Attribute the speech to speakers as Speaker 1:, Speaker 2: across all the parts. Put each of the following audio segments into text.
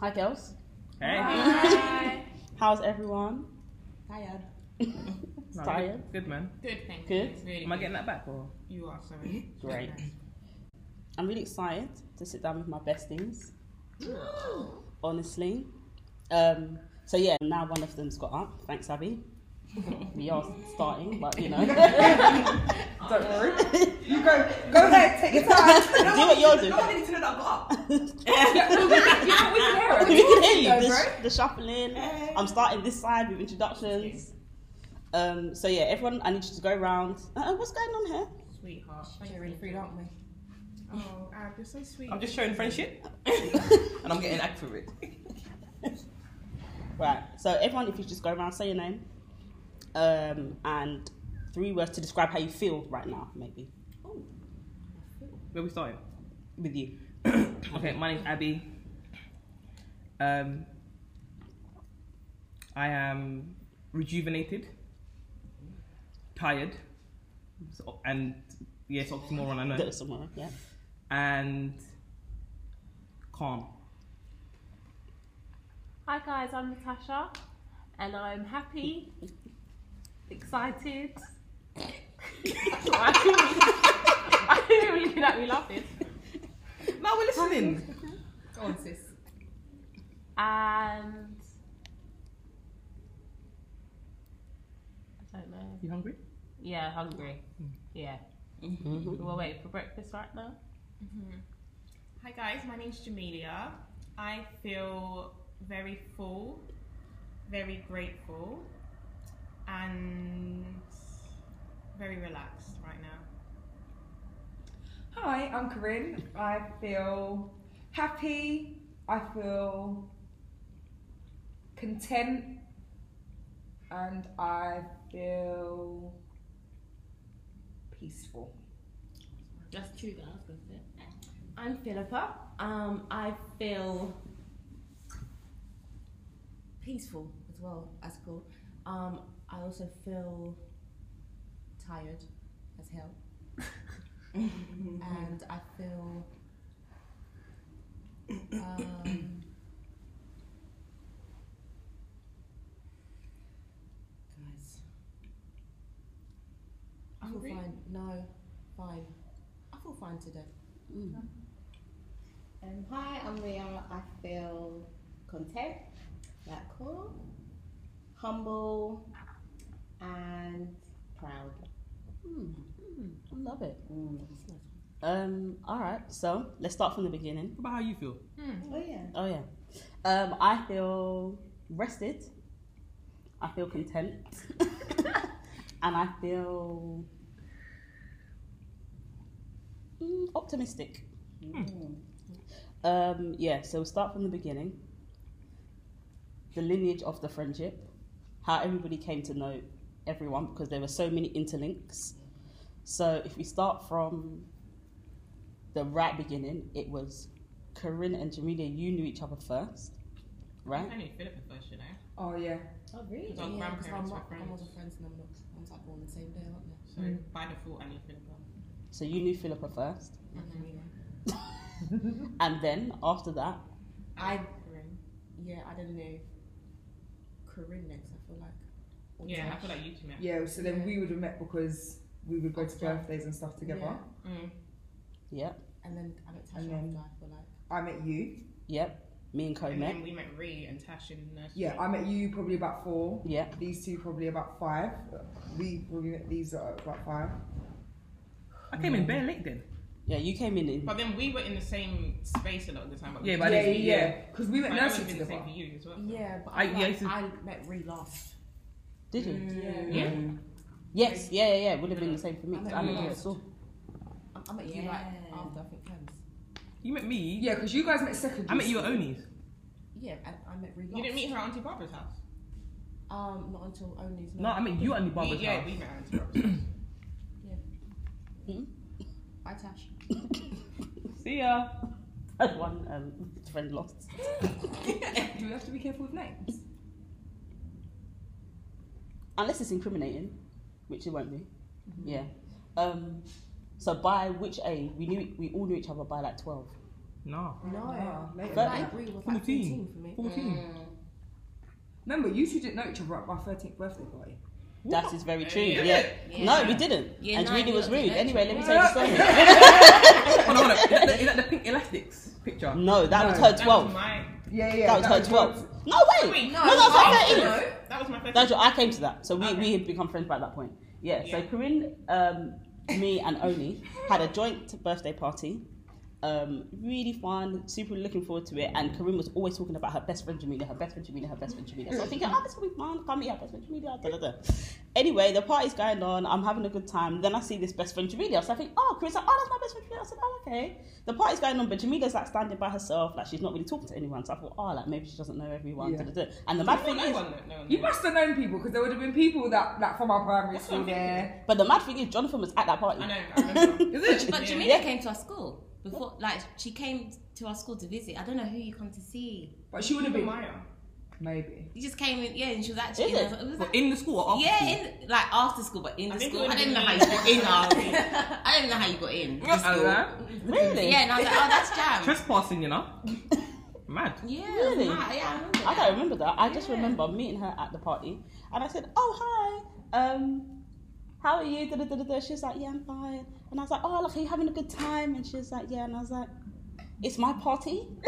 Speaker 1: Hi, girls.
Speaker 2: Hey.
Speaker 1: How's everyone? Tired. Tired.
Speaker 2: Good man.
Speaker 3: Good, thank
Speaker 1: Good?
Speaker 3: you. Really
Speaker 2: Am I
Speaker 3: good.
Speaker 2: getting that back or?
Speaker 3: You are, sorry.
Speaker 1: Great. I'm really excited to sit down with my besties. Honestly. Um, so yeah, now one of them's got up. Thanks, Abby. We are starting, but you know. Don't worry.
Speaker 4: You go, go ahead, take your time.
Speaker 1: Do what you're doing.
Speaker 4: No one needs to know that I'm up.
Speaker 3: yeah, we can hear
Speaker 1: we can hear you. The, sh- the shuffling. I'm starting this side with introductions. Um, so yeah, everyone, I need you to go around. Uh, what's going on here?
Speaker 3: Sweetheart.
Speaker 4: We're really free, aren't we?
Speaker 3: Oh, Ab, you're so sweet.
Speaker 2: I'm just showing friendship and I'm getting accurate.
Speaker 1: Right. So everyone, if you just go around, say your name, um, and three words to describe how you feel right now, maybe
Speaker 2: Where we starting?
Speaker 1: with you.
Speaker 2: Okay, my name's Abby. Um, I am rejuvenated, tired, so- and yes, oxymoron, I
Speaker 1: Go
Speaker 2: know,
Speaker 1: to somewhere. Yeah.
Speaker 2: and calm.
Speaker 5: Hi guys, I'm Natasha, and I'm happy, excited. I didn't really that me laughing.
Speaker 2: Now we're listening.
Speaker 4: Go on, sis.
Speaker 5: And I don't know.
Speaker 2: You hungry?
Speaker 5: Yeah, hungry. Yeah. We're waiting for breakfast right now.
Speaker 3: Mm-hmm. Hi, guys. My name's Jamelia. I feel very full, very grateful, and very relaxed right now.
Speaker 4: Hi, I'm Corinne. I feel happy. I feel content. And I feel peaceful.
Speaker 6: That's true, guys. I'm Philippa. Um, I feel peaceful as well. That's cool. Um, I also feel tired as hell, and I feel um, guys. I feel
Speaker 3: Hungry?
Speaker 6: fine. No, fine. I feel fine today.
Speaker 7: Um, hi, I'm Ria. I feel content, that cool, humble, and proud.
Speaker 1: Love it. Um. All right. So let's start from the beginning.
Speaker 2: What about how you feel?
Speaker 7: Oh yeah.
Speaker 1: Oh yeah. Um. I feel rested. I feel content, and I feel mm, optimistic. Um. Yeah. So we'll start from the beginning. The lineage of the friendship, how everybody came to know everyone because there were so many interlinks. So if we start from the right beginning, it was Corinne and Jamelia. You knew each other first, right?
Speaker 3: I knew Philippa first, you know.
Speaker 4: Oh, yeah.
Speaker 7: Oh really?
Speaker 3: Our
Speaker 6: Yeah, 'cause
Speaker 3: grandparents
Speaker 6: I'm
Speaker 3: were
Speaker 6: not- I'm
Speaker 3: friends.
Speaker 6: not friends and I'm not. I'm like born the same day, aren't they?
Speaker 3: So, by default, I knew Philippa.
Speaker 1: So you knew Philippa first,
Speaker 6: Yeah.
Speaker 1: and then after that,
Speaker 6: I
Speaker 3: Corinne.
Speaker 6: yeah, I don't know. Corinne next, I feel like. Or
Speaker 3: Yeah, I
Speaker 6: Tash.
Speaker 3: feel like you two met.
Speaker 4: Yeah, so then we would have met because we would go to birthdays and stuff together.
Speaker 6: Yeah.
Speaker 3: Mm.
Speaker 1: yeah,
Speaker 6: And then I met Tasha
Speaker 4: And then-
Speaker 6: after. I feel like.
Speaker 4: I met you.
Speaker 1: yep, me and Co
Speaker 3: And
Speaker 1: met.
Speaker 3: then we met Ree and Tash in nursery.
Speaker 4: Yeah, I met you probably about four.
Speaker 1: Yeah,
Speaker 4: These two probably about five. We probably met these at about five.
Speaker 2: I came in bare late then.
Speaker 1: yeah, you came in in
Speaker 3: But then we were in the same space a lot of the time. But we
Speaker 2: Yeah, but I
Speaker 4: yeah,
Speaker 2: didn't-
Speaker 4: yeah, Because we went
Speaker 3: Like, that
Speaker 4: nursery
Speaker 3: would've been the same
Speaker 4: together.
Speaker 3: for you as well.
Speaker 6: Yeah, but
Speaker 2: I-
Speaker 6: I,
Speaker 2: yeah,
Speaker 6: like,
Speaker 2: it's a-
Speaker 6: I met Ree last.
Speaker 1: Did you?
Speaker 3: Mm. Yeah.
Speaker 1: Yes, yeah, yeah, yeah. It would have been the same for me.
Speaker 6: I met
Speaker 1: I
Speaker 6: you
Speaker 1: met you at
Speaker 6: last.
Speaker 1: school.
Speaker 6: I, I met you like
Speaker 7: Yeah.
Speaker 6: after I think Kems.
Speaker 2: You met me.
Speaker 4: Yeah, because you guys met second.
Speaker 2: I met you at Oni's.
Speaker 8: Yeah, I, I met Rue.
Speaker 3: You didn't
Speaker 8: last.
Speaker 3: meet her at Auntie Barbara's house.
Speaker 8: Um, not until only.
Speaker 2: No, I met you at Auntie Barbara's
Speaker 3: yeah,
Speaker 2: house.
Speaker 3: we met at Auntie Barbara's house.
Speaker 8: Bye, Tash.
Speaker 2: See ya.
Speaker 9: Had one um, friend lost.
Speaker 4: Do we have to be careful with names?
Speaker 9: Unless it's incriminating, which it won't be. Yeah. Um, so by which age we knew we all knew each other by like twelve.
Speaker 2: No.
Speaker 8: No,
Speaker 4: Ah, later.
Speaker 9: But-
Speaker 8: like Rue was like
Speaker 2: 14.
Speaker 8: 14 for me.
Speaker 2: 14.
Speaker 4: Remember, you two didn't know each other at my 13th birthday party.
Speaker 9: That is very true. Yeah.
Speaker 3: Yeah.
Speaker 9: No, we didn't.
Speaker 8: Yeah,
Speaker 9: and
Speaker 8: no,
Speaker 9: really
Speaker 8: you
Speaker 9: was
Speaker 8: lot
Speaker 9: rude.
Speaker 8: didn't.
Speaker 9: Anyway, let me tell you a story.
Speaker 2: hold on, hold on. Is that, the, is that the pink elastics picture?
Speaker 9: No, that
Speaker 4: No.
Speaker 9: was her
Speaker 3: That was
Speaker 9: twelve.
Speaker 3: my.
Speaker 4: Yeah,
Speaker 9: That
Speaker 4: yeah.
Speaker 9: was her twelve. No way.
Speaker 3: Wait,
Speaker 9: No, that was her
Speaker 8: after,
Speaker 9: thirteen.
Speaker 8: no.
Speaker 3: That was my first.
Speaker 9: That's what I came to that. So we,
Speaker 3: Okay.
Speaker 9: we had become friends by that point. Yeah. So
Speaker 3: Yeah.
Speaker 9: Corinne, um, me, and Oni had a joint birthday party. Um, really fun, super looking forward to it. And Corinne was always talking about her best friend Jamila, her best friend Jamila, her best friend Jamila. So I'm thinking, oh, this will be fun. Come meet her best friend Jamila. Da, da, da. Anyway, the party's going on. I'm having a good time. Then I see this best friend Jamila. So I think, oh, Corinne's like, oh, that's my best friend Jamila. I said, oh, okay. The party's going on, but Jamila's like standing by herself, like she's not really talking to anyone. So I thought, oh, like maybe she doesn't know everyone.
Speaker 4: Yeah.
Speaker 9: Da, da, da. And the
Speaker 3: No
Speaker 9: mad
Speaker 3: one,
Speaker 9: thing
Speaker 3: no
Speaker 9: is,
Speaker 3: one, no one.
Speaker 4: You must have known people because there would have been people that, like, from our primary
Speaker 3: That's
Speaker 4: school
Speaker 3: what I'm
Speaker 4: there.
Speaker 9: But the mad thing is, Jonathan was at that party.
Speaker 3: I know. I remember.
Speaker 4: Is it?
Speaker 8: But Jamila
Speaker 9: Yeah.
Speaker 8: came to our school before, like she came to our school to visit. I don't know who you come to see.
Speaker 4: But she would have
Speaker 3: Even
Speaker 4: been.
Speaker 3: Maya.
Speaker 4: Maybe.
Speaker 8: You just came in, yeah, and she was actually.
Speaker 9: Is
Speaker 8: in
Speaker 9: it?
Speaker 8: our- it was
Speaker 2: Well,
Speaker 8: like-
Speaker 2: in the school or after
Speaker 8: yeah,
Speaker 2: school?
Speaker 8: in like after school, but in
Speaker 3: I
Speaker 8: the
Speaker 3: think it
Speaker 8: school. I
Speaker 3: would've
Speaker 8: didn't know
Speaker 3: been
Speaker 8: how you
Speaker 3: me.
Speaker 8: got in. our- I didn't know how you got in. the school.
Speaker 9: Really?
Speaker 8: Yeah, and I was like, oh, that's jam.
Speaker 2: Trespassing, you know? Mad.
Speaker 8: Yeah,
Speaker 9: Really?
Speaker 8: nah, yeah, I remember.
Speaker 9: I
Speaker 8: that.
Speaker 9: don't remember that. I just remember meeting her at the party, and I said, "Oh hi, um, how are you?" Da, da, da, da, da. She was like, "Yeah, I'm fine," and I was like, "Oh, look, are you having a good time?" And she was like, "Yeah," and I was like, "It's my party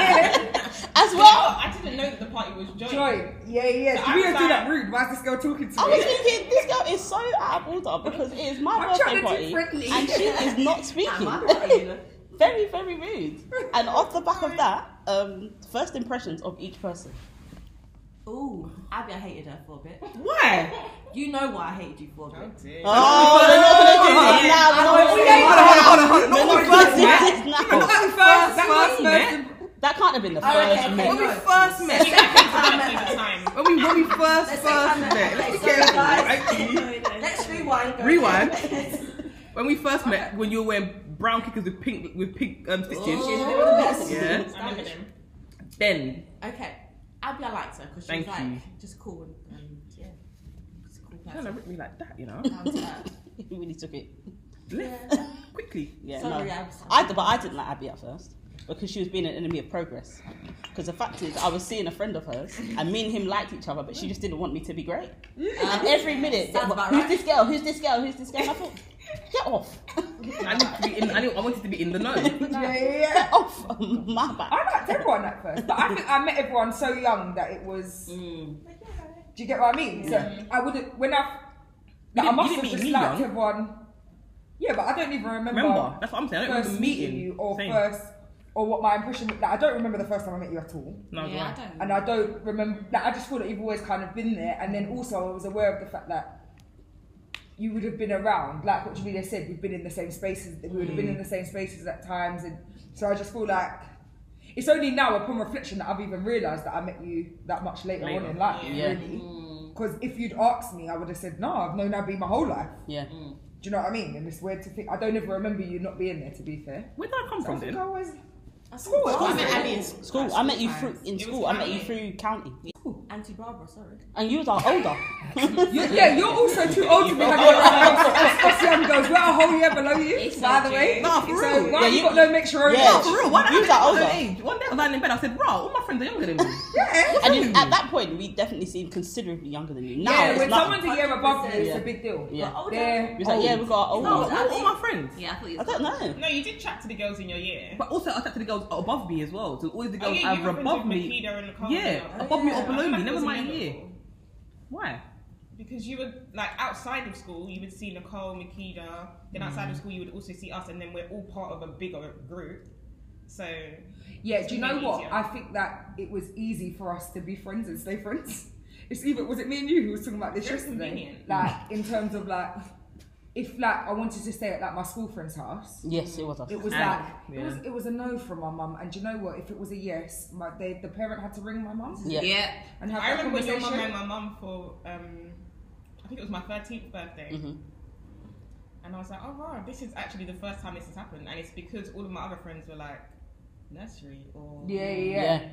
Speaker 9: as well."
Speaker 3: Well, I didn't know that the party was joint.
Speaker 4: Joy. Yeah, yeah.
Speaker 3: So
Speaker 4: Can we
Speaker 3: I'm
Speaker 4: don't do that
Speaker 3: like-
Speaker 4: rude? Why is this girl talking to
Speaker 9: I
Speaker 4: me?
Speaker 9: was thinking this girl is so out of order because it is my
Speaker 4: I'm trying
Speaker 9: birthday
Speaker 4: to
Speaker 9: party
Speaker 4: be friendly.
Speaker 9: and she is not
Speaker 8: Nah,
Speaker 9: speaking.
Speaker 8: my party, look.
Speaker 9: very, very rude. And off the back of that, um, first impressions of each person.
Speaker 8: Ooh, Abby, I hated her for a bit.
Speaker 2: Why?
Speaker 8: You know why I hated you for a
Speaker 3: Oh
Speaker 8: bit.
Speaker 3: dear.
Speaker 9: Oh, we're not gonna do this now. We're not
Speaker 4: We ain't hold on, hold on, hold on. Not on
Speaker 9: gonna do this now. We're not
Speaker 4: first
Speaker 9: gonna do
Speaker 4: met.
Speaker 9: this now.
Speaker 4: Not on first, that first,
Speaker 2: met.
Speaker 4: first.
Speaker 9: That can't have been the
Speaker 8: Oh,
Speaker 9: first
Speaker 8: okay,
Speaker 9: met.
Speaker 8: okay.
Speaker 4: When we first met.
Speaker 3: You guys think about it at the time.
Speaker 4: When we when we first
Speaker 8: Let's
Speaker 4: first
Speaker 8: say come back.
Speaker 4: met. Let's be
Speaker 8: Okay,
Speaker 4: careful.
Speaker 8: so guys-
Speaker 4: right?
Speaker 8: Let's rewind. go
Speaker 2: Rewind.
Speaker 8: ahead.
Speaker 2: When we first met, when you were wearing brown kickers with pink with pink um, stitches,
Speaker 8: She's a
Speaker 9: Ooh.
Speaker 8: bit of a mess.
Speaker 2: Yeah.
Speaker 3: I remember them.
Speaker 2: then
Speaker 8: Okay. Abby, I liked her because she
Speaker 2: Thank
Speaker 8: was
Speaker 2: you.
Speaker 8: like just cool and, and yeah, just a cool
Speaker 2: kind of
Speaker 8: person.
Speaker 2: ripped me like that, you know.
Speaker 8: Down to earth.
Speaker 9: We really took it.
Speaker 2: Left quickly.
Speaker 9: Yeah,
Speaker 8: Sorry,
Speaker 9: no.
Speaker 8: I was-
Speaker 9: I, but I didn't like Abby at first because she was being an enemy of progress. Because the fact is, I was seeing a friend of hers, and me and him liked each other, but she just didn't want me to be great. And every minute,
Speaker 8: Mm. Sounds about
Speaker 9: who's
Speaker 8: right.
Speaker 9: this girl? Who's this girl? Who's this girl? And I thought, get off,
Speaker 2: I need to be in. I, need, I wanted to be in the know.
Speaker 4: Yeah, yeah, yeah.
Speaker 9: get off my back.
Speaker 4: I liked everyone at first, but I think I met everyone so young that it was.
Speaker 2: Mm.
Speaker 4: Do you get what I mean? So I wouldn't when I. Like,
Speaker 2: didn't-
Speaker 4: I
Speaker 2: Mm. you
Speaker 4: must
Speaker 2: didn't
Speaker 4: have
Speaker 2: meet
Speaker 4: just
Speaker 2: me
Speaker 4: liked
Speaker 2: young.
Speaker 4: everyone. Yeah, but I don't even remember.
Speaker 2: Remember, that's what I'm saying. I don't
Speaker 4: first
Speaker 2: remember meeting
Speaker 4: you or
Speaker 2: Same.
Speaker 4: first or what my impression. Like, I don't remember the first time I met you at all.
Speaker 2: No, do
Speaker 8: yeah,
Speaker 2: I?
Speaker 8: I
Speaker 4: and
Speaker 8: don't.
Speaker 4: I don't remember. Like, I just feel that you've always kind of been there, and then also I was aware of the fact that you would have been around. Like what Jamila said, we've been in the same spaces. We would have been in the same spaces at times, and so I just feel like it's only now, upon reflection, that I've even realised that I met you that much later,
Speaker 2: Later.
Speaker 4: on in life,
Speaker 9: Yeah.
Speaker 4: really. Because if you'd asked me, I would have said, "No, I've known Abby my whole life."
Speaker 9: Yeah.
Speaker 2: Mm.
Speaker 4: Do you know what I mean? And it's weird to think. I don't ever remember you not being there. To be fair,
Speaker 2: Where did I come
Speaker 4: So I
Speaker 2: from
Speaker 4: think
Speaker 2: then?
Speaker 4: I was
Speaker 8: I
Speaker 4: school.
Speaker 8: saw
Speaker 4: I
Speaker 8: Abby
Speaker 4: met
Speaker 8: at
Speaker 4: Abby
Speaker 8: Abby in
Speaker 9: School. I met you
Speaker 4: times.
Speaker 9: through in
Speaker 3: It was
Speaker 9: school. I met you
Speaker 3: county.
Speaker 9: through county,
Speaker 8: Auntie Barbara, sorry.
Speaker 9: and you was our older.
Speaker 4: You, yeah, you're also too old to be having us us young girls. We're a whole year below you, by the way.
Speaker 2: Nah, for
Speaker 4: so
Speaker 2: real.
Speaker 4: why
Speaker 9: Yeah,
Speaker 4: you
Speaker 9: you-
Speaker 4: got no mixture of
Speaker 9: Yeah.
Speaker 4: yeah.
Speaker 2: No, for real. Why did
Speaker 9: You
Speaker 2: I
Speaker 9: was
Speaker 2: get
Speaker 9: older.
Speaker 2: that age? One day I was lying in bed. I said, "Bro, all my friends are younger than me."
Speaker 4: yeah.
Speaker 9: And you- at that point, we definitely seemed considerably younger than you. Now
Speaker 4: yeah,
Speaker 9: it's
Speaker 4: when
Speaker 9: not.
Speaker 4: someone's a year above you, it's
Speaker 9: Yeah.
Speaker 4: a big deal.
Speaker 9: Yeah.
Speaker 8: But older.
Speaker 4: They're
Speaker 9: He was like, yeah, we got
Speaker 2: No,
Speaker 9: older.
Speaker 2: all,
Speaker 8: No, I
Speaker 2: all
Speaker 8: think-
Speaker 2: my friends.
Speaker 8: Yeah, I thought you
Speaker 9: Oh, I
Speaker 8: was
Speaker 9: don't know.
Speaker 3: No, you did chat to the girls in your year.
Speaker 2: But also, I talked to the girls above me as well. So always the
Speaker 3: Oh
Speaker 2: girls
Speaker 3: yeah, you
Speaker 2: either
Speaker 3: were friends
Speaker 2: above
Speaker 3: with
Speaker 2: me.
Speaker 3: Makeda and Nicole.
Speaker 2: Yeah,
Speaker 3: Oh,
Speaker 2: above me
Speaker 8: yeah.
Speaker 2: or below
Speaker 3: I
Speaker 2: me,
Speaker 3: thought it
Speaker 2: never
Speaker 3: was
Speaker 2: mind
Speaker 3: memorable.
Speaker 2: year. Why?
Speaker 3: Because you would like outside of school, you would see Nicole, Makeda. Then outside of school, you would also see us, and then we're all part of a bigger group. So
Speaker 4: Yeah, do you know what?
Speaker 3: Easier.
Speaker 4: I think that it was easy for us to be friends and stay friends. It's even was it me and you who was talking about this
Speaker 3: Very
Speaker 4: yesterday?
Speaker 3: convenient.
Speaker 4: Like in terms of like if like I wanted to stay at like my school friend's house,
Speaker 9: Yes, it was us.
Speaker 4: it was
Speaker 2: And-
Speaker 4: like it
Speaker 2: yeah.
Speaker 4: was it was a no from my mum. And do you know what? If it was a yes, my they, the parent had to ring my mum
Speaker 9: Yeah.
Speaker 4: and have
Speaker 3: I
Speaker 4: that
Speaker 3: remember when your mum
Speaker 4: conversation.
Speaker 3: met my mum for, um, I think it was my 13th birthday.
Speaker 9: Mhm.
Speaker 3: And I was like, oh, wow, this is actually the first time this has happened. And it's because all of my other friends were like, nursery or.
Speaker 4: Yeah, yeah, yeah.
Speaker 9: Yeah.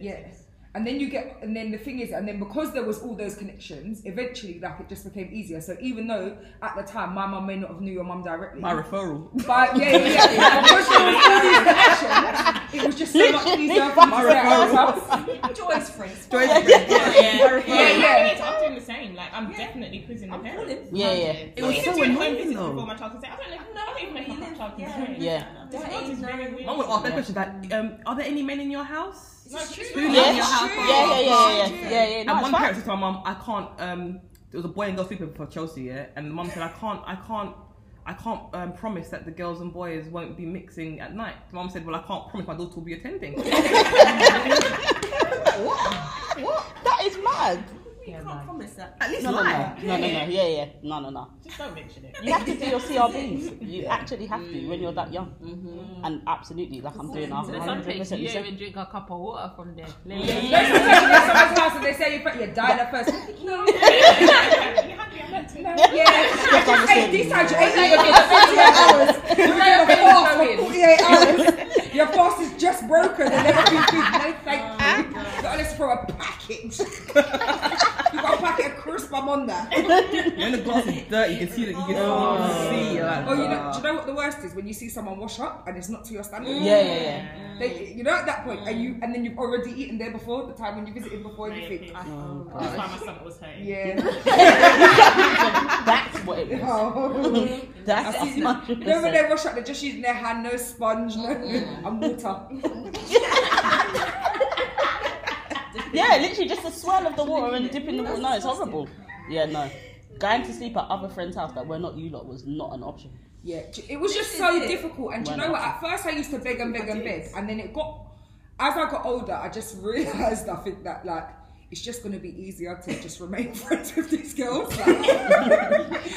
Speaker 3: Yeah, relatives.
Speaker 4: And then you get, and then the thing is, and then because there was all those connections, eventually, like it just became easier. So even though at the time my mum may not have knew your mum directly,
Speaker 2: By referral.
Speaker 4: but yeah, yeah, yeah, yeah. because there was all these connections, it was just so much easier for me to stay at her house.
Speaker 8: Joy's friends.
Speaker 2: Joy's friend.
Speaker 3: Yeah,
Speaker 4: Yeah, yeah.
Speaker 3: yeah. I'm doing the same. Like, I'm definitely quizzing the parents.
Speaker 9: Yeah, yeah.
Speaker 3: It
Speaker 2: was
Speaker 3: was
Speaker 2: so
Speaker 3: so annoying
Speaker 2: annoying,
Speaker 3: visits
Speaker 2: though.
Speaker 3: before my child can say, I don't know, no, I don't even know if my child can
Speaker 8: Yeah.
Speaker 3: say.
Speaker 9: Yeah.
Speaker 3: This
Speaker 8: That
Speaker 3: world
Speaker 8: ain't
Speaker 3: is very
Speaker 8: no-
Speaker 3: weird.
Speaker 2: I would ask that question like, um, are there any men in your house?
Speaker 3: It's not true.
Speaker 2: Who live
Speaker 9: Yeah.
Speaker 2: in your house?
Speaker 9: Yeah, yeah, yeah, yeah, yeah, yeah.
Speaker 2: and
Speaker 9: No, it's
Speaker 2: one
Speaker 9: fine.
Speaker 2: parent said to my mum, I can't. Um, there was a boy and girl sleepover for Chelsea, yeah, and the mum said, I can't, I can't, I can't um, promise that the girls and boys won't be mixing at night. The mum said, Well, I can't promise my daughter will be attending.
Speaker 9: What? That is mad.
Speaker 8: You
Speaker 10: Yeah,
Speaker 8: can't
Speaker 10: man.
Speaker 8: promise that.
Speaker 2: at least
Speaker 9: No, no, no,
Speaker 2: lie.
Speaker 9: no, no, no. Yeah, yeah. No, no, no.
Speaker 3: Just don't mention it.
Speaker 9: You have to do your CRBs. You actually have to when you're that young.
Speaker 3: Mm-hmm.
Speaker 9: And absolutely, like I'm doing,
Speaker 10: So some pictures,
Speaker 9: 100%
Speaker 10: you
Speaker 9: you
Speaker 10: don't
Speaker 9: said.
Speaker 10: even drink a cup of water from there.
Speaker 4: Don't you go to someone's house and they say you're, you're dying at first. No,
Speaker 3: It's
Speaker 4: yeah, I just ate this, I just ate that for 48 hours. You're
Speaker 10: Yeah,
Speaker 4: on a fast for 48
Speaker 10: yeah.
Speaker 4: hours. Your fast is just broken and everything big. No, thank you. You got this for a package. you got a packet of crisp, I'm on that.
Speaker 2: When the glass is dirty, you can see that you can see. You're like,
Speaker 4: Oh, you know, do you know what the worst is? When you see someone wash up and it's not to your standard.
Speaker 9: Yeah, yeah, yeah.
Speaker 4: They, you know, at that point, and you and then you've already eaten there before the time when you visited before. You think,
Speaker 3: That's
Speaker 9: Oh,
Speaker 3: why
Speaker 9: God.
Speaker 3: my stomach was hurting.
Speaker 4: yeah.
Speaker 9: That's what it was.
Speaker 4: Oh.
Speaker 9: That's
Speaker 4: I've seen You know when
Speaker 9: 100%.
Speaker 4: they wash up, they're just using their hand, no sponge, no
Speaker 8: Mm.
Speaker 4: and water.
Speaker 9: Yeah, literally just a swirl of the water and dip in the water. No, it's horrible. Yeah, no. Going to sleep at other friends' house that were not you lot was not an option.
Speaker 4: Yeah, d- it was just
Speaker 8: This
Speaker 4: so
Speaker 8: is it.
Speaker 4: difficult. And do you
Speaker 9: Why
Speaker 4: know what?
Speaker 9: not?
Speaker 4: At first, I used to beg and beg and beg, and then it got. As I got older, I just realized I think that like it's just gonna be easier to just remain friends with these girls. Like,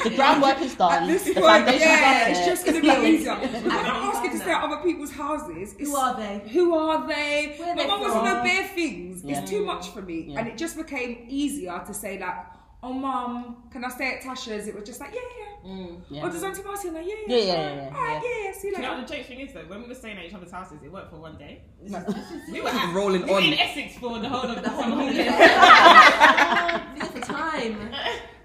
Speaker 9: The groundwork is
Speaker 4: At
Speaker 9: done. Um, The
Speaker 4: this point,
Speaker 9: foundation's
Speaker 4: yeah,
Speaker 9: up
Speaker 4: it's
Speaker 9: there.
Speaker 4: just going to be easier. Because when
Speaker 8: I've
Speaker 4: I'm asking
Speaker 8: done
Speaker 4: to stay at other people's houses, it's,
Speaker 8: Who are they?
Speaker 4: Who are they?
Speaker 8: Where are
Speaker 4: My
Speaker 8: they
Speaker 4: mum wasn't no
Speaker 8: from?
Speaker 4: bare things.
Speaker 9: Yeah.
Speaker 4: It's too much for me,
Speaker 9: Yeah.
Speaker 4: and it just became easier to say like, "Oh, mum, can I stay at Tasha's?" It was just like, "Yeah, yeah."
Speaker 9: Yeah.
Speaker 4: Or does Auntie Marty know? Yeah,
Speaker 9: Yeah, yeah,
Speaker 4: alright,
Speaker 9: yeah,
Speaker 4: alright, yeah, yeah. See you
Speaker 3: You know
Speaker 4: later.
Speaker 3: what the strange thing is though, when we were staying at each other's houses, it worked for one day.
Speaker 2: we were just rolling
Speaker 3: We were in
Speaker 2: on.
Speaker 3: Essex for the whole of the summer.
Speaker 8: Feel for time.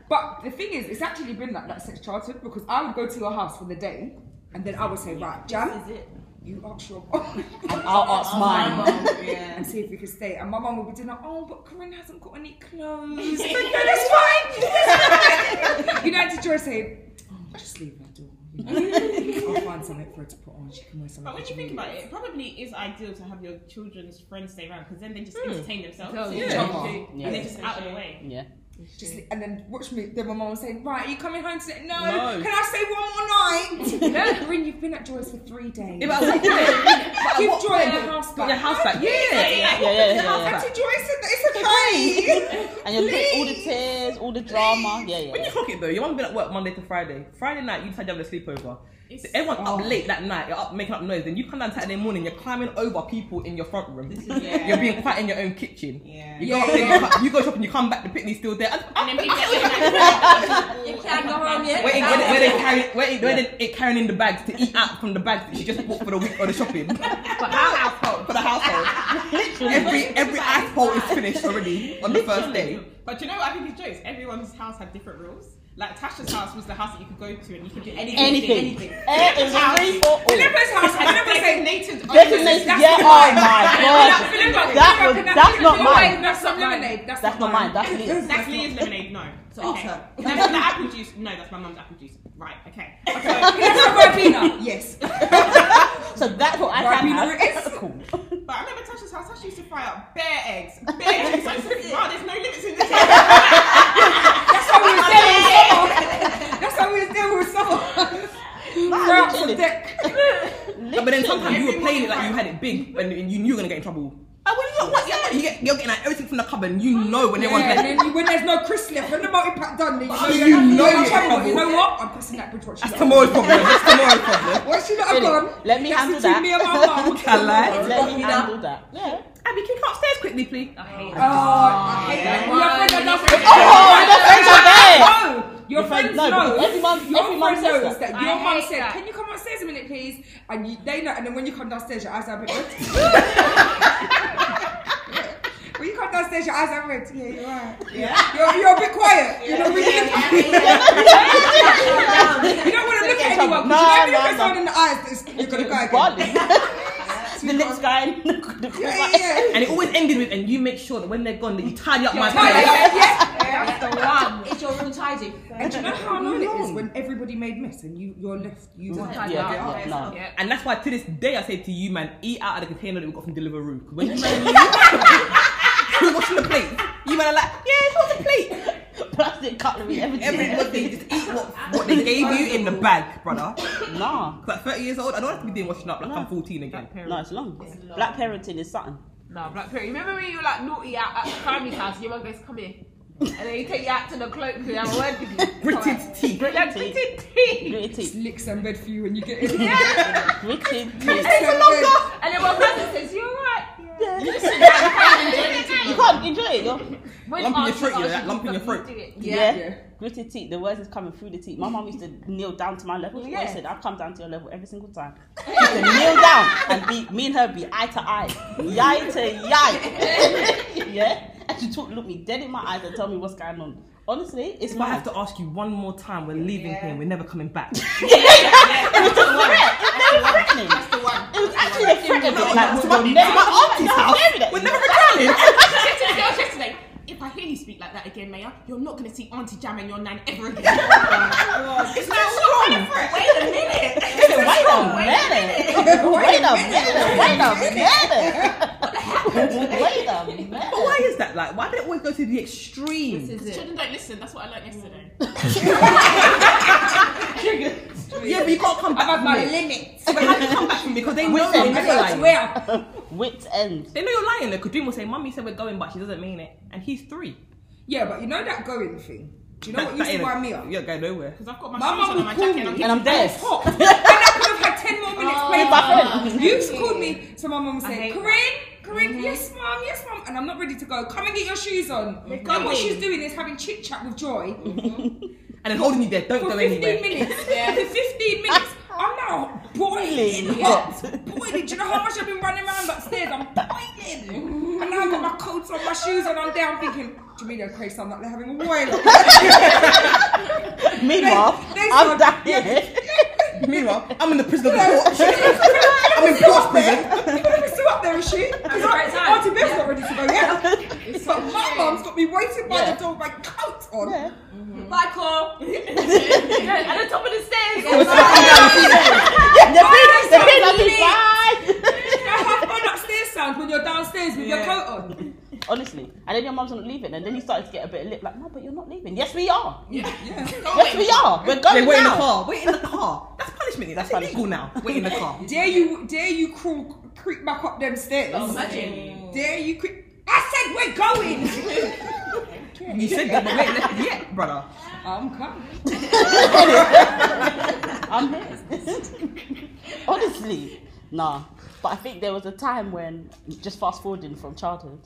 Speaker 4: But the thing is, it's actually been like that since childhood because I would go to your house for the day, and then I would say, "Right, Jan,
Speaker 8: Is it?
Speaker 4: you ask your mum."
Speaker 9: And I'll ask mine.
Speaker 8: Yeah.
Speaker 4: and see if we could stay. And my mum would be doing like, oh, but Corinne hasn't got any clothes. no, that's fine. That's fine. you know, to Joy say, oh, I'll just leave her door. You know? I'll find something for her to put on. She can wear something.
Speaker 3: But when you think about it, it probably is ideal to have your children's friends stay around because then they
Speaker 9: Hmm.
Speaker 3: just entertain themselves.
Speaker 10: Oh,
Speaker 3: yeah.
Speaker 4: yeah.
Speaker 3: And they're just out of the way.
Speaker 9: Yeah.
Speaker 4: Just, le- and then watch me. Then my mum would say, right, are you coming home today? No.
Speaker 2: No.
Speaker 4: Can I stay one more night? Corinne, you've been at Joy's for three days.
Speaker 2: If I was like, yeah,
Speaker 4: Give Joy the house
Speaker 2: got
Speaker 4: back.
Speaker 2: your house back. Yeah,
Speaker 9: Yeah, yeah, yeah. yeah.
Speaker 4: Auntie Joy said that it's okay.
Speaker 9: And you'll get all the tears, all the drama. Yeah, yeah.
Speaker 2: When you
Speaker 9: yeah.
Speaker 2: clock it though, your mum be at work Monday to Friday. Friday night, you decide you have a sleepover.
Speaker 3: It's-
Speaker 2: So everyone's up late that night. You're up making up noise. Then you come down Saturday morning. You're climbing over people in your front room.
Speaker 3: yeah.
Speaker 2: You're being quiet in your own kitchen.
Speaker 3: Yeah.
Speaker 2: You go, up there, you, come- you go shopping. You come back. The picnic's still there. And,
Speaker 3: And then people get
Speaker 8: You can't go home yet.
Speaker 2: where it, where they- where they carry, where it, where they, it carrying in the bags to eat out from the bags that she just bought for the week or the shopping
Speaker 10: For our household.
Speaker 2: for the household. every every asshole is finished already on the first day.
Speaker 3: But you know what I think is jokes? Everyone's house had different rules. Like Tasha's house was the house that you could go to and you could do anything.
Speaker 9: Anything. Eh, It was free for all.
Speaker 4: Philippa's house. I never say
Speaker 3: Designated owners.
Speaker 9: Designated, yeah, oh my
Speaker 4: That-
Speaker 9: god. That was, that's not mine.
Speaker 4: That's not lemonade. That's,
Speaker 9: That's not mine, that's Leah's.
Speaker 3: That's Leah's lemonade. No.
Speaker 8: It's Ulta.
Speaker 3: That's the apple juice. No, that's my mum's apple juice. Right. Okay. So,
Speaker 4: That's Ribena. Yes.
Speaker 9: So that's what I can
Speaker 4: Ribena
Speaker 9: have.
Speaker 4: it is.
Speaker 9: Cool.
Speaker 3: but I remember Tasha's house. Tasha used to fry up bare eggs. Bare eggs. I used to think, wow, there's no limits in this. house."
Speaker 4: That's how we was dealing with someone. That's how we was dealing with someone. We're out
Speaker 9: Literally.
Speaker 4: for deck.
Speaker 2: No, but then sometimes Oh, you were playing it like you had it big and, and you knew you were gonna get in trouble. I wouldn't know what. Yeah, you get, you're getting like everything from the cupboard. and You know when everyone's
Speaker 4: Yeah,
Speaker 2: like,
Speaker 4: and then you, when there's no Chris left, when the multi pack done, then
Speaker 2: Oh,
Speaker 4: you
Speaker 2: you
Speaker 4: know, you're
Speaker 2: know
Speaker 4: like,
Speaker 2: you're
Speaker 4: trouble.
Speaker 2: trouble.
Speaker 4: You know what? I'm pressing that bridge. Watch
Speaker 2: that's tomorrow's problem. That's tomorrow's problem.
Speaker 4: Once you lot are
Speaker 9: Really?
Speaker 4: gone,
Speaker 9: Let me
Speaker 4: that's
Speaker 9: handle
Speaker 4: between
Speaker 9: that.
Speaker 4: Me and my mum.
Speaker 2: I like.
Speaker 9: Let me handle that. Yeah.
Speaker 2: Abby, can you come upstairs quickly, please?
Speaker 10: I hate
Speaker 4: Oh, I hate that. Your friend that does it. No, your friends
Speaker 9: Oh, your friends are there. Your friend- no,
Speaker 4: know.
Speaker 9: but every mum-
Speaker 4: your
Speaker 9: every mum
Speaker 4: friend
Speaker 9: says
Speaker 4: knows that,
Speaker 10: that.
Speaker 4: your
Speaker 10: I
Speaker 4: mum
Speaker 10: hate
Speaker 4: said,
Speaker 10: that.
Speaker 4: "Can you come upstairs a minute, please?" And you, they know. And then when you come downstairs, your eyes are red. when you come downstairs, your eyes are red. Yeah, you're right. Yeah, you're, you're a bit quiet. You're not really looking. You don't want to look at anyone.
Speaker 9: No,
Speaker 4: No, you know,
Speaker 9: no, no.
Speaker 4: no, no. in the eyes, it's- you're gonna go again.
Speaker 9: Barley. the lips going.
Speaker 4: Yeah, yeah, yeah.
Speaker 2: And it always ended with, and you make sure that when they're gone, that you tidy up my
Speaker 4: Tidy
Speaker 2: place.
Speaker 4: up, yeah.
Speaker 8: It's your room tidy.
Speaker 4: And do you know how annoying it is when everybody made mess and you you're left you just
Speaker 9: Yeah, yeah, no.
Speaker 10: Yeah.
Speaker 2: And that's why to this day I say to you, man, eat out of the container that we got from Deliveroo. 'Cause when you man you're washing the plate, you man are like, yeah, it's not the plate.
Speaker 9: Plastic cutlery, everything.
Speaker 2: Everybody just eat what, what they gave you in the bag, brother.
Speaker 9: Nah.
Speaker 2: Like 30 years old, I don't have to be doing washing up like I'm 14 again.
Speaker 9: No, it's long. Black parenting is something.
Speaker 10: No, Black Parrot. Remember when you were like naughty at, at family's house? Your mum goes, come here. And then you take you out to the cloak to have a word with you.
Speaker 2: Gritted teeth.
Speaker 10: Yeah, gritted teeth.
Speaker 9: Gritty teeth.
Speaker 4: licks and red for you when you get in.
Speaker 10: Yeah.
Speaker 9: Gritty
Speaker 10: And
Speaker 9: teeth.
Speaker 10: it's a
Speaker 4: Yeah.
Speaker 10: longer. And then my brother says, you alright?
Speaker 9: You can't enjoy it, though.
Speaker 10: When
Speaker 2: Lump in your
Speaker 10: aunties
Speaker 2: throat, you know,
Speaker 10: ask
Speaker 2: that
Speaker 10: you
Speaker 2: lump in
Speaker 10: to
Speaker 2: your
Speaker 10: fucking
Speaker 2: throat.
Speaker 10: do it.
Speaker 9: Yeah.
Speaker 4: Yeah.
Speaker 9: Gritted teeth. The words is coming through the teeth. My mum used to kneel down to my level. She always
Speaker 10: Yeah.
Speaker 9: said, I'll come down to your level every single time. She used to kneel down and be, me and her be eye to eye, yai to yai. yeah? And she talk, look me dead in my eyes and tell me what's going on. Honestly, it's
Speaker 2: If I
Speaker 9: fine.
Speaker 2: have to ask you one more time, we're leaving here, we're never coming back.
Speaker 9: threatening. It was actually a threatening. Like, to my, to my auntie's house.
Speaker 2: We're never returning.
Speaker 3: said to the girls yesterday, if I hear you speak like that again, Maya, you're not going to see Auntie Jam and your nan ever again. it's not wrong. Wait a minute.
Speaker 9: Wait a minute. Wait a minute. Wait a minute. Wait a minute.
Speaker 2: But why is that like? Why did it always go to the extreme?
Speaker 10: This is it.
Speaker 3: Children don't listen. That's what I learned yesterday.
Speaker 2: yeah, but you can't come back.
Speaker 4: I've
Speaker 2: from
Speaker 4: had my
Speaker 2: it.
Speaker 4: limits.
Speaker 2: But how do you come back from it? Because they know
Speaker 9: With them.
Speaker 2: you're lying.
Speaker 4: Well,
Speaker 9: Wits end.
Speaker 2: They know you're lying. Because Dream will say, "Mummy said we're going, but she doesn't mean it," and he's three.
Speaker 4: yeah, but you know that going thing. Do you know
Speaker 2: That-
Speaker 4: what
Speaker 2: that
Speaker 4: used to
Speaker 2: ain't
Speaker 4: wind
Speaker 2: a-
Speaker 4: me up?
Speaker 2: You're going nowhere.
Speaker 3: Because I've got my
Speaker 4: My
Speaker 3: shoes
Speaker 4: mum
Speaker 3: on and
Speaker 4: would
Speaker 3: my
Speaker 4: call me
Speaker 3: jacket and I'm
Speaker 9: And I'm dead.
Speaker 4: Hot. and I could have had ten more minutes.
Speaker 9: With my friend.
Speaker 4: playing. You just called me, so my mum would
Speaker 10: I
Speaker 4: say,
Speaker 10: hate
Speaker 4: Corinne, Corinne, yes, mum, yes, mum, and I'm not ready to go. Come and get your shoes on. And
Speaker 3: going.
Speaker 4: what she's doing is having chit chat with Joy
Speaker 2: And then holding you there. Don't
Speaker 4: for
Speaker 2: go
Speaker 4: 15
Speaker 2: anywhere.
Speaker 4: minutes. For 15 minutes. I'm now boiling
Speaker 9: Boiling
Speaker 4: hot. Boiling. Do you know how much I've been running around upstairs? I'm boiling. And now I've got my coats on, my shoes on, I'm down thinking, Jamila Crace, I'm like, they're having a boil.
Speaker 9: Meanwhile,
Speaker 4: They- they
Speaker 9: I'm
Speaker 4: saw-
Speaker 9: down here.
Speaker 2: Meanwhile, I'm in the prison of court.
Speaker 4: I'm
Speaker 2: in Port's prison.
Speaker 4: I'm still up there, is she? Because
Speaker 10: right time.
Speaker 4: Auntie Bev's not ready to go yet. But my mum's got me waiting by
Speaker 9: Yeah.
Speaker 4: the door with my coat on.
Speaker 9: Yeah.
Speaker 10: Bye, Cole. yeah, at the top of the stairs.
Speaker 9: Yeah,
Speaker 4: Oh,
Speaker 9: the pin, the pin
Speaker 4: sorry.
Speaker 9: is inside.
Speaker 4: You know how fun upstairs sounds when you're downstairs with your coat on?
Speaker 9: Honestly, and then your mum's not leaving, and then he started to get a bit lip like, no, but you're not leaving. Yes, we are. Yes, we are. We're
Speaker 2: They
Speaker 9: going
Speaker 2: wait in the
Speaker 9: now.
Speaker 2: car. Wait in the car. That's punishment. That's,
Speaker 9: That's
Speaker 2: illegal now. Wait in the car.
Speaker 4: Dare you, dare you crawl, creep back up them stairs?
Speaker 10: Imagine.
Speaker 4: Dare you creep? I said we're going.
Speaker 2: You said that, but wait, let's- yeah, brother.
Speaker 4: I'm coming.
Speaker 9: I'm here. Honestly, nah. But I think there was a time when, just fast forwarding from childhood,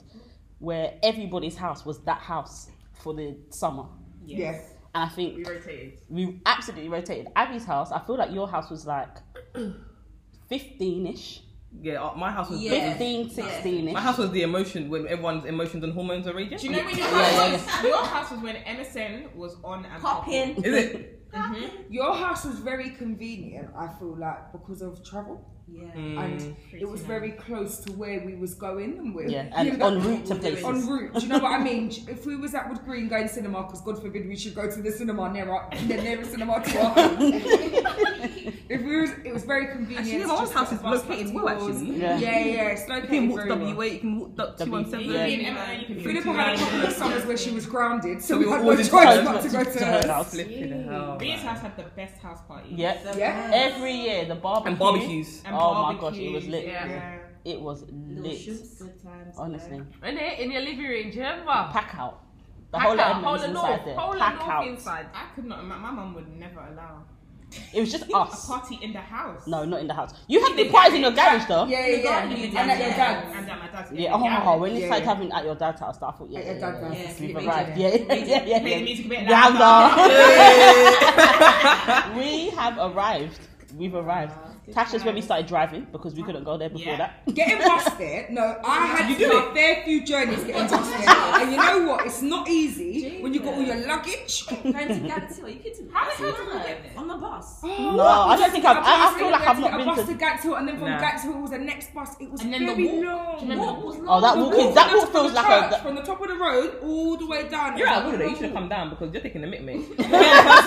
Speaker 9: where everybody's house was that house for the summer.
Speaker 4: Yeah.
Speaker 9: And I think
Speaker 10: rotated.
Speaker 9: we absolutely rotated. Abby's house, I feel like your house was like 15 ish,
Speaker 2: Yeah, uh, my house was.
Speaker 8: Yeah.
Speaker 9: 15, 16 ish.
Speaker 2: My house was the emotion when everyone's emotions and hormones are raging.
Speaker 3: Do you know when your house was? Your house was when MSN was on and
Speaker 8: Pop
Speaker 3: off.
Speaker 8: in.
Speaker 2: Is it?
Speaker 4: Your house was very convenient, I feel like, because of travel.
Speaker 8: Yeah.
Speaker 4: and it was very close to where we was going and we
Speaker 9: Mm. Yeah, and en route to places.
Speaker 4: en route. Do you know what I mean? If we was at Wood Green going cinema, because God forbid we should go to the cinema near our, the nearest cinema to our home. if we was, it was very convenient.
Speaker 2: Actually,
Speaker 4: to
Speaker 2: my
Speaker 4: just
Speaker 2: house
Speaker 4: get
Speaker 2: is
Speaker 4: a bus
Speaker 2: located
Speaker 4: back
Speaker 2: well,
Speaker 4: to yours.
Speaker 2: actually.
Speaker 9: Yeah.
Speaker 4: Yeah, yeah, it's
Speaker 2: You can
Speaker 4: located
Speaker 2: walk
Speaker 4: very
Speaker 2: WA,
Speaker 4: well.
Speaker 2: you can walk up
Speaker 9: W-
Speaker 2: 217.
Speaker 9: yeah.
Speaker 3: You and Emma, you can be
Speaker 4: Philippa had a couple of summers where she was grounded, so,
Speaker 2: So
Speaker 4: we
Speaker 2: we
Speaker 4: had
Speaker 2: were
Speaker 4: no
Speaker 2: always
Speaker 4: choice
Speaker 9: Close
Speaker 4: but to go to
Speaker 9: her
Speaker 4: hers.
Speaker 9: house.
Speaker 2: Flipping hell.
Speaker 3: Ria's house had the best house party.
Speaker 9: Yeah.
Speaker 4: Yeah.
Speaker 9: Every year, the barbecue.
Speaker 2: And barbecues.
Speaker 3: And
Speaker 9: Oh my gosh, it was
Speaker 3: barbecues,
Speaker 9: lit.
Speaker 3: Yeah.
Speaker 9: It was
Speaker 6: Little
Speaker 9: lit.
Speaker 6: shoots, good times. you know.
Speaker 9: Honestly,
Speaker 10: And it in your living room, do you
Speaker 3: Ah.
Speaker 10: remember?
Speaker 9: pack out. The
Speaker 10: Pack
Speaker 9: whole
Speaker 10: out,
Speaker 9: of Edmonds
Speaker 10: whole of
Speaker 9: inside there.
Speaker 10: North, whole of
Speaker 9: Pack
Speaker 10: North
Speaker 9: out.
Speaker 10: inside.
Speaker 3: I could not. My, my mum would never allow
Speaker 9: It was just
Speaker 3: a
Speaker 9: us.
Speaker 3: party in the house.
Speaker 9: No, not in the house. You had the parties in your garage though.
Speaker 4: Yeah, yeah, yeah.
Speaker 6: garden, you
Speaker 4: And
Speaker 6: did,
Speaker 4: at your
Speaker 6: yeah.
Speaker 4: dad's.
Speaker 3: And at my dad's.
Speaker 9: Yeah, oh,
Speaker 3: yeah.
Speaker 9: oh, when you
Speaker 4: Yeah,
Speaker 9: started
Speaker 4: yeah.
Speaker 9: having at your dad's house, I thought, yeah,
Speaker 4: At
Speaker 9: yeah,
Speaker 4: your dad's
Speaker 9: yeah,
Speaker 4: house.
Speaker 9: yeah,
Speaker 6: Yeah,
Speaker 9: we've
Speaker 6: sleep
Speaker 9: arrived.
Speaker 6: in, yeah.
Speaker 9: Yeah, yeah, yeah,
Speaker 3: Play the
Speaker 9: yeah.
Speaker 3: music a bit
Speaker 9: Round
Speaker 3: louder.
Speaker 9: up. We have arrived. We've arrived. Tasha's when we started driving because we couldn't go there before
Speaker 3: Yeah.
Speaker 9: that.
Speaker 4: Getting busted. No, I had
Speaker 3: You
Speaker 4: to
Speaker 3: do
Speaker 4: do a fair few journeys getting busted, and you know what? It's not easy when you got all your luggage.
Speaker 8: Going to Galaxy, are you kidding me?
Speaker 10: How many times did we get
Speaker 8: On the bus.
Speaker 9: No, I don't think I've. I, I feel like I've not
Speaker 4: a bus
Speaker 9: been
Speaker 4: to
Speaker 9: to.
Speaker 4: Gatshill, and then from
Speaker 2: Nah.
Speaker 4: Gatshill was the next bus. It was
Speaker 10: And then the
Speaker 4: very
Speaker 10: walk. Do you
Speaker 4: long.
Speaker 10: remember
Speaker 4: Walk.
Speaker 10: the walk?
Speaker 9: Oh, that walk is that
Speaker 4: That's
Speaker 9: walk
Speaker 4: from
Speaker 9: feels
Speaker 4: the
Speaker 9: like
Speaker 4: church,
Speaker 9: a. that-
Speaker 4: from the top of the road all the way down.
Speaker 2: You're out of
Speaker 4: It was
Speaker 2: order.
Speaker 4: a
Speaker 2: You should have come
Speaker 4: long
Speaker 2: down because you're taking the mitt, mate.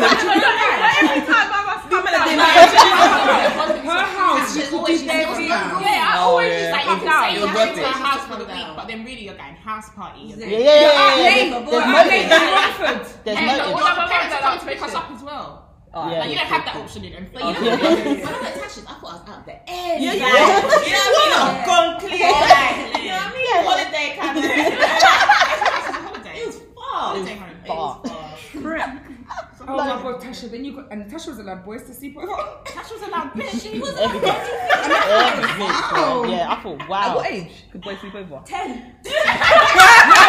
Speaker 10: Every time I must come down.
Speaker 4: walk. Her house used to be there.
Speaker 10: Yeah, I
Speaker 2: Oh,
Speaker 10: always
Speaker 2: yeah.
Speaker 10: just like,
Speaker 2: Your
Speaker 10: it's out.
Speaker 3: You're
Speaker 10: You're
Speaker 3: going
Speaker 10: going
Speaker 3: to
Speaker 10: to
Speaker 3: a
Speaker 10: my
Speaker 3: house
Speaker 10: house
Speaker 3: for the
Speaker 10: for the
Speaker 3: week,
Speaker 10: week.
Speaker 3: but then really you're going house party.
Speaker 9: Yeah, yeah, yeah, yeah, yeah.
Speaker 4: Neighbour,
Speaker 9: There's
Speaker 4: I'm
Speaker 9: motive.
Speaker 4: in Watford.
Speaker 9: There's
Speaker 10: And the
Speaker 9: motive.
Speaker 10: one-
Speaker 3: Well, parents come to pick us up as well.
Speaker 9: Yeah.
Speaker 3: Like, you don't have that option in them.
Speaker 6: But you know what? I don't like Tasha's. I thought I was out there. Yeah, yeah.
Speaker 9: Yeah.
Speaker 6: You know what I mean? Gone clear. Like, you know what I mean? Holiday kind of. It was far.
Speaker 9: It was far.
Speaker 2: Crap.
Speaker 4: Oh my god, Tasha! Then you got and Tasha was allowed boys to sleep over.
Speaker 3: Tasha's allowed bitch. She was
Speaker 9: Everything. Everything. yeah. Yeah, I thought,
Speaker 2: At what
Speaker 9: wow.
Speaker 2: age could boys sleep over?
Speaker 4: I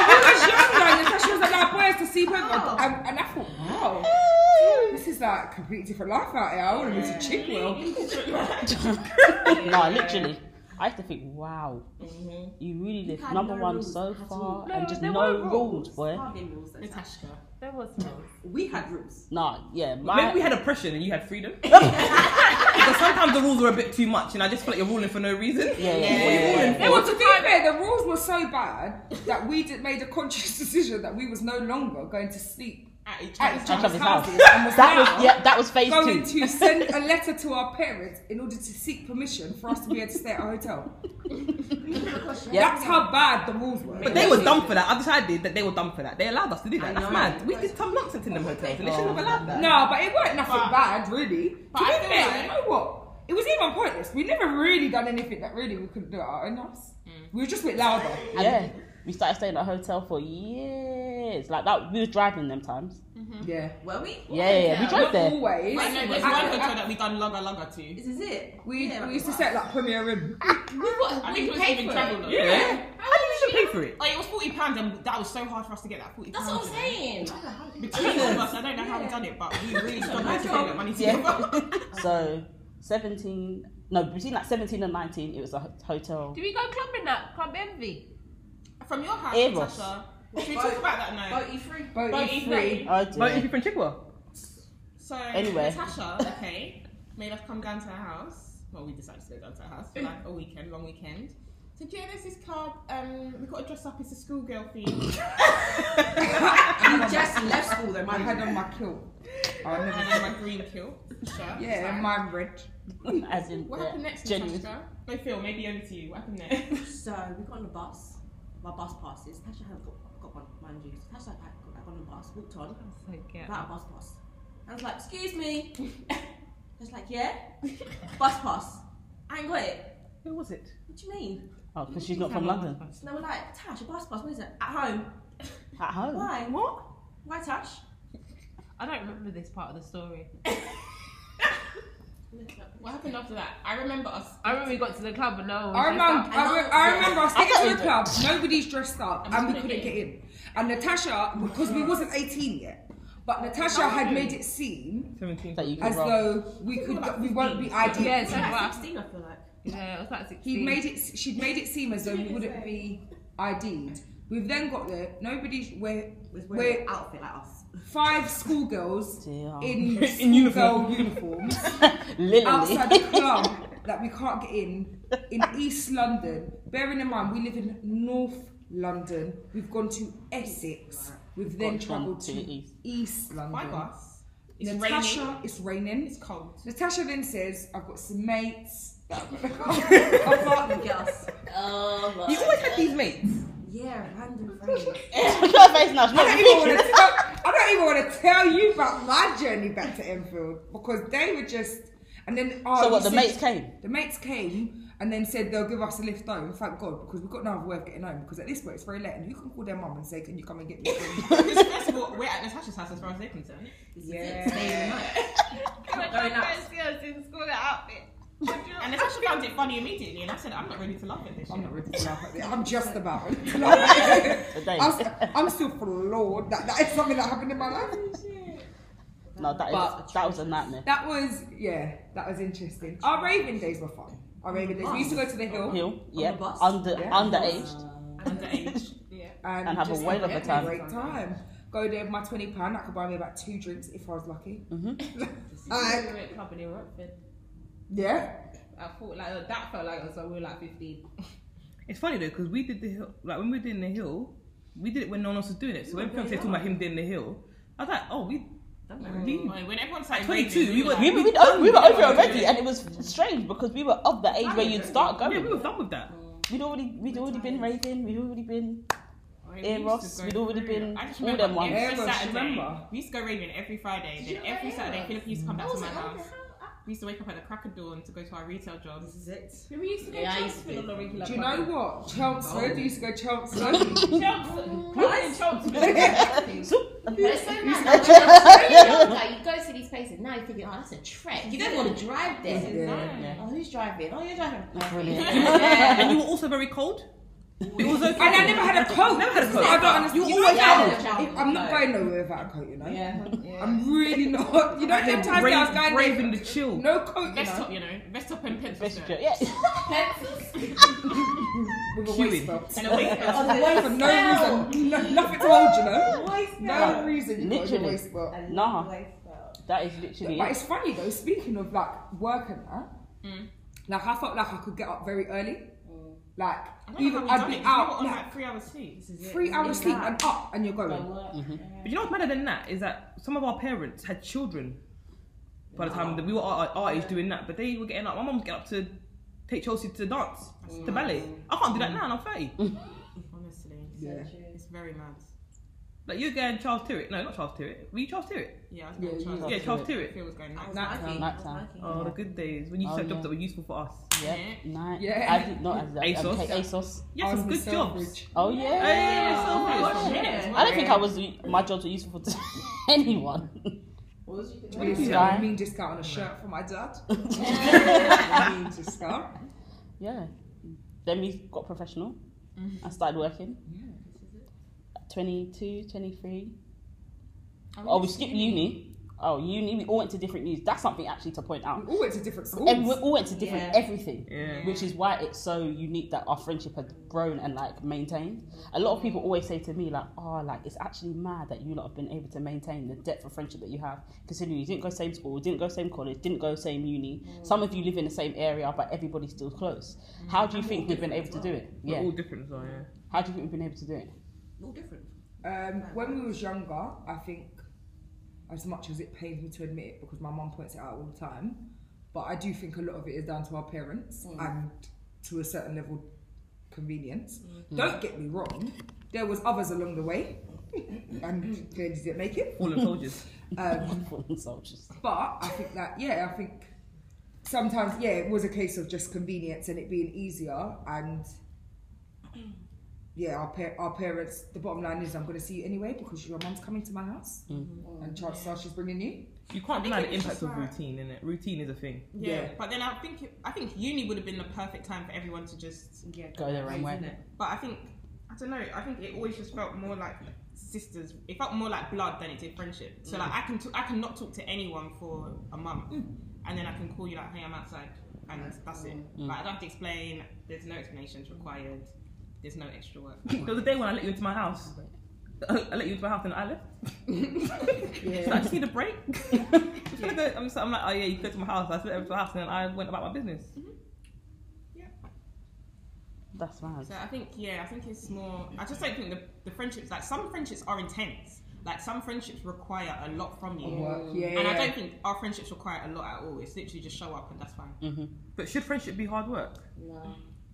Speaker 4: was younger and Tasha was allowed boys to sleep over, and, and I thought, wow, this is like a completely different life out here. I want to move to Chigwell.
Speaker 9: no, literally. I used to think, wow, you really live number one so far, and just
Speaker 10: there
Speaker 9: no
Speaker 10: were
Speaker 9: rules, boy.
Speaker 3: Tasha.
Speaker 10: There was no.
Speaker 8: We had rules.
Speaker 9: Nah, yeah,
Speaker 2: Maybe we
Speaker 9: my
Speaker 2: had oppression and you had freedom. because sometimes the rules were a bit too much, and I just feel like you're ruling for no reason.
Speaker 9: yeah, yeah,
Speaker 2: What are you
Speaker 9: yeah,
Speaker 2: ruling
Speaker 4: Well, to be fair, the rules were so bad that we did, made a conscious decision that we was no longer going to sleep
Speaker 3: At
Speaker 4: at each
Speaker 3: each
Speaker 9: At each
Speaker 4: other's
Speaker 9: other's
Speaker 4: houses,
Speaker 9: house.
Speaker 4: and was
Speaker 9: that
Speaker 4: now
Speaker 9: was yeah, that was phase
Speaker 4: going
Speaker 9: two.
Speaker 4: to send a letter to our parents in order to seek permission for us to be able to stay at a hotel. That's how bad the rules were.
Speaker 2: But they were dumb for that. I decided that they were dumb for that. They allowed us to do that. That's mad. We did some nonsense in them hotels, and they shouldn't have allowed that.
Speaker 4: No, but it weren't nothing bad, really. But to
Speaker 3: but I
Speaker 4: be
Speaker 3: feel
Speaker 4: fair,
Speaker 3: like-
Speaker 4: you know what? It was even pointless. We never really done anything that really we couldn't do at our own house.
Speaker 3: Mm.
Speaker 4: We were just a bit louder.
Speaker 9: Yeah, we started staying at a hotel for years. Like that, we were driving them times.
Speaker 4: Yeah.
Speaker 8: Were we?
Speaker 9: Yeah, yeah, yeah. we drove
Speaker 4: Not
Speaker 9: there.
Speaker 4: always.
Speaker 3: I know, Mm. there's
Speaker 4: I-
Speaker 3: one
Speaker 4: I-
Speaker 3: hotel that we done lugger lugger to.
Speaker 8: This is it.
Speaker 4: we,
Speaker 8: Yeah,
Speaker 4: we used to
Speaker 8: right.
Speaker 4: set like Premier Rim.
Speaker 3: I think it was even travel though.
Speaker 2: Yeah. How did you pay for it?
Speaker 3: Like, it was forty pounds, and that was so hard for us to get that forty.
Speaker 6: That's what I'm saying.
Speaker 3: Between all of us, I don't know how we done it, but we really struggled to get that money together.
Speaker 9: Yeah. so, seventeen. No, between like seventeen and nineteen, it was a ho- hotel.
Speaker 10: Did we go clubbing that? Club Envy?
Speaker 3: From your house,
Speaker 9: Eros.
Speaker 3: Tasha. Should we talk about that now?
Speaker 8: Vote you free.
Speaker 4: Boat
Speaker 3: Boat
Speaker 4: is
Speaker 3: is
Speaker 4: free.
Speaker 9: Oh
Speaker 2: But if
Speaker 9: dear.
Speaker 2: you're from Chigwell,
Speaker 3: So
Speaker 9: Anyway.
Speaker 3: Natasha, okay, made us come down to her house. Well, we decided to go down to her house for like a weekend, long weekend. So do you know there's this club, um, we got to dress up as a schoolgirl theme.
Speaker 8: You just left school though,
Speaker 4: I
Speaker 8: mind
Speaker 4: had
Speaker 8: you.
Speaker 4: on my kilt. I never-
Speaker 3: and then my green kilt. Sure.
Speaker 4: yeah, mine red.
Speaker 9: As in,
Speaker 3: What
Speaker 9: yeah,
Speaker 3: happened next,
Speaker 9: genuine.
Speaker 3: Natasha? No, Phil, maybe over to you. What happened next?
Speaker 8: So we got on the bus. My bus passes. Tasha had got, got one, mind you. Tasha had got back on the bus, walked on, without a bus pass. And I was like, excuse me. It's like, yeah? bus pass. I ain't got it.
Speaker 2: who was it?
Speaker 8: What do you mean?
Speaker 9: Oh, because she's not from London.
Speaker 8: So they were like, Tash, a bus pass, what is it? At home.
Speaker 9: At home.
Speaker 8: Why? What? Why Tash?
Speaker 10: I don't remember this part of the story.
Speaker 3: What happened after that? I remember us.
Speaker 10: I remember we got to the club and no one
Speaker 4: I
Speaker 10: was
Speaker 4: remember,
Speaker 8: I
Speaker 4: I, re-
Speaker 8: know-
Speaker 4: I remember us
Speaker 9: I
Speaker 4: getting to
Speaker 9: don't
Speaker 4: the club, nobody's dressed up, and we couldn't get in. And Natasha, because we wasn't 18 yet, but Natasha had made it seem
Speaker 2: 17.
Speaker 9: That you
Speaker 4: as
Speaker 9: can roll.
Speaker 4: though we could, we won't be ID.
Speaker 10: Yeah, so
Speaker 8: Like
Speaker 10: what?
Speaker 8: 16, I feel like.
Speaker 10: Yeah, it was like 16.
Speaker 4: He made it. She'd made it seem as though we wouldn't be ID'd. We've then got there. Nobody's. We're
Speaker 8: Was
Speaker 4: Wait.
Speaker 8: wearing an outfit like us.
Speaker 4: five schoolgirls
Speaker 9: Dear.
Speaker 4: in,
Speaker 2: In uniform.
Speaker 4: schoolgirl uniforms
Speaker 9: Literally.
Speaker 4: outside the club that we can't get in in East London. Bearing in mind we live in North London. We've gone to Essex. We've then
Speaker 9: Gone from
Speaker 4: travelled
Speaker 9: to
Speaker 4: to,
Speaker 9: the east.
Speaker 4: East. London.
Speaker 3: Why bus? It's
Speaker 4: Natasha,
Speaker 3: raining.
Speaker 4: it's raining.
Speaker 3: It's cold.
Speaker 4: Natasha then says, "I've got some mates." that I've got to go."
Speaker 8: Yes.
Speaker 6: Oh, my.
Speaker 2: You always had these mates.
Speaker 8: Yeah, random friends.
Speaker 9: Look at her face now. She's
Speaker 4: I
Speaker 9: not
Speaker 4: don't, even want to tell, I don't even want to tell you about my journey back to Enfield because they were just. And then oh,
Speaker 9: So
Speaker 4: you
Speaker 9: what? The
Speaker 4: see-
Speaker 9: mates came.
Speaker 4: The mates came, and then said they'll give us a lift home. Thank God because we've got no other way of getting home because at this point it's very late and who can call their mum and say can you come and get me?
Speaker 3: Because first of all, we're at Natasha's house as far as they're concerned.
Speaker 4: yeah.
Speaker 10: Going up. Girls in school that outfit.
Speaker 3: And Natasha found it funny immediately, and I said, I'm not ready to laugh at this.
Speaker 4: I'm
Speaker 3: shit."
Speaker 4: not ready to laugh at it. I'm just about ready to laugh at it.
Speaker 9: Today.
Speaker 4: I'm, st- I'm still floored that that is something that happened in my life.
Speaker 9: No, that
Speaker 4: But-
Speaker 9: is that was a nightmare.
Speaker 4: That was yeah, that was interesting. Our raving days were fun. Our raving days. We used to go to the hill
Speaker 9: Hill, yeah,
Speaker 8: the bus?
Speaker 9: under
Speaker 4: Yeah.
Speaker 9: underaged.
Speaker 3: Underage.
Speaker 4: and,
Speaker 9: And have a
Speaker 4: just
Speaker 9: whale of
Speaker 4: have
Speaker 9: a time.
Speaker 4: Great time. Go there with my twenty pound. That could buy me about two drinks if I was lucky.
Speaker 9: Mhm.
Speaker 4: And-
Speaker 10: We were at club in Rockford.
Speaker 4: yeah,
Speaker 10: I thought like that felt like it was when we were like 15.
Speaker 2: It's funny though because we did the hill, like when we were doing the hill, we did it when no one else was doing it. So when people say talking about him doing the hill, I was like, oh, we. That was really-
Speaker 3: Like, When everyone started
Speaker 2: 22,
Speaker 3: raving,
Speaker 2: we were-
Speaker 3: like,
Speaker 9: We,
Speaker 2: We've
Speaker 9: we,
Speaker 2: done-
Speaker 9: we
Speaker 2: we've
Speaker 9: were over
Speaker 2: done
Speaker 9: already,
Speaker 2: it.
Speaker 9: and it was strange because we were of the age where you'd start
Speaker 2: Yeah, we were
Speaker 9: going.
Speaker 2: done with that.
Speaker 9: We'd already we'd already been raving. We'd already been
Speaker 3: "Oh, we
Speaker 9: Air
Speaker 3: used to
Speaker 9: Ross,
Speaker 3: go
Speaker 9: we'd already
Speaker 3: through.
Speaker 9: been
Speaker 3: I just
Speaker 9: all
Speaker 3: remember
Speaker 9: them ones.
Speaker 4: Air
Speaker 3: Every
Speaker 4: Ross,
Speaker 3: Saturday,
Speaker 4: remember?
Speaker 3: we used to go raving every Friday. Then every Saturday, Philip used to come back to my
Speaker 10: "Oh,
Speaker 3: house. We used to wake up at the crack of dawn to go to our retail jobs.
Speaker 8: This is it.
Speaker 10: We used to go
Speaker 6: Yeah, I
Speaker 10: to
Speaker 6: used to
Speaker 10: Chelmsford on a regular
Speaker 4: do you know what? Chelmsford. You used to go to Chelmsford.
Speaker 8: Mm.
Speaker 10: Chelmsford.
Speaker 6: But it's so nice. Like, when you're very young, like, you go to these places, now you're thinking, oh, that's a trek. You don't want to drive there.
Speaker 4: Yeah.
Speaker 9: Yeah.
Speaker 6: Oh, who's driving? Oh, you're driving. Oh,
Speaker 9: brilliant.
Speaker 2: and you were also very cold. It was okay.
Speaker 4: And I never had a coat.
Speaker 2: Never had a coat.
Speaker 4: I don't
Speaker 2: You
Speaker 4: understand. know
Speaker 2: always
Speaker 4: what?
Speaker 6: had a jacket.
Speaker 4: I'm not going nowhere without a coat. You know. I'm really not. You know,
Speaker 2: Bra-
Speaker 4: sometimes I was going
Speaker 2: braving the
Speaker 4: there-
Speaker 2: chill.
Speaker 4: No coat. You
Speaker 3: Vest
Speaker 4: know.
Speaker 3: top, you know, vest top and pencil
Speaker 9: Best
Speaker 3: skirt.
Speaker 9: joke, yeah.
Speaker 4: With a
Speaker 2: Queuing.
Speaker 4: waist belt.
Speaker 3: And a waist belt.
Speaker 4: On the waist for no reason. No, nothing to hold, you know. No
Speaker 9: belt.
Speaker 4: reason. You got your
Speaker 9: Literally.
Speaker 4: waist belt.
Speaker 9: Nah, that is literally
Speaker 4: But
Speaker 9: it.
Speaker 4: it's funny though. Speaking of like work and that,
Speaker 2: Hmm.
Speaker 4: like I felt like I could get up very early. Like
Speaker 3: I don't know
Speaker 4: even
Speaker 3: how
Speaker 4: I'd
Speaker 3: we've done it,
Speaker 4: be
Speaker 3: 'cause we were
Speaker 4: out
Speaker 3: on
Speaker 4: like,
Speaker 3: like three hours sleep.
Speaker 4: three hours sleep and up, and you're going.
Speaker 2: But you know what's better than that is that some of our parents had children by the time that we were our, our age doing that, but they were getting up. My mum was getting up to take Chelsea to dance, to ballet. I can't do that now, and I'm 30.
Speaker 3: Honestly,
Speaker 4: Yeah.
Speaker 3: it's very mad.
Speaker 2: like you're going Charles Tirrett. No, not Charles Tirrett. Were you Charles Tirrett?
Speaker 3: Yeah, I was
Speaker 4: Yeah,
Speaker 3: going
Speaker 4: you
Speaker 3: to
Speaker 4: lot
Speaker 2: Yeah,
Speaker 3: yeah,
Speaker 2: Charles
Speaker 3: I
Speaker 2: Tirrett.
Speaker 3: feel it was going nice.
Speaker 9: Nighttime. Nighttime.
Speaker 2: Oh, the good days when you used to have
Speaker 9: Oh,
Speaker 2: jobs
Speaker 9: yeah.
Speaker 2: that were useful for us.
Speaker 9: Yeah,
Speaker 3: Yeah.
Speaker 9: night.
Speaker 4: Yeah.
Speaker 9: I did not. I did,
Speaker 2: ASOS.
Speaker 9: okay, ASOS.
Speaker 2: Yeah, some good jobs.
Speaker 9: Oh yeah.
Speaker 2: Hey, so
Speaker 3: Oh,
Speaker 2: good.
Speaker 3: for a minute, it was
Speaker 9: I don't think I was my jobs were useful to anyone.
Speaker 4: Mean
Speaker 2: Yeah.
Speaker 4: discount, mean discount on a shirt for my dad. mean discount.
Speaker 9: Yeah. Then we got professional.
Speaker 4: Mm-hmm.
Speaker 9: I started working. At 22, 23. Oh, we skipped uni. Oh, uni. We all went to different unis. That's something actually to point out.
Speaker 4: We all went to different schools.
Speaker 9: And we all went to different everything,
Speaker 2: Yeah.
Speaker 9: which is why it's so unique that our friendship had grown and like maintained. A lot of people always say to me like, "Oh, like it's actually mad that you lot have been able to maintain the depth of friendship that you have, considering you didn't go same school, didn't go same college, didn't go same uni. Some of you live in the same area, but everybody's still close. How do you think you've been able to do it?
Speaker 2: We're
Speaker 9: Yeah.
Speaker 2: all different, so yeah.
Speaker 9: How do you think we've been able to do it?
Speaker 8: All different.
Speaker 4: Um, when we was younger, I think, as much as it pains me to admit it, because my mum points it out all the time, but I do think a lot of it is down to our parents and to a certain level convenience. Don't get me wrong, there was others along the way, and clearly didn't make it.
Speaker 2: Fallen soldiers.
Speaker 4: Um,
Speaker 9: Fallen soldiers.
Speaker 4: but I think that yeah, I think sometimes yeah, it was a case of just convenience and it being easier and yeah, our par- our parents. The bottom line is, I'm going to see you anyway because your mum's coming to my house,
Speaker 3: Mm-hmm.
Speaker 4: and chances are she's bringing you.
Speaker 2: You can't
Speaker 3: think
Speaker 2: deny
Speaker 3: it
Speaker 2: the
Speaker 3: was
Speaker 2: impact
Speaker 3: just
Speaker 2: of
Speaker 3: like-
Speaker 2: routine, innit? Routine is a thing.
Speaker 3: Yeah.
Speaker 4: Yeah.
Speaker 3: but then I think I think uni would have been the perfect time for everyone to just.
Speaker 8: Yeah,
Speaker 9: Go their own way.
Speaker 3: But I think I don't know. I think it always just felt more like sisters. It felt more like blood than it did friendship. So
Speaker 9: Mm.
Speaker 3: like I can t- I can not talk to anyone for a month, and then I can call you like, hey, I'm outside, and that's it.
Speaker 9: Mm.
Speaker 3: Like I don't have to explain. There's no explanations required. There's no extra work.
Speaker 2: There was a day when I let you into my house. I let you into my house and I left. So I just need a break. Just wanna go- I'm, so, I'm like, oh yeah, you go to my house. I slept over to my house and then I went about my business.
Speaker 9: That's mad.
Speaker 3: So I think yeah, I think it's more. I just don't think the, the friendships like some friendships are intense. Like some friendships require a lot from you,
Speaker 4: Work, yeah,
Speaker 3: and I
Speaker 4: yeah.
Speaker 3: don't think our friendships require a lot at all. It's literally just show up and that's fine.
Speaker 2: But should friendship be hard work?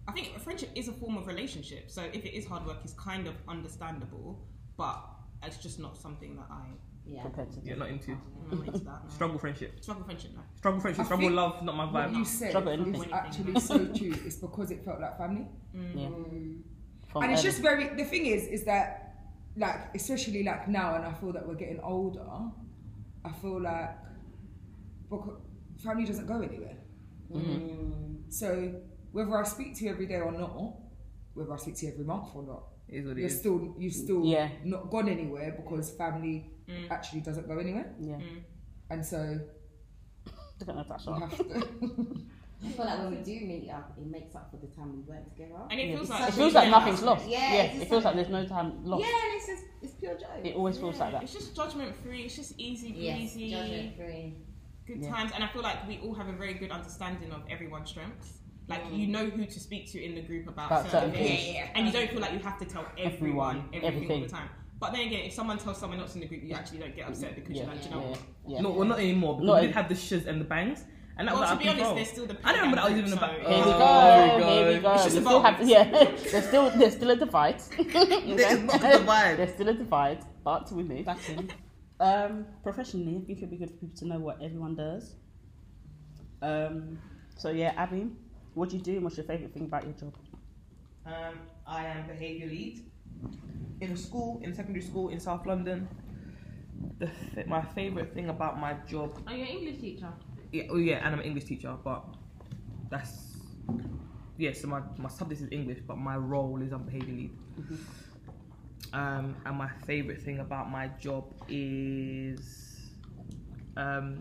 Speaker 3: I think a friendship is a form of relationship, so if it is hard work, it's kind of understandable, but it's just not something that I
Speaker 6: Yeah.
Speaker 9: prepared to do.
Speaker 2: Yeah, not into.
Speaker 3: I'm not into that. No.
Speaker 2: Struggle friendship.
Speaker 3: Struggle friendship, no.
Speaker 2: Struggle friendship.
Speaker 4: I
Speaker 2: Struggle
Speaker 4: think-
Speaker 2: love. Not my
Speaker 4: What
Speaker 2: vibe.
Speaker 4: you said
Speaker 9: Trouble
Speaker 4: is
Speaker 9: anything.
Speaker 4: actually so true. It's because it felt like family.
Speaker 9: Yeah. From
Speaker 4: and it's
Speaker 9: early-
Speaker 4: just very the thing is is that like especially like now and i feel that we're getting older i feel like because family doesn't go anywhere
Speaker 6: Mm.
Speaker 4: so whether i speak to you every day or not whether i speak to you every month or not
Speaker 2: It is what it
Speaker 4: you're
Speaker 2: is.
Speaker 4: still you've still
Speaker 9: Mm. Yeah.
Speaker 4: not gone anywhere because family
Speaker 2: Mm.
Speaker 4: actually doesn't go anywhere
Speaker 9: yeah.
Speaker 4: and so
Speaker 9: Look at Natasha.
Speaker 4: you have to
Speaker 6: I feel like when we do meet up, it makes up for the time we work together.
Speaker 3: And it
Speaker 9: Yeah,
Speaker 3: feels
Speaker 9: it's-
Speaker 3: like
Speaker 9: it feels like
Speaker 3: yeah,
Speaker 9: nothing's lost.
Speaker 6: Yeah,
Speaker 9: Yeah,
Speaker 6: it's
Speaker 9: it
Speaker 6: just
Speaker 9: feels like
Speaker 6: like-
Speaker 9: there's no time lost.
Speaker 6: Yeah, it's just it's pure joy.
Speaker 9: It always feels like that.
Speaker 3: It's just judgment free. It's just easy
Speaker 6: Yes,
Speaker 3: breezy.
Speaker 6: judgment free.
Speaker 3: good
Speaker 9: Yeah.
Speaker 3: times and i feel like we all have a very good understanding of everyone's strengths like you know who to speak to in the group about,
Speaker 9: Mm. About certain
Speaker 3: certain things
Speaker 9: things.
Speaker 3: and you don't feel like you have to tell
Speaker 9: Everyone,
Speaker 3: everyone, everything, all
Speaker 9: everything.
Speaker 3: the time but then again if someone tells someone else in the group you actually don't get upset because
Speaker 9: Yeah,
Speaker 3: you're like "Do you know
Speaker 9: yeah,
Speaker 3: what?"
Speaker 9: yeah.
Speaker 2: No, well, not anymore. Because
Speaker 9: Not
Speaker 2: we
Speaker 9: any-
Speaker 2: did have the shiz and the bangs, and that
Speaker 3: well
Speaker 2: was
Speaker 3: to
Speaker 2: like,
Speaker 3: be honest
Speaker 2: control.
Speaker 3: there's still the
Speaker 2: I don't remember that was even
Speaker 3: so-
Speaker 2: about.
Speaker 9: Here we
Speaker 2: Oh,
Speaker 9: go. Here we
Speaker 2: there we
Speaker 9: go.
Speaker 2: go.
Speaker 9: They
Speaker 3: just
Speaker 9: still
Speaker 3: about-
Speaker 9: have, yeah, there's still there's still a divide.
Speaker 2: This is not the vibe.
Speaker 9: There's still a divide, but we move back in. Um, professionally, I think it'd be good for people to know what everyone does. Um, so yeah, Abby, what do you do? and What's your favorite thing about your job?
Speaker 2: Um, I am behaviour lead in a school, in secondary school in South London. The f- my favourite thing about my job,
Speaker 10: Are you Oh, an English teacher?
Speaker 2: yeah, oh yeah, and I'm an English teacher, but that's yeah. So my, my subject is English, but my role is I'm behaviour lead. Um, and my favourite thing about my job is um,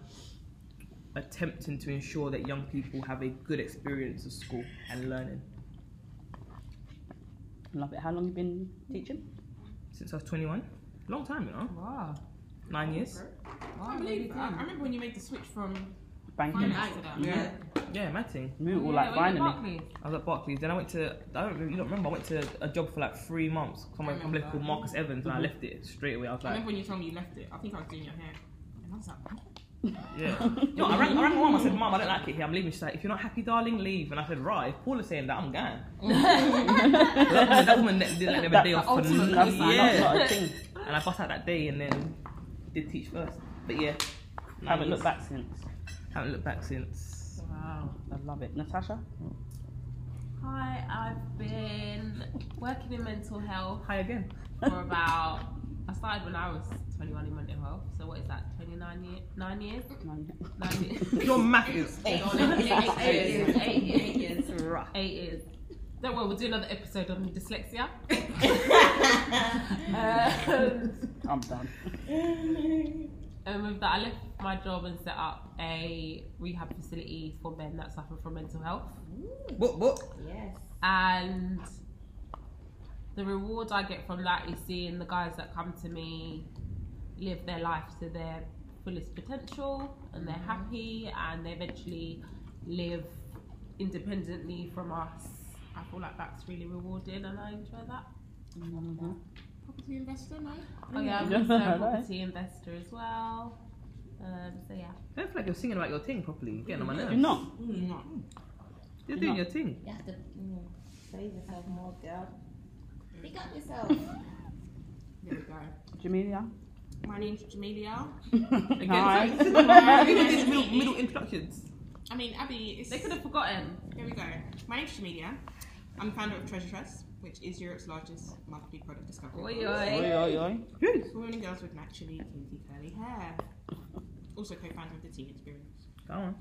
Speaker 2: attempting to ensure that young people have a good experience of school and learning.
Speaker 9: Love it. How long you been teaching?
Speaker 2: since I was 21. Long time, you know.
Speaker 4: wow
Speaker 2: Nine years.
Speaker 3: i
Speaker 4: Oh,
Speaker 3: can't believe that. I remember when you made the switch from
Speaker 9: Banking.
Speaker 3: finance to that
Speaker 2: Yeah. Yeah, mad thing.
Speaker 9: We were all like finally.
Speaker 2: I was at Barclays. Then I went to, I don't really you don't remember, I went to a job for like three months. Somewhere
Speaker 3: I
Speaker 2: from
Speaker 3: remember.
Speaker 2: called Marcus Evans and I left it straight away. I was
Speaker 3: i
Speaker 2: like,
Speaker 3: remember when you told me you left it i think i was doing your hair and i was like
Speaker 2: yeah. Yo, I rang, I rang my mum. I said, Mum, I don't like it here. I'm leaving. She's like, if you're not happy, darling, leave. And I said, right, if Paula's saying that, I'm going. that, woman, that woman didn't let them a day off for
Speaker 9: Ultimately,
Speaker 2: nothing.
Speaker 9: not,
Speaker 2: Yeah.
Speaker 9: not a thing.
Speaker 2: And I bust out that day and then did teach first. But yeah, years.
Speaker 9: Haven't looked back since.
Speaker 2: haven't looked back since.
Speaker 9: I love it. Natasha,
Speaker 10: Hi, I've been working in mental health
Speaker 2: Hi again.
Speaker 10: for about. I started when I was 21 in mental health. So what is that? 29 years? Nine years? Nine years?
Speaker 2: Your math is
Speaker 10: Eight years. Eight years.
Speaker 8: Eight years.
Speaker 2: rough.
Speaker 10: Eight years. Don't worry, we'll do another episode on dyslexia. um,
Speaker 9: I'm done.
Speaker 10: and with that, I left my job and set up a rehab facility for men that suffer from mental health.
Speaker 2: What, what?
Speaker 6: Yes.
Speaker 10: and the reward I get from that is seeing the guys that come to me live their life to their fullest potential and they're
Speaker 3: Mm-hmm.
Speaker 10: happy and they eventually live independently from us. I feel like that's really rewarding and I enjoy that.
Speaker 3: property investor no Mm.
Speaker 10: Oh yeah, I'm also a property investor as well. Um, so yeah.
Speaker 2: I don't feel like you're singing about your thing properly. You're getting on my nerves.
Speaker 9: You're not.
Speaker 3: no
Speaker 2: You're doing
Speaker 9: No.
Speaker 2: your thing.
Speaker 6: You have to you know, praise yourself more, girl. Pick up yourself.
Speaker 3: there we go
Speaker 9: Jamelia.
Speaker 3: my name's Jamelia.
Speaker 9: Hi.
Speaker 2: You know these middle, middle introductions.
Speaker 3: I mean, Abby, it's,
Speaker 10: They could have forgotten.
Speaker 3: Here we go. My name's Jamelia. I'm the founder of Treasure Trust, which is Europe's largest monthly product discovery.
Speaker 10: Oi,
Speaker 3: portal
Speaker 9: Oi,
Speaker 10: oi.
Speaker 9: oi, oi.
Speaker 3: For women and girls with naturally kinky curly hair. Also co-founder of the Teen Experience.
Speaker 2: Go on.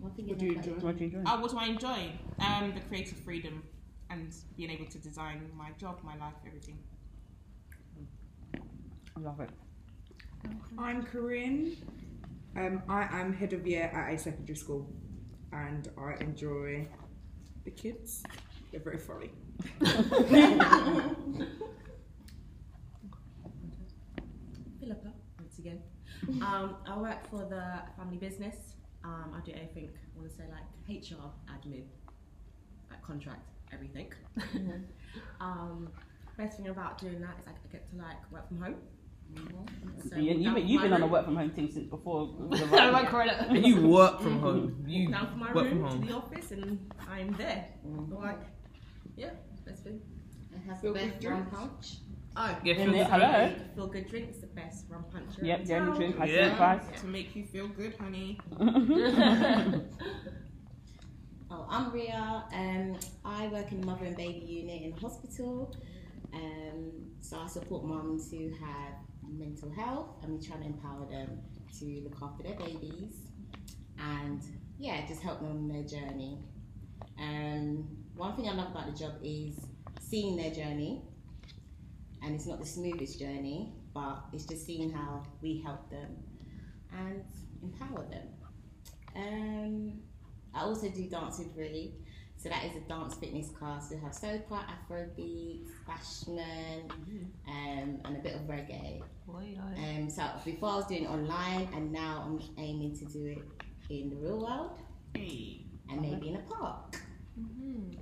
Speaker 6: One thing is I've got-
Speaker 9: What do you enjoy?
Speaker 3: Oh, what do I enjoy? Um, the creative freedom and being able to design my job, my life, everything.
Speaker 9: I love it.
Speaker 4: I'm Corinne. Um, I am head of year at a secondary school, and I enjoy the kids. They're very funny.
Speaker 8: Philippa, once again. Um, I work for the family business. Um, I do everything. I want to say like HR, admin, like contract, everything.
Speaker 3: Mm-hmm.
Speaker 8: um, best thing about doing that is like, I get to like work from home.
Speaker 3: Mm-hmm.
Speaker 8: So now
Speaker 9: You, you've,
Speaker 8: for
Speaker 9: been, you've
Speaker 8: my
Speaker 9: been on a
Speaker 8: room-
Speaker 9: work from home thing since before. the
Speaker 10: I
Speaker 9: right-
Speaker 10: won't correct it.
Speaker 2: And you work from home. You
Speaker 8: Now from my
Speaker 2: work from
Speaker 8: room to
Speaker 2: home.
Speaker 8: the office, and
Speaker 3: Mm-hmm.
Speaker 8: I'm there. Like, yeah, best thing.
Speaker 6: It has the best rum pouch.
Speaker 8: Oh,
Speaker 2: Yeah,
Speaker 9: Isn't
Speaker 2: feels
Speaker 9: it?
Speaker 2: the same.
Speaker 9: Hello?
Speaker 8: feel good drinks the best rum punch. around
Speaker 9: Yep, the only
Speaker 8: town.
Speaker 9: drink I
Speaker 2: Yeah.
Speaker 9: can buy.
Speaker 3: To make you feel good, honey.
Speaker 6: Oh, I'm Ria. Um, I work in the mother and baby unit in the hospital. Um, so I support mums who have mental health, and we try to empower them to look after their babies, and yeah, just help them on their journey. Um, one thing I love about the job is seeing their journey, and it's not the smoothest journey, but it's just seeing how we help them and empower them. Um, I also do dance with Rui. So that is a dance fitness class. We have soca, afrobeat, bashment, um, and a bit of reggae. Um, so before I was doing it online, and now I'm aiming to do it in the real world
Speaker 3: Hey.
Speaker 6: and maybe in a park.
Speaker 2: You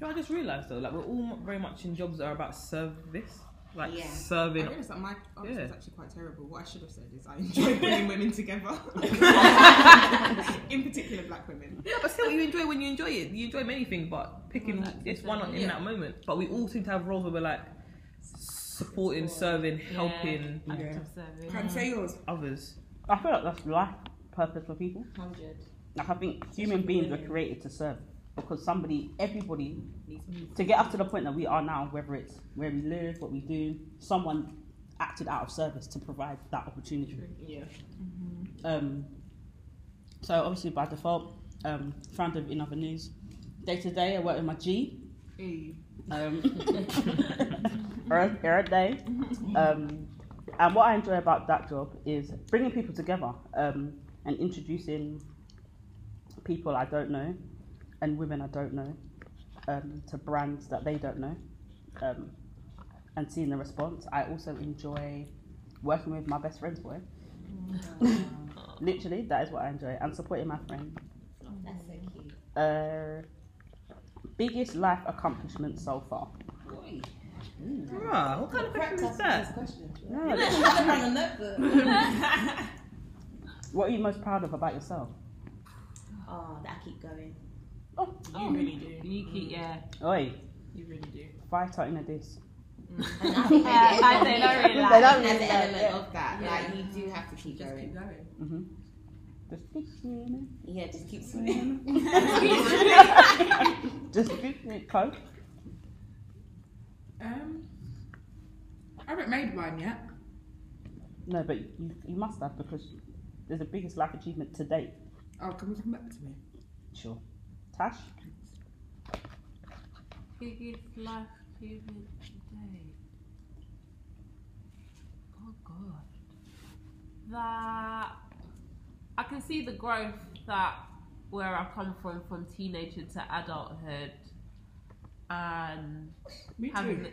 Speaker 2: know, I just realised though, like we're all mu- very much in jobs that are about service, like
Speaker 6: Yeah.
Speaker 3: I
Speaker 2: serving.
Speaker 3: realised that my answer
Speaker 2: Yeah.
Speaker 3: is actually quite oh, terrible. What I should have said is I enjoy bringing women together, in particular black women.
Speaker 2: Yeah, but still, you enjoy when you enjoy it. You enjoy many things, but picking this one on in
Speaker 3: Yeah.
Speaker 2: that moment. But we all seem to have roles where we're like supporting, serving, helping
Speaker 10: Active
Speaker 4: Can
Speaker 10: service.
Speaker 4: say yours.
Speaker 2: others.
Speaker 9: I feel like that's life purpose for people.
Speaker 6: Hundred.
Speaker 9: Like I think human beings were created to serve because somebody, everybody, to get up to the point that we are now, whether it's where we live, what we do, someone acted out of service to provide that opportunity.
Speaker 3: Yeah.
Speaker 9: Um, so obviously by default, um, founder of In Other News. Day to day, I work with my G.
Speaker 3: Hey.
Speaker 9: Um, every- every day. Um, and what I enjoy about that job is bringing people together um, and introducing people I don't know and women I don't know um, to brands that they don't know um, and seeing the response. I also enjoy working with my best friend's boy.
Speaker 3: Mm.
Speaker 9: Literally, that is what I enjoy and supporting my friend.
Speaker 6: That's so cute.
Speaker 9: Uh, biggest life accomplishment so far?
Speaker 2: Ah, what kind of question is that?
Speaker 9: No, What are you most proud of about yourself?
Speaker 6: Oh, that I keep going.
Speaker 3: Oh, You really do.
Speaker 10: You keep, yeah.
Speaker 9: Oi,
Speaker 3: You really do.
Speaker 9: fighter in a diss.
Speaker 6: And I think maybe
Speaker 10: Yeah, I don't really
Speaker 9: They
Speaker 10: like.
Speaker 9: don't
Speaker 6: That's an
Speaker 9: really like
Speaker 6: element
Speaker 9: it.
Speaker 6: of that.
Speaker 8: Yeah.
Speaker 6: Like you do have to keep
Speaker 8: Just
Speaker 6: going.
Speaker 8: keep going.
Speaker 9: Mhm. Just keep swimming.
Speaker 6: Yeah, just keep swimming.
Speaker 9: Just keep it coach.
Speaker 4: Um, I haven't made mine yet.
Speaker 9: No, but you, you must have because there's the biggest life achievement to date.
Speaker 4: Oh, can we come back to me?
Speaker 9: Sure. Tash?
Speaker 10: Biggest life achievement today. Oh God. That I can see the growth that where I've come from, from teenager to adulthood, and
Speaker 4: Me
Speaker 10: having,
Speaker 4: I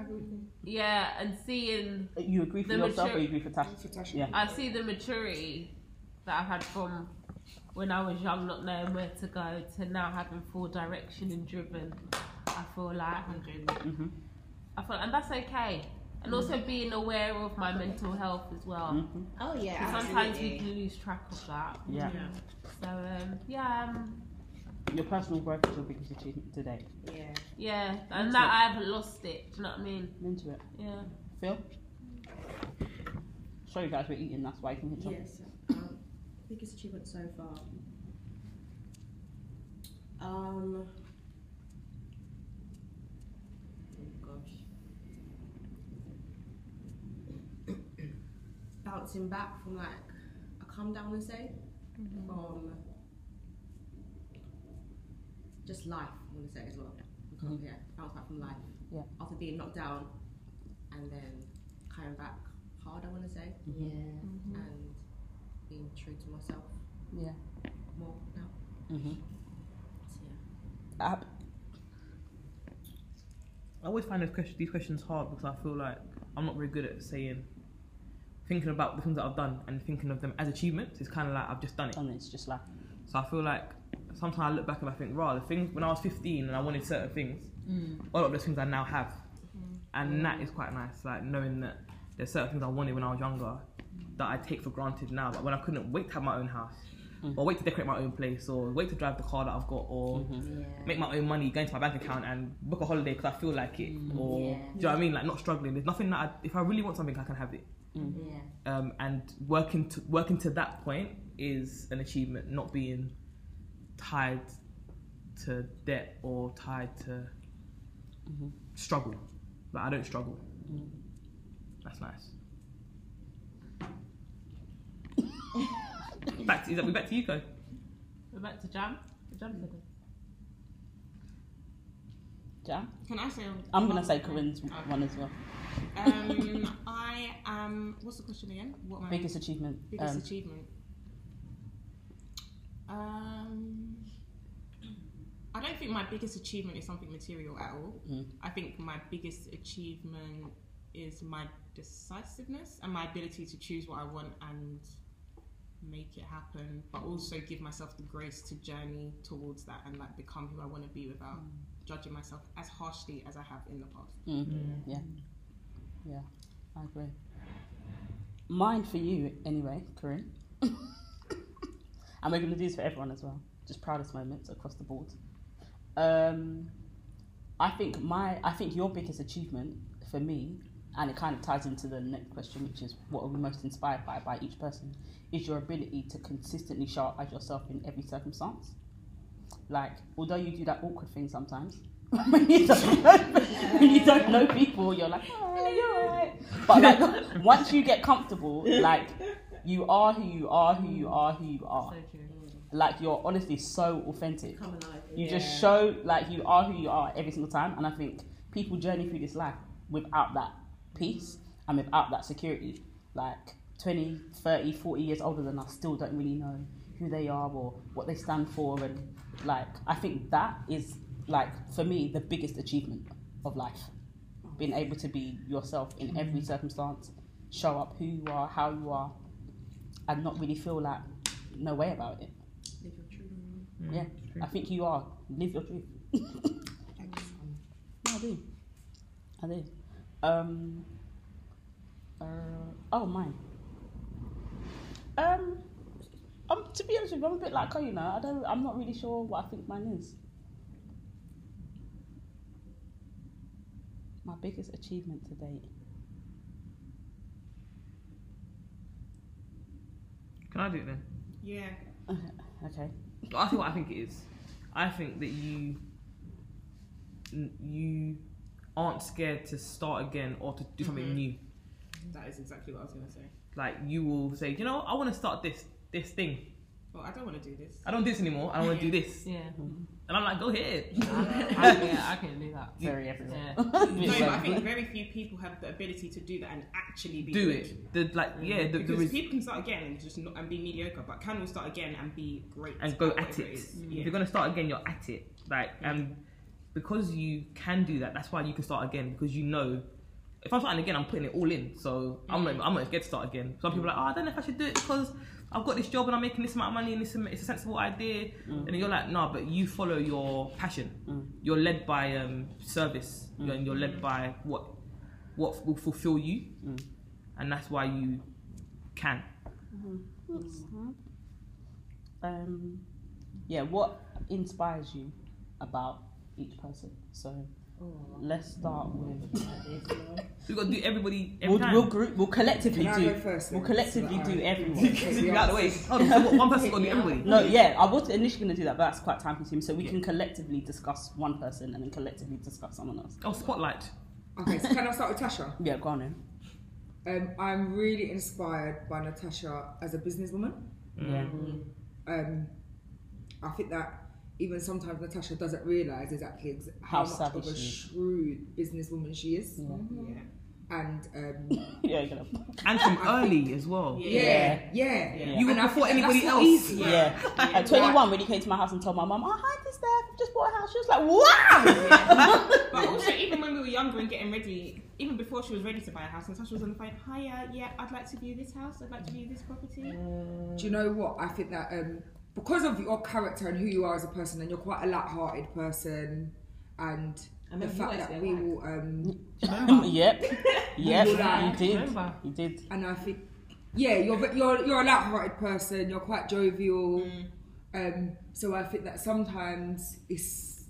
Speaker 4: would
Speaker 10: yeah, and seeing
Speaker 9: You agree for
Speaker 10: The
Speaker 9: yourself or
Speaker 10: mature-
Speaker 9: you agree for Tash?
Speaker 4: for Tasha.
Speaker 9: Yeah.
Speaker 10: I see the maturity that I've had from when I was young, not knowing where to go, to now having full direction and driven. I feel like
Speaker 9: Mm-hmm.
Speaker 10: I feel, and that's okay. And also being aware of my mental health as well.
Speaker 9: Mm-hmm.
Speaker 6: Oh yeah,
Speaker 10: 'Cause Sometimes we
Speaker 6: absolutely.
Speaker 10: can lose track of that.
Speaker 9: Yeah.
Speaker 10: So um, yeah, um,
Speaker 9: Your personal growth is your biggest achievement to date.
Speaker 6: Yeah.
Speaker 10: yeah, and that I haven't lost it. Do you know what I mean?
Speaker 9: I'm into it.
Speaker 10: Yeah.
Speaker 9: Phil? Sorry guys, we're eating, that's why you can hit something.
Speaker 8: Yes. Um, biggest achievement so far. Um. Oh gosh. Bouncing back from like a calm down and say
Speaker 6: Mm-hmm.
Speaker 8: from just life. I want to say as well. Because,
Speaker 6: Mm-hmm.
Speaker 8: Yeah, bounce back from life.
Speaker 9: Yeah.
Speaker 8: After being knocked down, and then coming back hard. I want to say
Speaker 6: Yeah. Mm-hmm.
Speaker 8: and being true to myself
Speaker 9: Yeah.
Speaker 8: more now.
Speaker 9: Mm-hmm.
Speaker 8: So, yeah.
Speaker 9: App.
Speaker 2: I always find those questions, these questions hard because I feel like I'm not very good at saying, thinking about the things that I've done and thinking of them as achievements. It's kind of like I've just done it.
Speaker 9: And it's just like,
Speaker 2: So I feel like sometimes I look back and I think, rah, the things when I was 15 and I wanted certain things, all of those things I now have. And that is quite nice, like knowing that there's certain things I wanted when I was younger that I take for granted now. Like when I couldn't wait to have my own house, or wait to decorate my own place, or wait to drive the car that I've got, or
Speaker 6: Yeah.
Speaker 2: make my own money, go into my bank account and book a holiday because I feel like it, or
Speaker 6: Yeah.
Speaker 2: do you know what I mean? Like not struggling. There's nothing that I, if I really want something, I can have it.
Speaker 6: Yeah. Mm-hmm.
Speaker 2: Um, and working to working to that point is an achievement. Not being tied to debt or tied to struggle. Like I don't struggle. That's nice. back to, is that we back to you, Ko?
Speaker 10: We're back to Jam. Jam said it.
Speaker 9: Jam?
Speaker 3: Can I say?
Speaker 9: I'm going to say Corinne's one as well.
Speaker 3: Um, I am. What's the question again? What am I?
Speaker 9: Biggest achievement.
Speaker 3: biggest
Speaker 9: Um,
Speaker 3: achievement. Um, I don't think my biggest achievement is something material at all.
Speaker 9: Mm.
Speaker 3: I think my biggest achievement is my decisiveness and my ability to choose what I want and make it happen, but also give myself the grace to journey towards that and like become who I want to be without judging myself as harshly as I have in the past.
Speaker 9: mm, yeah. Yeah, I agree. Mine for you, anyway, Corinne. and we're going to do this for everyone as well. Just proudest moments across the board. Um, I think my, I think your biggest achievement for me, and it kind of ties into the next question, which is what are we most inspired by by each person, is your ability to consistently show up as yourself in every circumstance. Like, although you do that awkward thing sometimes, when you don't know, when you don't know people, you're like, oh, you're alright. But like, once you get comfortable, like, you are who you are, who you are, who you are.
Speaker 10: So true.
Speaker 9: Like, you're honestly so authentic.
Speaker 8: Come alive.
Speaker 9: You just show like you are who you are every single time, and I think people journey through this life without that peace and without that security. Like 20, 30, 40 years older than us still don't really know who they are or what they stand for, and like I think that is like for me the biggest achievement of life, being able to be yourself in every circumstance, show up who you are, how you are, and not really feel like no way about it.
Speaker 8: Live your true.
Speaker 9: Yeah, I think you are. Live your truth. no, I do. I do. Um, uh, oh, mine. Um, um, to be honest with you, I'm a bit like, oh, you know, I don't, I'm not really sure what I think mine is. My biggest achievement to date.
Speaker 2: Can I do it then?
Speaker 3: Yeah.
Speaker 9: Okay.
Speaker 2: I think what I think it is. I think that you you aren't scared to start again or to do something
Speaker 3: Mhm.
Speaker 2: new.
Speaker 3: That is exactly what I was going to say.
Speaker 2: Like you will say, you know, I want to start this this thing.
Speaker 3: Well, I don't want to do this.
Speaker 2: I don't do this anymore. I want to do this,
Speaker 10: Yeah.
Speaker 2: and I'm like, go ahead.
Speaker 10: I, yeah, I can do that.
Speaker 9: Very everywhere.
Speaker 10: Yeah.
Speaker 3: No, but I think very few people have the ability to do that and actually be
Speaker 2: do
Speaker 3: good.
Speaker 2: it. The like, yeah, the, the
Speaker 3: Because
Speaker 2: res-
Speaker 3: people can start again and just not, and be mediocre, but can all start again and be great
Speaker 2: and go at
Speaker 3: whatever
Speaker 2: it. Mm.
Speaker 3: is.
Speaker 2: If
Speaker 3: Yeah.
Speaker 2: you're gonna start again, you're at it. Like, and because you can do that, that's why you can start again because you know. If I'm starting again, I'm putting it all in. So I'm not, I'm not scared to start again. Some people are like, oh, I don't know if I should do it because I've got this job and I'm making this amount of money and this it's a sensible idea. And then you're like, no, but you follow your passion. You're led by um, service and you're led by what what will fulfill you, and that's why you can.
Speaker 9: um, yeah, what inspires you about each person? So let's start with.
Speaker 2: So you got to do everybody. Every
Speaker 9: We'll,
Speaker 2: time.
Speaker 9: we'll group. We'll collectively
Speaker 4: Can I go
Speaker 9: do.
Speaker 4: first
Speaker 9: We'll
Speaker 4: then?
Speaker 9: collectively
Speaker 4: So that
Speaker 9: do
Speaker 4: I-
Speaker 9: everyone.
Speaker 2: Because if you out the way. Oh, so what- one person's got to do everybody.
Speaker 9: No, yeah, I was initially going to do that, but that's quite time consuming. So we can collectively discuss one person and then collectively discuss someone else.
Speaker 2: Oh, spotlight.
Speaker 4: Okay, so can I start with Tasha?
Speaker 9: Yeah, go on then.
Speaker 4: Um, I'm really inspired by Natasha as a businesswoman.
Speaker 8: Mm.
Speaker 4: Um, I think that even sometimes Natasha doesn't realise exactly ex-
Speaker 9: How
Speaker 4: how, much
Speaker 9: savvy
Speaker 4: of a
Speaker 9: she is.
Speaker 4: shrewd businesswoman she is.
Speaker 9: Yeah,
Speaker 3: Yeah.
Speaker 4: And um,
Speaker 9: yeah, you're gonna.
Speaker 2: And from early as well.
Speaker 3: Yeah.
Speaker 4: yeah, yeah,
Speaker 9: Yeah.
Speaker 2: You
Speaker 4: And
Speaker 2: were
Speaker 4: I
Speaker 2: before
Speaker 4: think that
Speaker 2: anybody
Speaker 4: that's not
Speaker 2: else.
Speaker 4: easy.
Speaker 9: Yeah. At 21, when he came to my house and told my mum, "Oh, hi, this Steph, just bought a house," she was like, "Wow."
Speaker 3: But also, even when we were younger and getting ready, even before she was ready to buy a house, Natasha was on the phone. Hiya, yeah, I'd like to view this house. I'd like to view this property.
Speaker 4: Do you know what? I think that um, because of your character and who you are as a person, and you're quite a light-hearted person, and
Speaker 8: I mean,
Speaker 4: the
Speaker 8: you
Speaker 4: fact
Speaker 8: always
Speaker 4: that
Speaker 8: get
Speaker 4: we
Speaker 8: liked.
Speaker 4: will, um,
Speaker 9: yep, yep,
Speaker 4: Remember.
Speaker 9: you did,
Speaker 10: Remember.
Speaker 9: you did.
Speaker 4: and I think yeah, you're you're you're a light-hearted person. You're quite jovial. Um, so I think that sometimes it's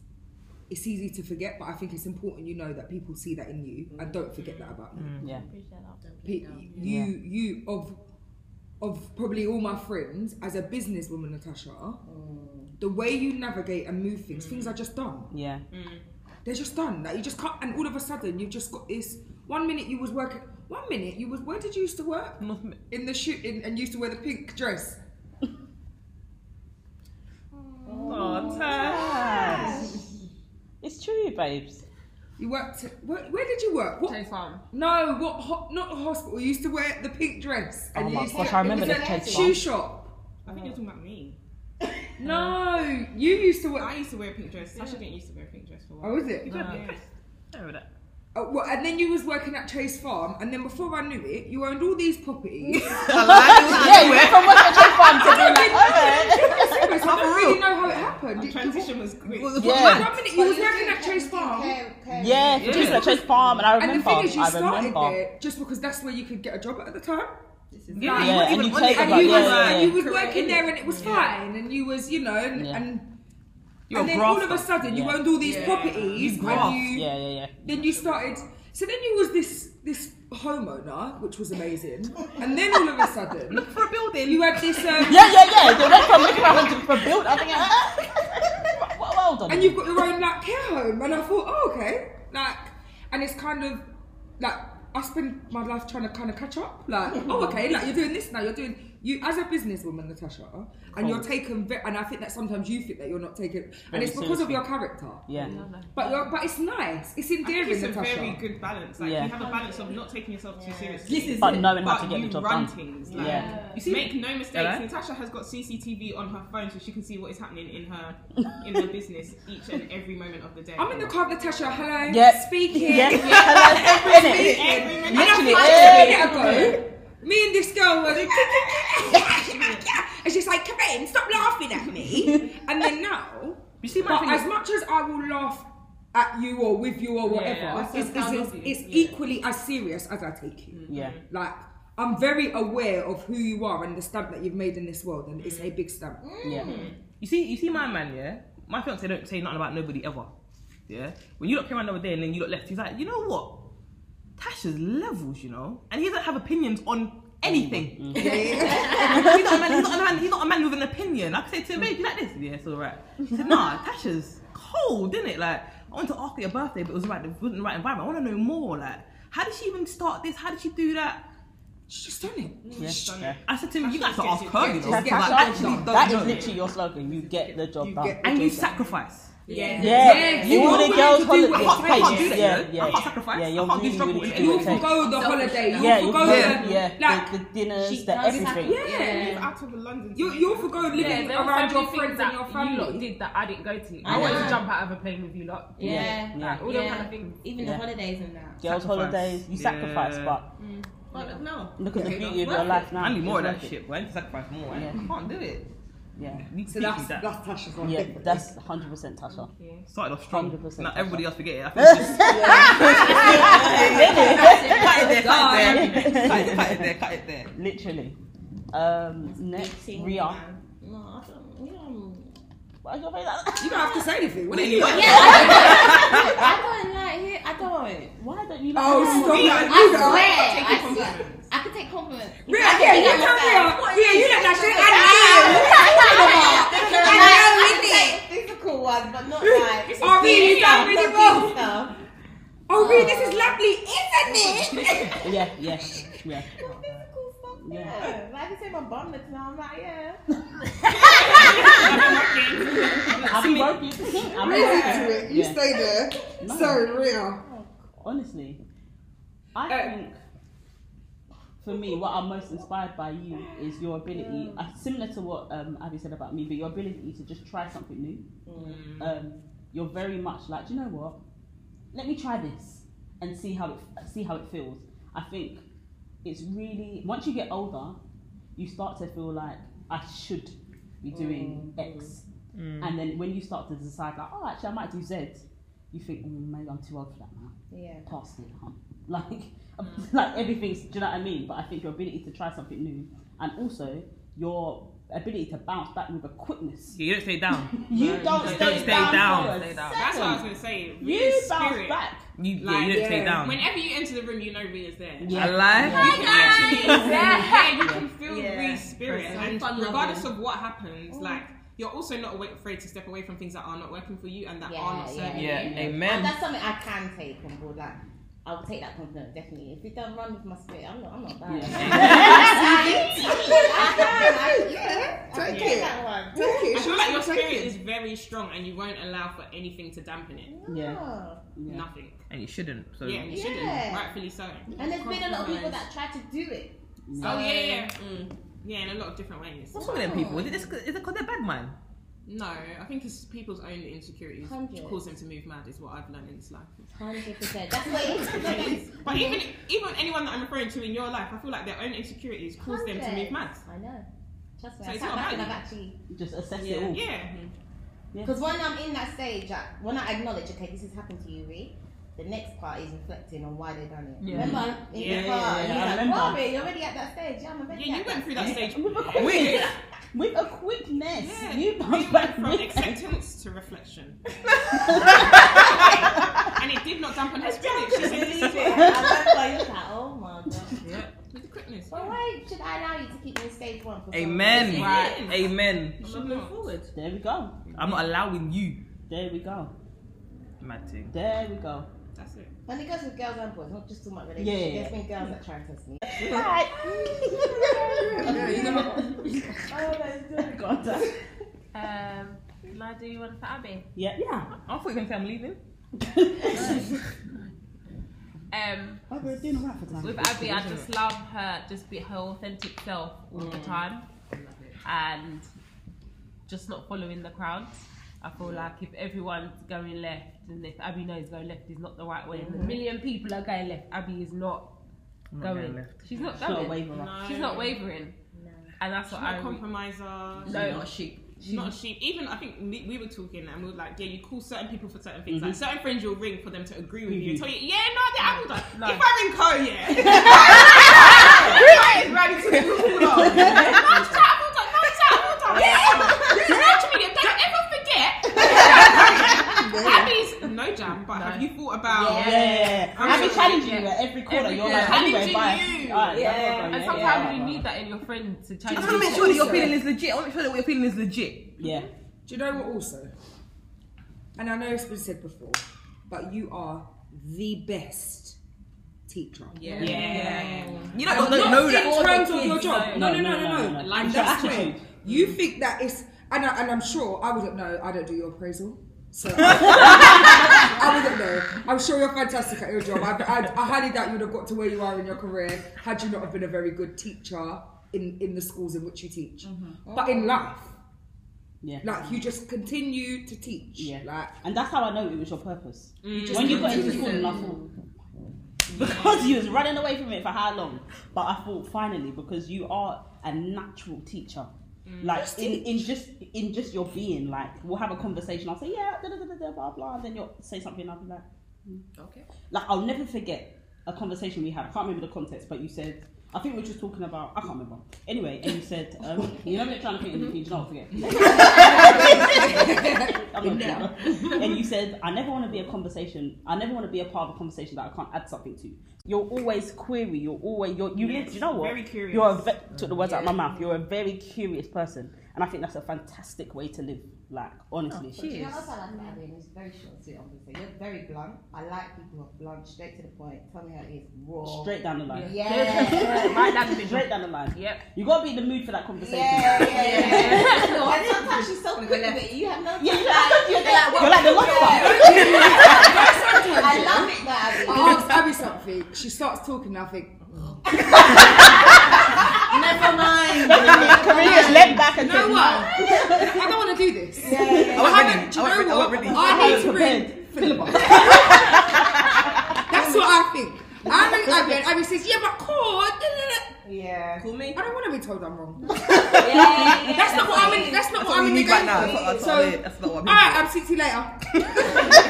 Speaker 4: it's easy to forget, but I think it's important you know that people see that in you and don't forget that about you.
Speaker 9: Yeah.
Speaker 6: Mm.
Speaker 4: Pe- you you of of probably all my friends as a businesswoman, Natasha. The way you navigate and move things, things are just done
Speaker 9: Yeah.
Speaker 4: they're just done. Like you just can't. And all of a sudden, you've just got this. One minute you was working. One minute you was. Where did you used to work?
Speaker 2: Nothing.
Speaker 4: In the shoot, in, and used to wear the pink dress.
Speaker 2: Oh, Tash.
Speaker 9: It's true, babes.
Speaker 4: You worked. Where, where did you work? What?
Speaker 10: Dairy farm.
Speaker 4: No, what? Ho, not the hospital. You used to wear the pink dress.
Speaker 9: Oh
Speaker 4: you
Speaker 9: my
Speaker 4: used to-
Speaker 9: gosh, I
Speaker 4: it was
Speaker 9: remember the
Speaker 4: a
Speaker 9: Chase
Speaker 4: shoe shop.
Speaker 3: I think you're talking about me.
Speaker 4: No, you used to
Speaker 3: I
Speaker 4: work.
Speaker 3: used to wear a pink dress. Sasha didn't used to wear a pink dress for a while.
Speaker 4: Oh, is it?
Speaker 3: Yeah.
Speaker 2: Remember that.
Speaker 4: Oh, well, and then you was working at Chase Farm, and then before I knew it, you owned all these properties.
Speaker 9: Yeah, you went from working at Chase Farm to being like, okay.
Speaker 4: Because I don't really know how it happened. It-
Speaker 3: Transition was quick.
Speaker 9: Yeah.
Speaker 4: One minute you was working at Chase Farm.
Speaker 9: Yeah, for just at Chase Farm, and I remember.
Speaker 4: And the thing is, you
Speaker 9: I
Speaker 4: started
Speaker 9: remember.
Speaker 4: there just because that's where you could get a job at the time.
Speaker 2: Yeah,
Speaker 4: Like,
Speaker 2: you
Speaker 9: Yeah,
Speaker 2: weren't
Speaker 9: and
Speaker 2: even
Speaker 9: you
Speaker 2: on
Speaker 9: take
Speaker 2: it.
Speaker 9: about
Speaker 4: And you, was,
Speaker 9: yeah,
Speaker 4: and you
Speaker 9: yeah.
Speaker 4: was working there and it was fine, and you was, you know, and,
Speaker 9: Yeah.
Speaker 4: and,
Speaker 2: You're
Speaker 4: and
Speaker 2: a
Speaker 4: then all of
Speaker 2: grafter.
Speaker 4: a sudden you
Speaker 9: Yeah.
Speaker 4: owned all these properties,
Speaker 2: You graft.
Speaker 4: and you,
Speaker 9: Yeah, yeah, yeah.
Speaker 4: then you started. So then you was this this homeowner, which was amazing, and then all of a sudden
Speaker 2: For a building.
Speaker 4: you had this, um,
Speaker 9: Yeah, yeah, yeah. They went from looking around to for build. I think. uh, Well, well done.
Speaker 4: and you've got your own like care home, and I thought, oh okay, like, and it's kind of like I spend my life trying to kind of catch up, like, oh okay, like you're doing this now, you're doing you as a businesswoman, Natasha, and you're taken, ve- and I think that sometimes you think that you're not taken, and
Speaker 9: Very
Speaker 4: it's because of
Speaker 9: seriously.
Speaker 4: your character,
Speaker 9: Yeah.
Speaker 4: but you're, but it's nice, it's
Speaker 3: I think
Speaker 4: endearing,
Speaker 3: it's a
Speaker 4: Natasha.
Speaker 3: very good balance. Like
Speaker 9: Yeah.
Speaker 3: you have a balance of not taking yourself too seriously,
Speaker 8: This is
Speaker 9: But
Speaker 8: it.
Speaker 9: knowing how
Speaker 3: but
Speaker 9: to get
Speaker 3: you
Speaker 9: the job
Speaker 3: run
Speaker 9: done.
Speaker 3: things. Like,
Speaker 9: Yeah.
Speaker 3: You make no mistakes.
Speaker 2: Hello?
Speaker 3: Natasha has got CCTV on her phone, so she can see what is happening in her in her business each and every moment of the day.
Speaker 4: I'm in the car, with Natasha. Hello,
Speaker 9: Yeah.
Speaker 4: speaking.
Speaker 9: Yeah. Hello. Innit?
Speaker 3: Every minute.
Speaker 9: Literally.
Speaker 4: Like,
Speaker 9: yeah.
Speaker 4: a minute ago, me and this girl were and she's like, Karen, stop laughing at me. And then now,
Speaker 2: You see my
Speaker 4: but
Speaker 2: thing
Speaker 4: as
Speaker 2: is,
Speaker 4: much as I will laugh at you or with you or whatever,
Speaker 2: yeah.
Speaker 4: it's, it's, it's equally as serious as I take you.
Speaker 9: Yeah.
Speaker 4: Like, I'm very aware of who you are and the stamp that you've made in this world, and it's a big stamp.
Speaker 2: Mm.
Speaker 9: Yeah.
Speaker 2: you see, you see my man, yeah. My fiance don't say nothing about nobody ever. Yeah. When you look came around the other day and then you look left, he's like, you know what? Tasha's levels, you know, and he doesn't have opinions on anything. he's, not a man, he's, not a man, he's not a man with an opinion. I could say to him, babe, you like this? Yeah, it's all right. He said, nah, Tasha's cold, didn't it? Like, I went to ask her your birthday, but it was right, it wasn't the right environment. I want to know more. Like, how did she even start this? How did she do that?
Speaker 4: She's just done
Speaker 2: Mm.
Speaker 4: it.
Speaker 9: Yeah. yeah.
Speaker 2: I said to him, you guys have to ask
Speaker 3: Actually,
Speaker 2: her, you know.
Speaker 4: just
Speaker 2: Like,
Speaker 4: get
Speaker 2: I
Speaker 4: the job
Speaker 2: actually
Speaker 4: done.
Speaker 2: don't
Speaker 9: That is
Speaker 2: know.
Speaker 9: literally your slogan. You get the job
Speaker 4: You
Speaker 9: done.
Speaker 4: get-
Speaker 2: And you sacrifice.
Speaker 4: Yeah.
Speaker 9: Yeah,
Speaker 4: You
Speaker 9: all
Speaker 4: are
Speaker 9: the
Speaker 4: willing
Speaker 9: girls
Speaker 4: to do what
Speaker 9: holiday
Speaker 2: I
Speaker 4: it
Speaker 2: can't, I can't
Speaker 4: takes.
Speaker 2: do that. you
Speaker 9: Yeah,
Speaker 2: know? I
Speaker 9: yeah.
Speaker 2: can't sacrifice. I
Speaker 9: Yeah, you're
Speaker 2: can't do
Speaker 9: really,
Speaker 2: struggle
Speaker 9: really
Speaker 2: with
Speaker 9: doing
Speaker 4: You'll
Speaker 9: it.
Speaker 2: anything.
Speaker 4: forgo the holiday. You'll
Speaker 9: Yeah, you
Speaker 4: forgo
Speaker 9: go,
Speaker 4: the
Speaker 9: yeah,
Speaker 4: like.
Speaker 9: the, the dinners,
Speaker 6: She
Speaker 9: the
Speaker 6: does
Speaker 9: everything.
Speaker 6: sacrifice.
Speaker 4: yeah.
Speaker 3: Live out of London.
Speaker 4: You you forgo living
Speaker 10: there were
Speaker 4: around
Speaker 10: so many
Speaker 4: your friends
Speaker 10: things
Speaker 4: and
Speaker 10: that
Speaker 4: your
Speaker 10: You lot
Speaker 4: family.
Speaker 10: did that I didn't go to.
Speaker 6: I
Speaker 10: I wanted
Speaker 6: know.
Speaker 10: to jump out of a plane with you lot.
Speaker 6: Yeah.
Speaker 9: Yeah.
Speaker 10: Like, all them
Speaker 6: Yeah.
Speaker 10: kind of things.
Speaker 6: Even
Speaker 9: Yeah.
Speaker 6: the holidays and that.
Speaker 9: Girls'
Speaker 2: Sacrifice.
Speaker 9: holidays, you
Speaker 2: Yeah.
Speaker 9: sacrifice, but
Speaker 6: But no.
Speaker 9: look at the
Speaker 4: Yeah.
Speaker 9: beauty of
Speaker 6: Worth
Speaker 9: your
Speaker 6: it.
Speaker 9: life now.
Speaker 2: I need more of
Speaker 9: It's
Speaker 2: that
Speaker 9: worth it.
Speaker 2: shit, but I need to sacrifice more.
Speaker 9: Yeah.
Speaker 2: I can't do it.
Speaker 9: Yeah,
Speaker 2: I need to
Speaker 4: So
Speaker 2: teach
Speaker 4: that's
Speaker 2: you that.
Speaker 4: that's Tasha's one.
Speaker 9: yeah,
Speaker 4: definitely.
Speaker 9: that's 100% Tasha.
Speaker 2: Started off strong.
Speaker 9: 100%
Speaker 2: Now everybody else forget it. I think it's just cut it there, cut it there, cut it- cut it there, cut it there.
Speaker 9: Literally. Um, next,
Speaker 6: Beating
Speaker 9: Ria.
Speaker 6: man. No, I don't. You know,
Speaker 9: Why is your face like that?
Speaker 4: You don't have to say anything. What
Speaker 2: Anyway,
Speaker 6: I don't like it. I don't.
Speaker 9: Why don't you like
Speaker 4: Oh,
Speaker 9: that?
Speaker 4: stop that.
Speaker 6: I
Speaker 4: You don't.
Speaker 6: swear. I swear. I can take compliments.
Speaker 4: Rhea, yeah, you come here. Rhea, you let that shit out.
Speaker 6: I know, I can take physical ones, but not like.
Speaker 4: Oh, really? You sound really wrong.
Speaker 6: stuff.
Speaker 4: Oh, Rhea, this is lovely, isn't it?
Speaker 9: Yeah, yeah, yeah.
Speaker 6: Not physical stuff.
Speaker 9: Yeah.
Speaker 6: Yeah. Like I say, my bum looks now. I'm like, yeah.
Speaker 9: I'm broken. I'm
Speaker 4: Listen
Speaker 9: broken.
Speaker 4: to it. You
Speaker 9: Yeah.
Speaker 4: stay there.
Speaker 9: No.
Speaker 4: Sorry, Rhea.
Speaker 9: Honestly, I
Speaker 4: Uh,
Speaker 9: think for me, what I'm most inspired by you is your ability, uh, similar to what um, Abby said about me, but your ability to just try something new. Um, you're very much like, "Do you know what? Let me try this and see how it see how it feels. I think it's really once you get older, you start to feel like I should be doing X, and then when you start to decide like, oh, actually, I might do Z. You think mm, maybe I'm too old for that now
Speaker 6: Yeah.
Speaker 9: past it, huh? Like, um, like everything's, do you know what I mean? But I think your ability to try something new and also your ability to bounce back with a quickness.
Speaker 2: Yeah, you don't stay down.
Speaker 9: You don't,
Speaker 2: you
Speaker 9: stay,
Speaker 2: don't stay
Speaker 9: down.
Speaker 2: down.
Speaker 9: for a
Speaker 10: Stay down.
Speaker 3: That's what I was
Speaker 9: second.
Speaker 3: gonna say.
Speaker 9: You
Speaker 3: Ria's
Speaker 9: bounce
Speaker 3: spirit.
Speaker 9: back.
Speaker 2: You, yeah,
Speaker 3: Like,
Speaker 2: you don't stay
Speaker 4: yeah.
Speaker 2: down.
Speaker 3: Whenever you enter the room, you know Ria's there.
Speaker 9: Yeah.
Speaker 2: A lie?
Speaker 3: You can actually, yeah, you can feel
Speaker 4: Yeah.
Speaker 3: Ree's spirit,
Speaker 10: Person.
Speaker 3: and
Speaker 10: Fun
Speaker 3: regardless of what happens, like you're also not awa- afraid to step away from things that are not working for you and that are not serving
Speaker 2: yeah.
Speaker 3: you.
Speaker 2: amen.
Speaker 6: And that's something I can take on board. Like, I will take that compliment definitely. If you don't run with my spirit, I'm not. I'm not bad. I can. I, yeah, I can
Speaker 3: Take
Speaker 6: take
Speaker 3: it.
Speaker 6: that one.
Speaker 3: I feel like your spirit is very strong, and you won't allow for anything to dampen it.
Speaker 9: Yeah.
Speaker 6: Oh.
Speaker 9: Yeah.
Speaker 3: Nothing.
Speaker 2: And you shouldn't. So
Speaker 3: Yeah, and you shouldn't.
Speaker 6: Yeah.
Speaker 3: Rightfully so.
Speaker 6: And there's been a lot of people that try to do it.
Speaker 3: Oh yeah, yeah, mm. yeah, in a lot of different ways.
Speaker 2: what's wrong with them people? Is it just 'cause- is it because they're bad, man?
Speaker 3: No, I think it's people's own insecurities which
Speaker 6: Hundred.
Speaker 3: cause them to move mad. Is what I've learned in this life.
Speaker 6: Hundred percent. That's what it is.
Speaker 3: But even even anyone that I'm referring to in your life, I feel like their own insecurities cause them to move
Speaker 6: Hundred.
Speaker 3: mad.
Speaker 6: I know. Trust me.
Speaker 3: So
Speaker 6: I
Speaker 3: it's
Speaker 6: sat
Speaker 3: not
Speaker 6: back and
Speaker 3: bad.
Speaker 6: I've actually
Speaker 9: Just assess
Speaker 3: Yeah.
Speaker 9: it all.
Speaker 3: yeah.
Speaker 6: because when I'm in that stage, I, when I acknowledge, okay, this has happened to you, Ree. The next part is reflecting on why they done it.
Speaker 10: Yeah.
Speaker 6: Remember in
Speaker 3: Yeah,
Speaker 6: the
Speaker 9: yeah,
Speaker 6: car,
Speaker 9: yeah,
Speaker 6: and
Speaker 9: I
Speaker 6: you're
Speaker 9: remember.
Speaker 6: like, "Wow, Ree, you're already at that stage. Yeah, I'm already
Speaker 3: Yeah, you
Speaker 6: at that
Speaker 3: went through that stage
Speaker 9: With a
Speaker 2: Wait.
Speaker 9: quickness. With a quickness.
Speaker 3: Yeah.
Speaker 9: You
Speaker 3: We
Speaker 9: bounce
Speaker 3: went
Speaker 9: back
Speaker 3: from
Speaker 9: with
Speaker 3: acceptance to reflection. and it did not dampen her spirit. She said, this is it.
Speaker 6: I was like, oh my god.
Speaker 2: Yeah.
Speaker 3: With the quickness.
Speaker 6: But why should I allow you to keep me in stage one? For so
Speaker 2: Amen.
Speaker 6: long?
Speaker 3: Right.
Speaker 2: Amen.
Speaker 3: You should move forward.
Speaker 9: There we go.
Speaker 2: I'm not allowing you,
Speaker 9: There we go.
Speaker 2: mad thing.
Speaker 9: There we go.
Speaker 3: That's it.
Speaker 6: And it goes with girls and boys, not just talking about relationships.
Speaker 9: Yeah.
Speaker 6: There's been girls that try and test me.
Speaker 9: Right.
Speaker 10: Um, can I do one for Abby?
Speaker 9: Yeah. Yeah.
Speaker 2: I thought you were gonna say I'm leaving.
Speaker 10: Um,
Speaker 9: Oh, we're doing alright for time.
Speaker 10: with Abby, I just love her, just be her authentic self all the time, and just not following the crowd. I feel like if everyone's going left, and if Abby knows going left is not the right way, and a million people are going left, Abby is not
Speaker 2: I'm not
Speaker 10: going.
Speaker 2: going left.
Speaker 10: She's not
Speaker 9: She's not a
Speaker 10: going.
Speaker 9: waverer.
Speaker 3: No.
Speaker 10: She's not wavering, and that's
Speaker 3: She's
Speaker 10: what I.
Speaker 3: not a
Speaker 10: re-
Speaker 3: compromiser.
Speaker 10: No.
Speaker 8: not a sheep.
Speaker 3: She's not a sheep. Even I think we, we were talking and we were like, yeah, you call certain people for certain things. Like certain friends you'll ring for them to agree with you and tell you, yeah, no, the apple done.
Speaker 10: No.
Speaker 3: If I ring Co, yeah. Right, it's ready to be pulled off. No, it's the apple done. No, it's the apple done. Yeah. Don't you mean it? Don't ever forget. Abby's no jam, but have you thought about
Speaker 9: Oh, Yeah. yeah.
Speaker 3: I'm
Speaker 9: Abby
Speaker 3: so-
Speaker 9: challenging you at every corner. You're like,
Speaker 3: Challenging
Speaker 9: anyway, bye.
Speaker 3: you.
Speaker 9: Alright, that's
Speaker 8: Yeah.
Speaker 9: not going,
Speaker 10: And
Speaker 9: yeah,
Speaker 10: sometimes
Speaker 9: yeah,
Speaker 10: you
Speaker 9: yeah.
Speaker 10: need that in your friend to
Speaker 2: I
Speaker 10: change.
Speaker 2: want to make sure that your feeling is legit. I want to make sure that what you're feeling is legit.
Speaker 9: Yeah.
Speaker 4: Do you know what also? And I know it's been said before, but you are the best teacher.
Speaker 8: Yeah.
Speaker 2: You don't,
Speaker 4: Not
Speaker 2: don't know
Speaker 4: in
Speaker 2: that.
Speaker 4: terms of your job. No, no, no, no, no.
Speaker 9: no.
Speaker 4: Like
Speaker 9: It's
Speaker 4: that's
Speaker 9: your
Speaker 4: where
Speaker 9: attitude.
Speaker 4: you think that it's, and, I, and I'm sure I wouldn't know. I don't do your appraisal, so I, wouldn't know. I'm sure you're fantastic at your job. I, I, I highly doubt you'd have got to where you are in your career had you not have been a very good teacher in in the schools in which you teach. But in life,
Speaker 9: Yeah.
Speaker 4: like you just continue to teach.
Speaker 9: Yeah.
Speaker 4: Like
Speaker 9: And that's how I know it was your purpose.
Speaker 4: just
Speaker 9: when you got into
Speaker 4: continue.
Speaker 9: school, and I thought, because you was running away from it for how long? But I thought finally, because you are a natural teacher. Like
Speaker 4: Just
Speaker 9: in, in just in just your being, like we'll have a conversation. I'll say yeah, da, da, da, da, da, blah blah, and then you'll say something. And I'll be like, "Hmm."
Speaker 8: Okay.
Speaker 9: like I'll never forget a conversation we had. I can't remember the context, but you said I think we were just talking about I can't remember. Anyway, and you said um, you know when you're trying to think and you don't forget. I'm not now. and you said I never want to be a conversation. I never want to be a part of a conversation that I can't add something to. You're always query. You're always you're, you live. You know what?
Speaker 3: Very curious.
Speaker 9: You're a ve- took the words out of my mouth. You're a very curious person, and I think that's a fantastic way to live. Like honestly,
Speaker 6: Do you know what else I like about Abby? And It's very short and sweet, obviously. You're very blunt. I like people who are blunt, straight to the point. Tell me how it is. Raw.
Speaker 9: straight down the line.
Speaker 6: Yeah.
Speaker 10: Right down the middle.
Speaker 9: Straight down the line.
Speaker 10: Yep.
Speaker 9: You gotta be in the mood for that conversation.
Speaker 6: Yeah, yeah, yeah. and sometimes she's so quick with it. You have no. time.
Speaker 9: Yeah, you know, you're, like, you're like the lost one.
Speaker 6: I love it, that Abby.
Speaker 4: I ask Abby something, she starts talking, and I think
Speaker 6: Never mind.
Speaker 9: Karina is led back and
Speaker 4: You know
Speaker 9: said,
Speaker 4: what? I don't want to do this.
Speaker 2: I want
Speaker 4: I
Speaker 2: ready.
Speaker 4: do you
Speaker 2: I want
Speaker 4: know
Speaker 2: ready. I
Speaker 4: what?
Speaker 2: want ready.
Speaker 4: I need to bring
Speaker 9: prepared.
Speaker 4: filibuster. That's what I think. I'm an Abby, and Abby says, "Yeah, but call."
Speaker 6: Yeah.
Speaker 8: Call me.
Speaker 4: I don't want to be told I'm wrong.
Speaker 6: yeah.
Speaker 4: That's not what I'm in. That's not
Speaker 2: That's what
Speaker 4: what I'm
Speaker 2: we
Speaker 4: in the
Speaker 2: need right
Speaker 4: game
Speaker 2: now.
Speaker 4: for.
Speaker 2: That's what- that's
Speaker 4: so,
Speaker 2: what I need. That's not what
Speaker 4: all
Speaker 2: I'm here
Speaker 4: right,
Speaker 2: for.
Speaker 4: I'll see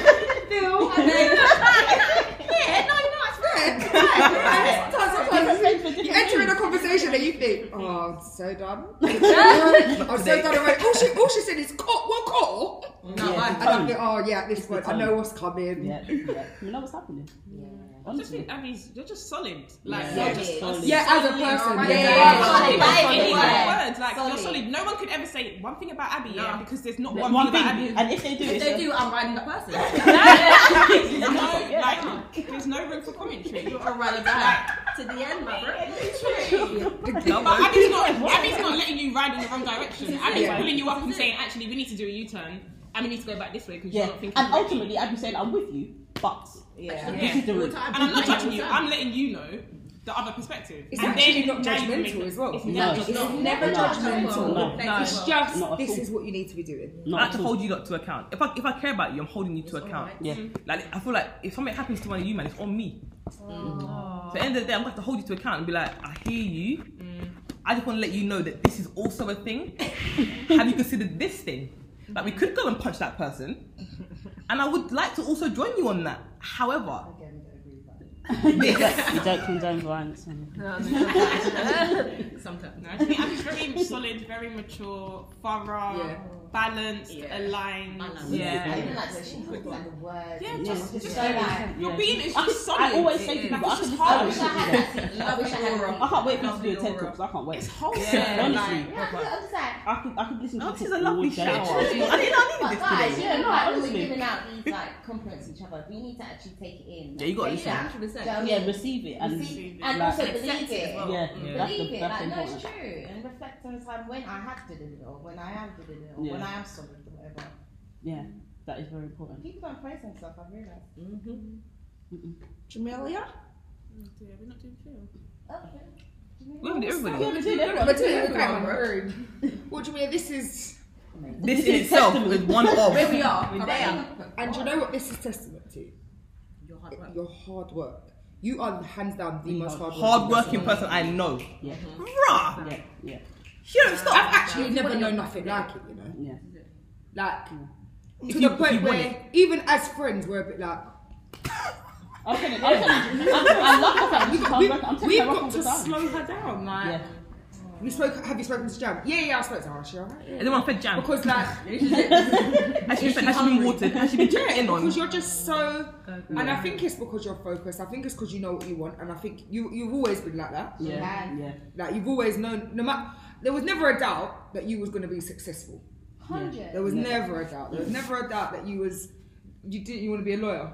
Speaker 4: you later.
Speaker 6: Phil. And then, yeah, no, no, it's
Speaker 4: Yeah. think, oh, I'm so done. I'm so done already. All she, all she said is, call, well, call.
Speaker 9: Yeah,
Speaker 8: I-
Speaker 9: the
Speaker 4: And I
Speaker 9: tone.
Speaker 4: think, oh, yeah, at this
Speaker 9: It's the
Speaker 4: point, I
Speaker 9: tone.
Speaker 4: know what's coming.
Speaker 9: Yeah, yeah. You know what's happening.
Speaker 6: Yeah.
Speaker 3: Just
Speaker 9: Honestly.
Speaker 3: think, I mean, you're just solid. Like,
Speaker 9: Yeah.
Speaker 3: you're
Speaker 6: Yeah.
Speaker 3: just
Speaker 9: Solid.
Speaker 4: Yeah, as a person,
Speaker 6: Alright.
Speaker 4: yeah.
Speaker 3: You're solid.
Speaker 6: Yeah. Yeah.
Speaker 3: Solid.
Speaker 6: Yeah.
Speaker 3: Solid. Words, like,
Speaker 6: Solid.
Speaker 3: you're solid. No one could ever say one thing about Abby, yeah, because there's not
Speaker 9: One,
Speaker 3: one,
Speaker 9: one
Speaker 3: thing about
Speaker 9: thing,
Speaker 3: Abby.
Speaker 9: and if they do,
Speaker 8: If
Speaker 9: it's
Speaker 8: they
Speaker 9: a-
Speaker 8: do, I'm riding that person.
Speaker 3: There's no,
Speaker 9: Yeah.
Speaker 3: like, there's no room for commentary.
Speaker 8: You're a ride or die. To the end, my bro.
Speaker 3: No, but Abby's not, Abby's not letting you ride in the wrong direction. Abby's
Speaker 4: Yeah.
Speaker 3: pulling you up and saying, actually, we need to do a U turn and we need to go back this way because
Speaker 9: yeah.
Speaker 3: you're not thinking.
Speaker 4: oh,
Speaker 9: And ultimately, I'd be saying, I'm with you, but
Speaker 4: Yeah.
Speaker 9: this is the route.
Speaker 3: And I'm not judging you, I'm letting you know the other perspective.
Speaker 4: It's
Speaker 3: and
Speaker 4: actually not
Speaker 3: now you can make
Speaker 4: judgmental
Speaker 3: it-
Speaker 4: as well.
Speaker 3: It's
Speaker 9: No,
Speaker 3: never
Speaker 9: it's
Speaker 3: judgmental.
Speaker 4: It's never
Speaker 9: No.
Speaker 4: judgmental.
Speaker 9: No.
Speaker 4: Like, It's just,
Speaker 9: Not at
Speaker 4: this
Speaker 9: all.
Speaker 4: is what you need to be doing.
Speaker 9: Not
Speaker 2: I have to
Speaker 9: at all.
Speaker 2: hold you lot to account. If I if I care about you, I'm holding you to account.
Speaker 9: Yeah.
Speaker 2: Like I feel like if something happens to one of you, man, it's on me. So at the end of the day, I'm gonna have to hold you to account and be like, I hear you. I just want to let you know that this is also a thing. have you considered this thing? Like we could go and punch that person, and I would like to also join you on that. However,
Speaker 9: Yes, you don't condone violence. and-
Speaker 3: Sometimes. No, I think Abby's very solid, very mature, thorough,
Speaker 4: Yeah.
Speaker 3: balanced,
Speaker 8: Yeah.
Speaker 3: aligned.
Speaker 6: I
Speaker 2: yeah,
Speaker 6: even like that she put like the word.
Speaker 3: Yeah,
Speaker 6: and
Speaker 3: just-
Speaker 6: just
Speaker 3: just
Speaker 6: so like.
Speaker 9: Yeah.
Speaker 3: Your being is
Speaker 9: I,
Speaker 3: just
Speaker 9: could-
Speaker 3: solid.
Speaker 9: I always say to
Speaker 3: Like,
Speaker 9: people, I
Speaker 3: it's just
Speaker 9: could just
Speaker 6: I
Speaker 9: tell
Speaker 6: wish I
Speaker 9: them
Speaker 6: had
Speaker 9: shit.
Speaker 6: that. I wish I had a
Speaker 9: I can't wait for you to do a TED talk. 'cause I can't wait.
Speaker 3: It's wholesome.
Speaker 2: Yeah.
Speaker 3: Like,
Speaker 6: Yeah, I'm just- I'm just like.
Speaker 9: I could, I could listen to
Speaker 2: Oh,
Speaker 9: this
Speaker 2: this is a lovely
Speaker 9: all day.
Speaker 2: shower. I didn't, I didn't need
Speaker 6: But
Speaker 2: this
Speaker 6: guys,
Speaker 2: today.
Speaker 6: you know, like when we're
Speaker 9: honestly.
Speaker 6: giving out these like compliments to each other, we need to actually take it in.
Speaker 2: Yeah, you got to listen.
Speaker 6: Yeah.
Speaker 9: Yeah,
Speaker 6: Yeah,
Speaker 9: receive it and
Speaker 6: receive
Speaker 9: like,
Speaker 6: and also believe
Speaker 8: accept it
Speaker 6: it.
Speaker 8: as well.
Speaker 9: yeah,
Speaker 2: Yeah.
Speaker 9: that's
Speaker 6: believe
Speaker 9: the
Speaker 6: it.
Speaker 9: that's
Speaker 6: Like, no, it's
Speaker 9: important.
Speaker 6: true. And reflect on the time when I have to do it or when I am doing it or when
Speaker 9: Yeah.
Speaker 6: I am solid or whatever.
Speaker 9: Yeah, that is very important.
Speaker 6: People don't praise themselves, I've realised.
Speaker 8: Jamelia?
Speaker 3: yeah, we're not doing film.
Speaker 6: Okay.
Speaker 2: We haven't done everybody.
Speaker 4: But tell you, look at my room. What do you mean? This is,
Speaker 2: This in itself is one of.
Speaker 8: Where we are. We're
Speaker 4: and do you know what this is testament to?
Speaker 8: Your hard work.
Speaker 4: Your hard work. You are hands down the
Speaker 9: The
Speaker 4: most hard,
Speaker 2: hard working person I know.
Speaker 9: Yeah,
Speaker 2: Bruh!
Speaker 9: yeah, yeah,
Speaker 2: She don't stop.
Speaker 4: I've actually never known nothing like it, you know.
Speaker 9: yeah.
Speaker 4: Like
Speaker 2: If
Speaker 4: to
Speaker 2: you-
Speaker 4: the
Speaker 2: if
Speaker 4: point
Speaker 2: you want
Speaker 4: where even as friends we're a bit like
Speaker 9: I'm telling you, I'm telling you, I'm telling- I love the fact that she's hard
Speaker 4: we,
Speaker 9: working. I'm telling you,
Speaker 4: we've
Speaker 9: I work all
Speaker 4: got to
Speaker 9: the time.
Speaker 4: slow her down. Like
Speaker 9: Yeah,
Speaker 4: you spoke have you spoken to Jam? Yeah, yeah, I spoke to her. Is She alright? Yeah.
Speaker 2: And then one fed jam.
Speaker 4: Because like
Speaker 2: Has she, been, has she been watered? Has she been checked in on?
Speaker 4: because you're just so and I think it's because you're focused. I think it's because you know what you want and I think you you've always been like that.
Speaker 9: yeah, yeah.
Speaker 4: Like you've always known no matter there was never a doubt that you was gonna be successful.
Speaker 6: Hundred.
Speaker 4: There was never a doubt. There was never a doubt that you was you didn't you want to be a lawyer.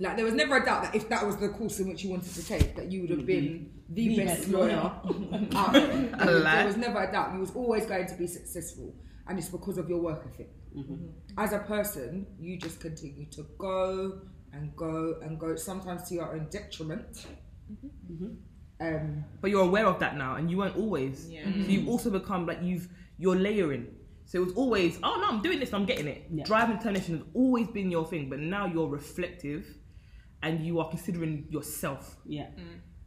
Speaker 4: Like there was never a doubt that if that was the course in which you wanted to take, that you would have been Mm-hmm. the,
Speaker 9: The
Speaker 4: best
Speaker 9: best
Speaker 4: lawyer. out there. There was-
Speaker 2: lie.
Speaker 4: there was never a doubt. You was always going to be successful, and it's because of your work ethic. As a person, you just continue to go and go and go. Sometimes to your own detriment. Mm-hmm. Um,
Speaker 2: But you're aware of that now, and you weren't always.
Speaker 9: Mm-hmm.
Speaker 2: So you've also become like you've you're layering. So it was always, oh no, I'm doing this, I'm getting it.
Speaker 9: Yeah.
Speaker 2: Drive and determination has always been your thing, but now you're reflective, and you are considering yourself,
Speaker 9: Yeah.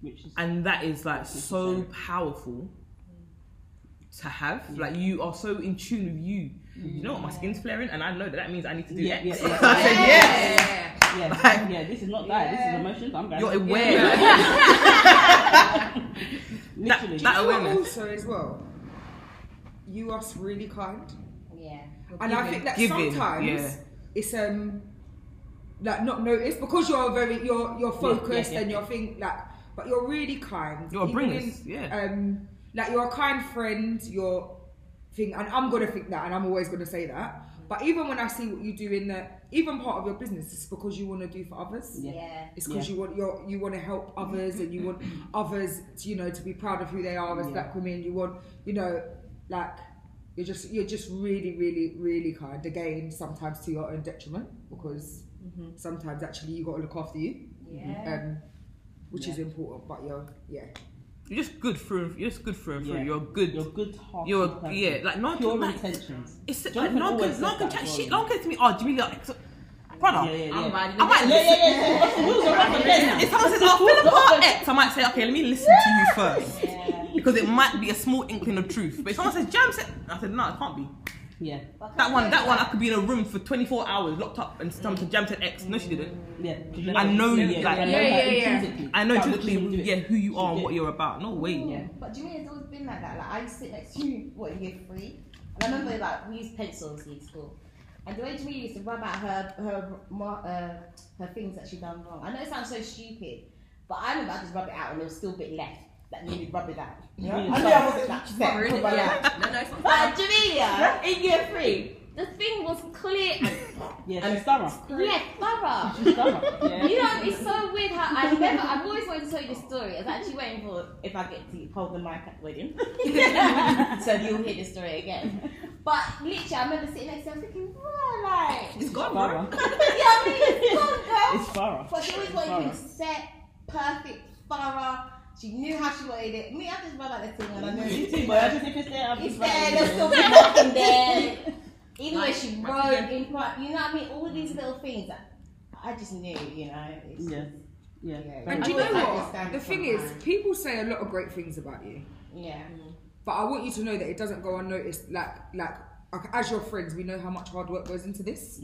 Speaker 9: Which is
Speaker 2: and that is like so powerful to have. Like you are so in tune with you. You know what, my skin's flaring, and I know that that means I need to do
Speaker 9: yeah,
Speaker 2: X.
Speaker 9: yeah, yeah,
Speaker 2: I said yes.
Speaker 9: yeah, yeah. This is not that. This is emotions. I'm
Speaker 2: You're
Speaker 9: going.
Speaker 2: aware.
Speaker 9: Literally.
Speaker 2: that-
Speaker 4: you are
Speaker 2: awareness.
Speaker 4: also as well. You are really kind.
Speaker 6: Yeah.
Speaker 4: and I think that
Speaker 2: Giving,
Speaker 4: sometimes
Speaker 2: yeah.
Speaker 4: it's um like not noticed because you're very you're you're focused
Speaker 9: yeah,
Speaker 4: and
Speaker 9: yeah.
Speaker 4: you're think like but you're really kind.
Speaker 2: You're a
Speaker 4: Even
Speaker 2: bringers,
Speaker 4: in,
Speaker 2: yeah.
Speaker 4: Um, like you're a kind friend. You're thing, and I'm gonna think that, and I'm always gonna say that. But even when I see what you do in the even part of your business, it's because you want to do for others.
Speaker 9: Yeah.
Speaker 6: Yeah.
Speaker 4: It's because
Speaker 9: Yeah. Mm-hmm.
Speaker 4: you want your, you want to help others and you want others, to, you know, to be proud of who they are as
Speaker 9: Yeah.
Speaker 4: black women. You want, you know, like you're just you're just really, really, really kind. Again, sometimes to your own detriment because
Speaker 9: Mm-hmm.
Speaker 4: sometimes actually you got to look after you,
Speaker 6: Yeah.
Speaker 4: um, which is
Speaker 9: Yeah.
Speaker 4: important. But you're yeah,
Speaker 2: You're just good through. and- You're just good through and through.
Speaker 9: Yeah.
Speaker 2: You're good.
Speaker 9: You're good heart.
Speaker 2: You're yeah, like no one
Speaker 9: Pure
Speaker 2: can like,
Speaker 9: intentions.
Speaker 2: it's like
Speaker 9: Jonathan
Speaker 2: no one
Speaker 9: always
Speaker 2: can no one
Speaker 9: says
Speaker 2: can
Speaker 9: that
Speaker 2: chat
Speaker 9: as well,
Speaker 2: shit.
Speaker 9: you
Speaker 2: No one can to me. Oh, Jimmy, like, so, brother.
Speaker 9: Yeah, yeah, yeah.
Speaker 8: I'm riding
Speaker 2: I might
Speaker 9: Yeah,
Speaker 2: listen.
Speaker 9: yeah, yeah. What's the rules around the
Speaker 2: If
Speaker 9: bend?
Speaker 2: someone says, "Oh, Philip Hart X," I might say, "Okay, let me listen to you first.
Speaker 6: Yeah.
Speaker 2: because it might be a small inkling of truth." But if someone says, "Jam," said, I said, "No, it can't be."
Speaker 9: Yeah,
Speaker 2: That one, that one, I could be in a room for 24 hours, locked up, and some to jam to X. No, she didn't.
Speaker 9: yeah.
Speaker 2: I know
Speaker 9: yeah,
Speaker 2: you,
Speaker 9: yeah,
Speaker 2: like-
Speaker 9: I know
Speaker 4: Yeah, yeah,
Speaker 9: that
Speaker 4: yeah.
Speaker 9: intrinsically.
Speaker 2: I know
Speaker 9: That would
Speaker 2: typically,
Speaker 9: you do it.
Speaker 2: yeah, who you are and
Speaker 9: Yeah.
Speaker 2: what you're about. No way.
Speaker 6: Yeah. But do you mean it's always been like that? Like I used to sit next to you, what in year three, and I remember like we used pencils in school, and the way Jamila used to rub out her her mar- uh, her things that she done wrong. I know it sounds so stupid, but I remember I just rub it out and there was still a bit left that needed rubbing out.
Speaker 9: Yeah.
Speaker 6: I know I wasn't that upset,
Speaker 8: Ruin it,
Speaker 6: but, like,
Speaker 8: yeah. No, no, it's
Speaker 6: but
Speaker 8: not.
Speaker 6: Jamila in year three, the thing was clear and
Speaker 9: Yeah, she's thorough.
Speaker 6: yeah, thorough.
Speaker 9: She's thorough. Yeah.
Speaker 6: You know, it's so weird how I never, I've always wanted to tell you this story. I was actually waiting for if I get to hold the mic at the wedding. so you'll hear this story again. But literally, I remember sitting next to her thinking, wow, like,
Speaker 8: It's gone, bro.
Speaker 9: Thorough.
Speaker 6: you know what I mean? It's gone, girl.
Speaker 9: It's thorough.
Speaker 6: But she always wanted
Speaker 9: Thorough.
Speaker 6: things set, perfect, thorough. She knew how she wanted it. Me, I just rub out the thing and I know
Speaker 9: You too, but I just if it's there, I'm
Speaker 6: it's
Speaker 9: just
Speaker 6: there,
Speaker 9: right.
Speaker 6: there's still nothing there. Even when
Speaker 8: Nice.
Speaker 6: she
Speaker 8: Right
Speaker 6: wrote
Speaker 8: again.
Speaker 6: in front, you know what I mean? All these little things that I just knew, you know. It's
Speaker 9: Yeah. Yeah.
Speaker 4: And
Speaker 6: I
Speaker 4: do you
Speaker 6: always
Speaker 4: know
Speaker 6: like
Speaker 4: what?
Speaker 6: this standard
Speaker 4: The thing is,
Speaker 6: sometimes.
Speaker 4: people say a lot of great things about you,
Speaker 6: yeah.
Speaker 9: Mm-hmm.
Speaker 4: but I want you to know that it doesn't go unnoticed. Like, like, like as your friends, we know how much hard work goes into
Speaker 9: Mm-hmm.
Speaker 4: this,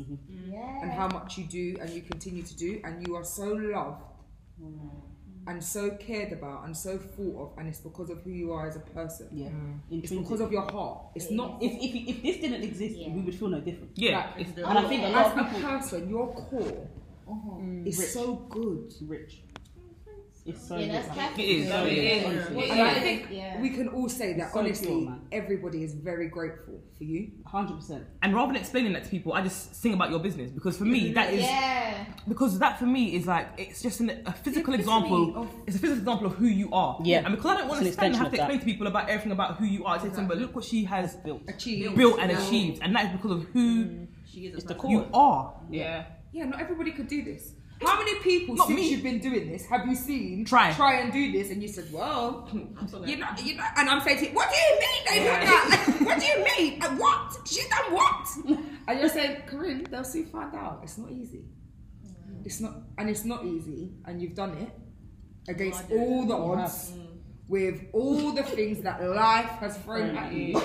Speaker 6: Yeah.
Speaker 4: and how much you do, and you continue to do, and you are so loved,
Speaker 9: Mm.
Speaker 4: and so cared about, and so thought of, and it's because of who you are as a person.
Speaker 9: Yeah.
Speaker 4: It's
Speaker 9: Intrinsic.
Speaker 4: because of your heart. It's not.
Speaker 9: if, if, if this didn't exist,
Speaker 6: Yeah.
Speaker 9: we would feel no different.
Speaker 2: Yeah.
Speaker 4: Like,
Speaker 2: it's-
Speaker 9: And I think a
Speaker 4: as
Speaker 9: lot
Speaker 4: a
Speaker 9: of people Uh-huh.
Speaker 4: person, your core is
Speaker 9: Rich.
Speaker 4: so good.
Speaker 9: It's rich. It's so
Speaker 6: Yeah, that's
Speaker 9: rich.
Speaker 6: perfect.
Speaker 2: It is, it
Speaker 9: So rich,
Speaker 2: is.
Speaker 9: honestly.
Speaker 4: And I think
Speaker 6: Yeah.
Speaker 4: we can all say that
Speaker 9: So
Speaker 4: honestly,
Speaker 9: pure, man.
Speaker 4: everybody is very grateful for you.
Speaker 9: 100%.
Speaker 2: And rather than explaining that to people, I just sing about your business because for me that is
Speaker 6: yeah.
Speaker 2: because that for me is like it's just an, a physical
Speaker 4: It's an
Speaker 2: example.
Speaker 4: epitome of-
Speaker 2: It's a physical example of who you are.
Speaker 9: Yeah.
Speaker 2: And because I don't want
Speaker 9: It's
Speaker 2: to stand
Speaker 9: an
Speaker 2: and have to
Speaker 9: extension of
Speaker 2: explain to people about everything about who you are, it's just saying, but look what she has
Speaker 9: Built.
Speaker 4: Achieve.
Speaker 2: built and achieved, and that is because of who
Speaker 8: She is a
Speaker 9: It's the
Speaker 8: person.
Speaker 9: core.
Speaker 2: you are.
Speaker 9: Yeah.
Speaker 4: Yeah, not everybody could do this. How many people
Speaker 2: Not
Speaker 4: since
Speaker 2: me.
Speaker 4: you've been doing this have you seen
Speaker 2: Try.
Speaker 4: try and do this and you said, well,
Speaker 8: I'm sorry.
Speaker 4: you know, you know, and I'm saying, to you, what do you mean they done that? what do you mean? And what? She done what? And you're saying, Corinne, they'll soon find out. It's not easy. It's not, and it's not easy. And you've done it against
Speaker 8: I did.
Speaker 4: all the odds, with all the things that life has thrown at you,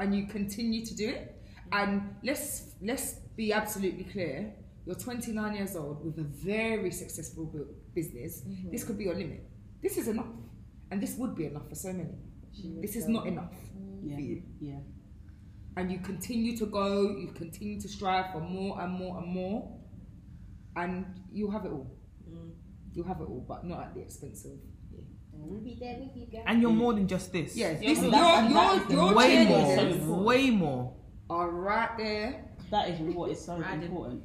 Speaker 4: and you continue to do it. And let's let's be absolutely clear. You're 29 years old with a very successful bu- business. This could be your limit. This is enough, and this would be enough for so many. This is not enough for
Speaker 9: Yeah.
Speaker 4: you
Speaker 9: Yeah.
Speaker 4: and you continue to go, you continue to strive for more and more and more, and you'll have it all. You'll have it all, but not at the expense of.
Speaker 6: We'll be there with you, girl.
Speaker 2: And you're more than just this.
Speaker 4: Yes,
Speaker 9: Yeah,
Speaker 4: this,
Speaker 9: and
Speaker 4: your,
Speaker 9: that's- and that
Speaker 4: your,
Speaker 9: is the
Speaker 4: your
Speaker 2: Way
Speaker 9: Yes.
Speaker 2: more.
Speaker 4: cheerleaders
Speaker 2: Way more.
Speaker 4: are right there.
Speaker 9: That is what is so
Speaker 8: Riding.
Speaker 9: important.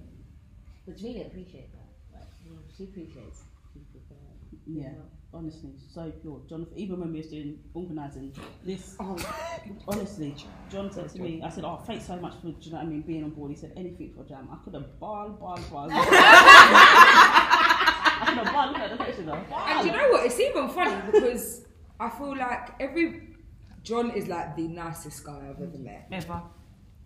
Speaker 6: But Jamila appreciates that. Like, she appreciates people. for
Speaker 9: Yeah. Honestly, so pure. Jonathan, even when we was doing organising this,
Speaker 4: Oh,
Speaker 9: honestly, John said to me, I said, "Oh, thanks so much for, do you know what I mean, being on board." He said, "Anything for jam." I could have barred, barred, barred. I could have barred. Look at the picture though.
Speaker 4: and you know what? It's even funny because I feel like every John is like the nicest guy I've ever met.
Speaker 10: Ever.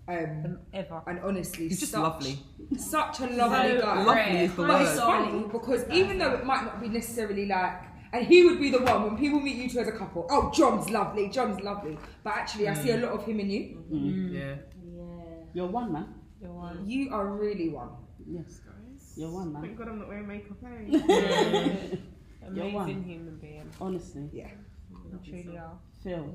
Speaker 4: Um,
Speaker 10: Ever.
Speaker 4: and honestly,
Speaker 2: He's just
Speaker 4: such,
Speaker 2: lovely.
Speaker 4: Such a lovely guy.
Speaker 2: Lovely is the
Speaker 4: But it's
Speaker 2: word.
Speaker 4: funny because even though it might not be necessarily like, and he would be the one when people meet you two as a couple. Oh, John's lovely. John's lovely. But actually, I see
Speaker 2: Mm.
Speaker 4: a lot of him in you.
Speaker 2: Yeah.
Speaker 6: Yeah.
Speaker 9: You're one man.
Speaker 4: You are really one.
Speaker 9: Yes. You're one man.
Speaker 3: Thank God I'm not wearing makeup. eh?
Speaker 9: You're one.
Speaker 10: Amazing human being.
Speaker 9: Honestly,
Speaker 4: Yeah,
Speaker 10: You truly are.
Speaker 9: Phil.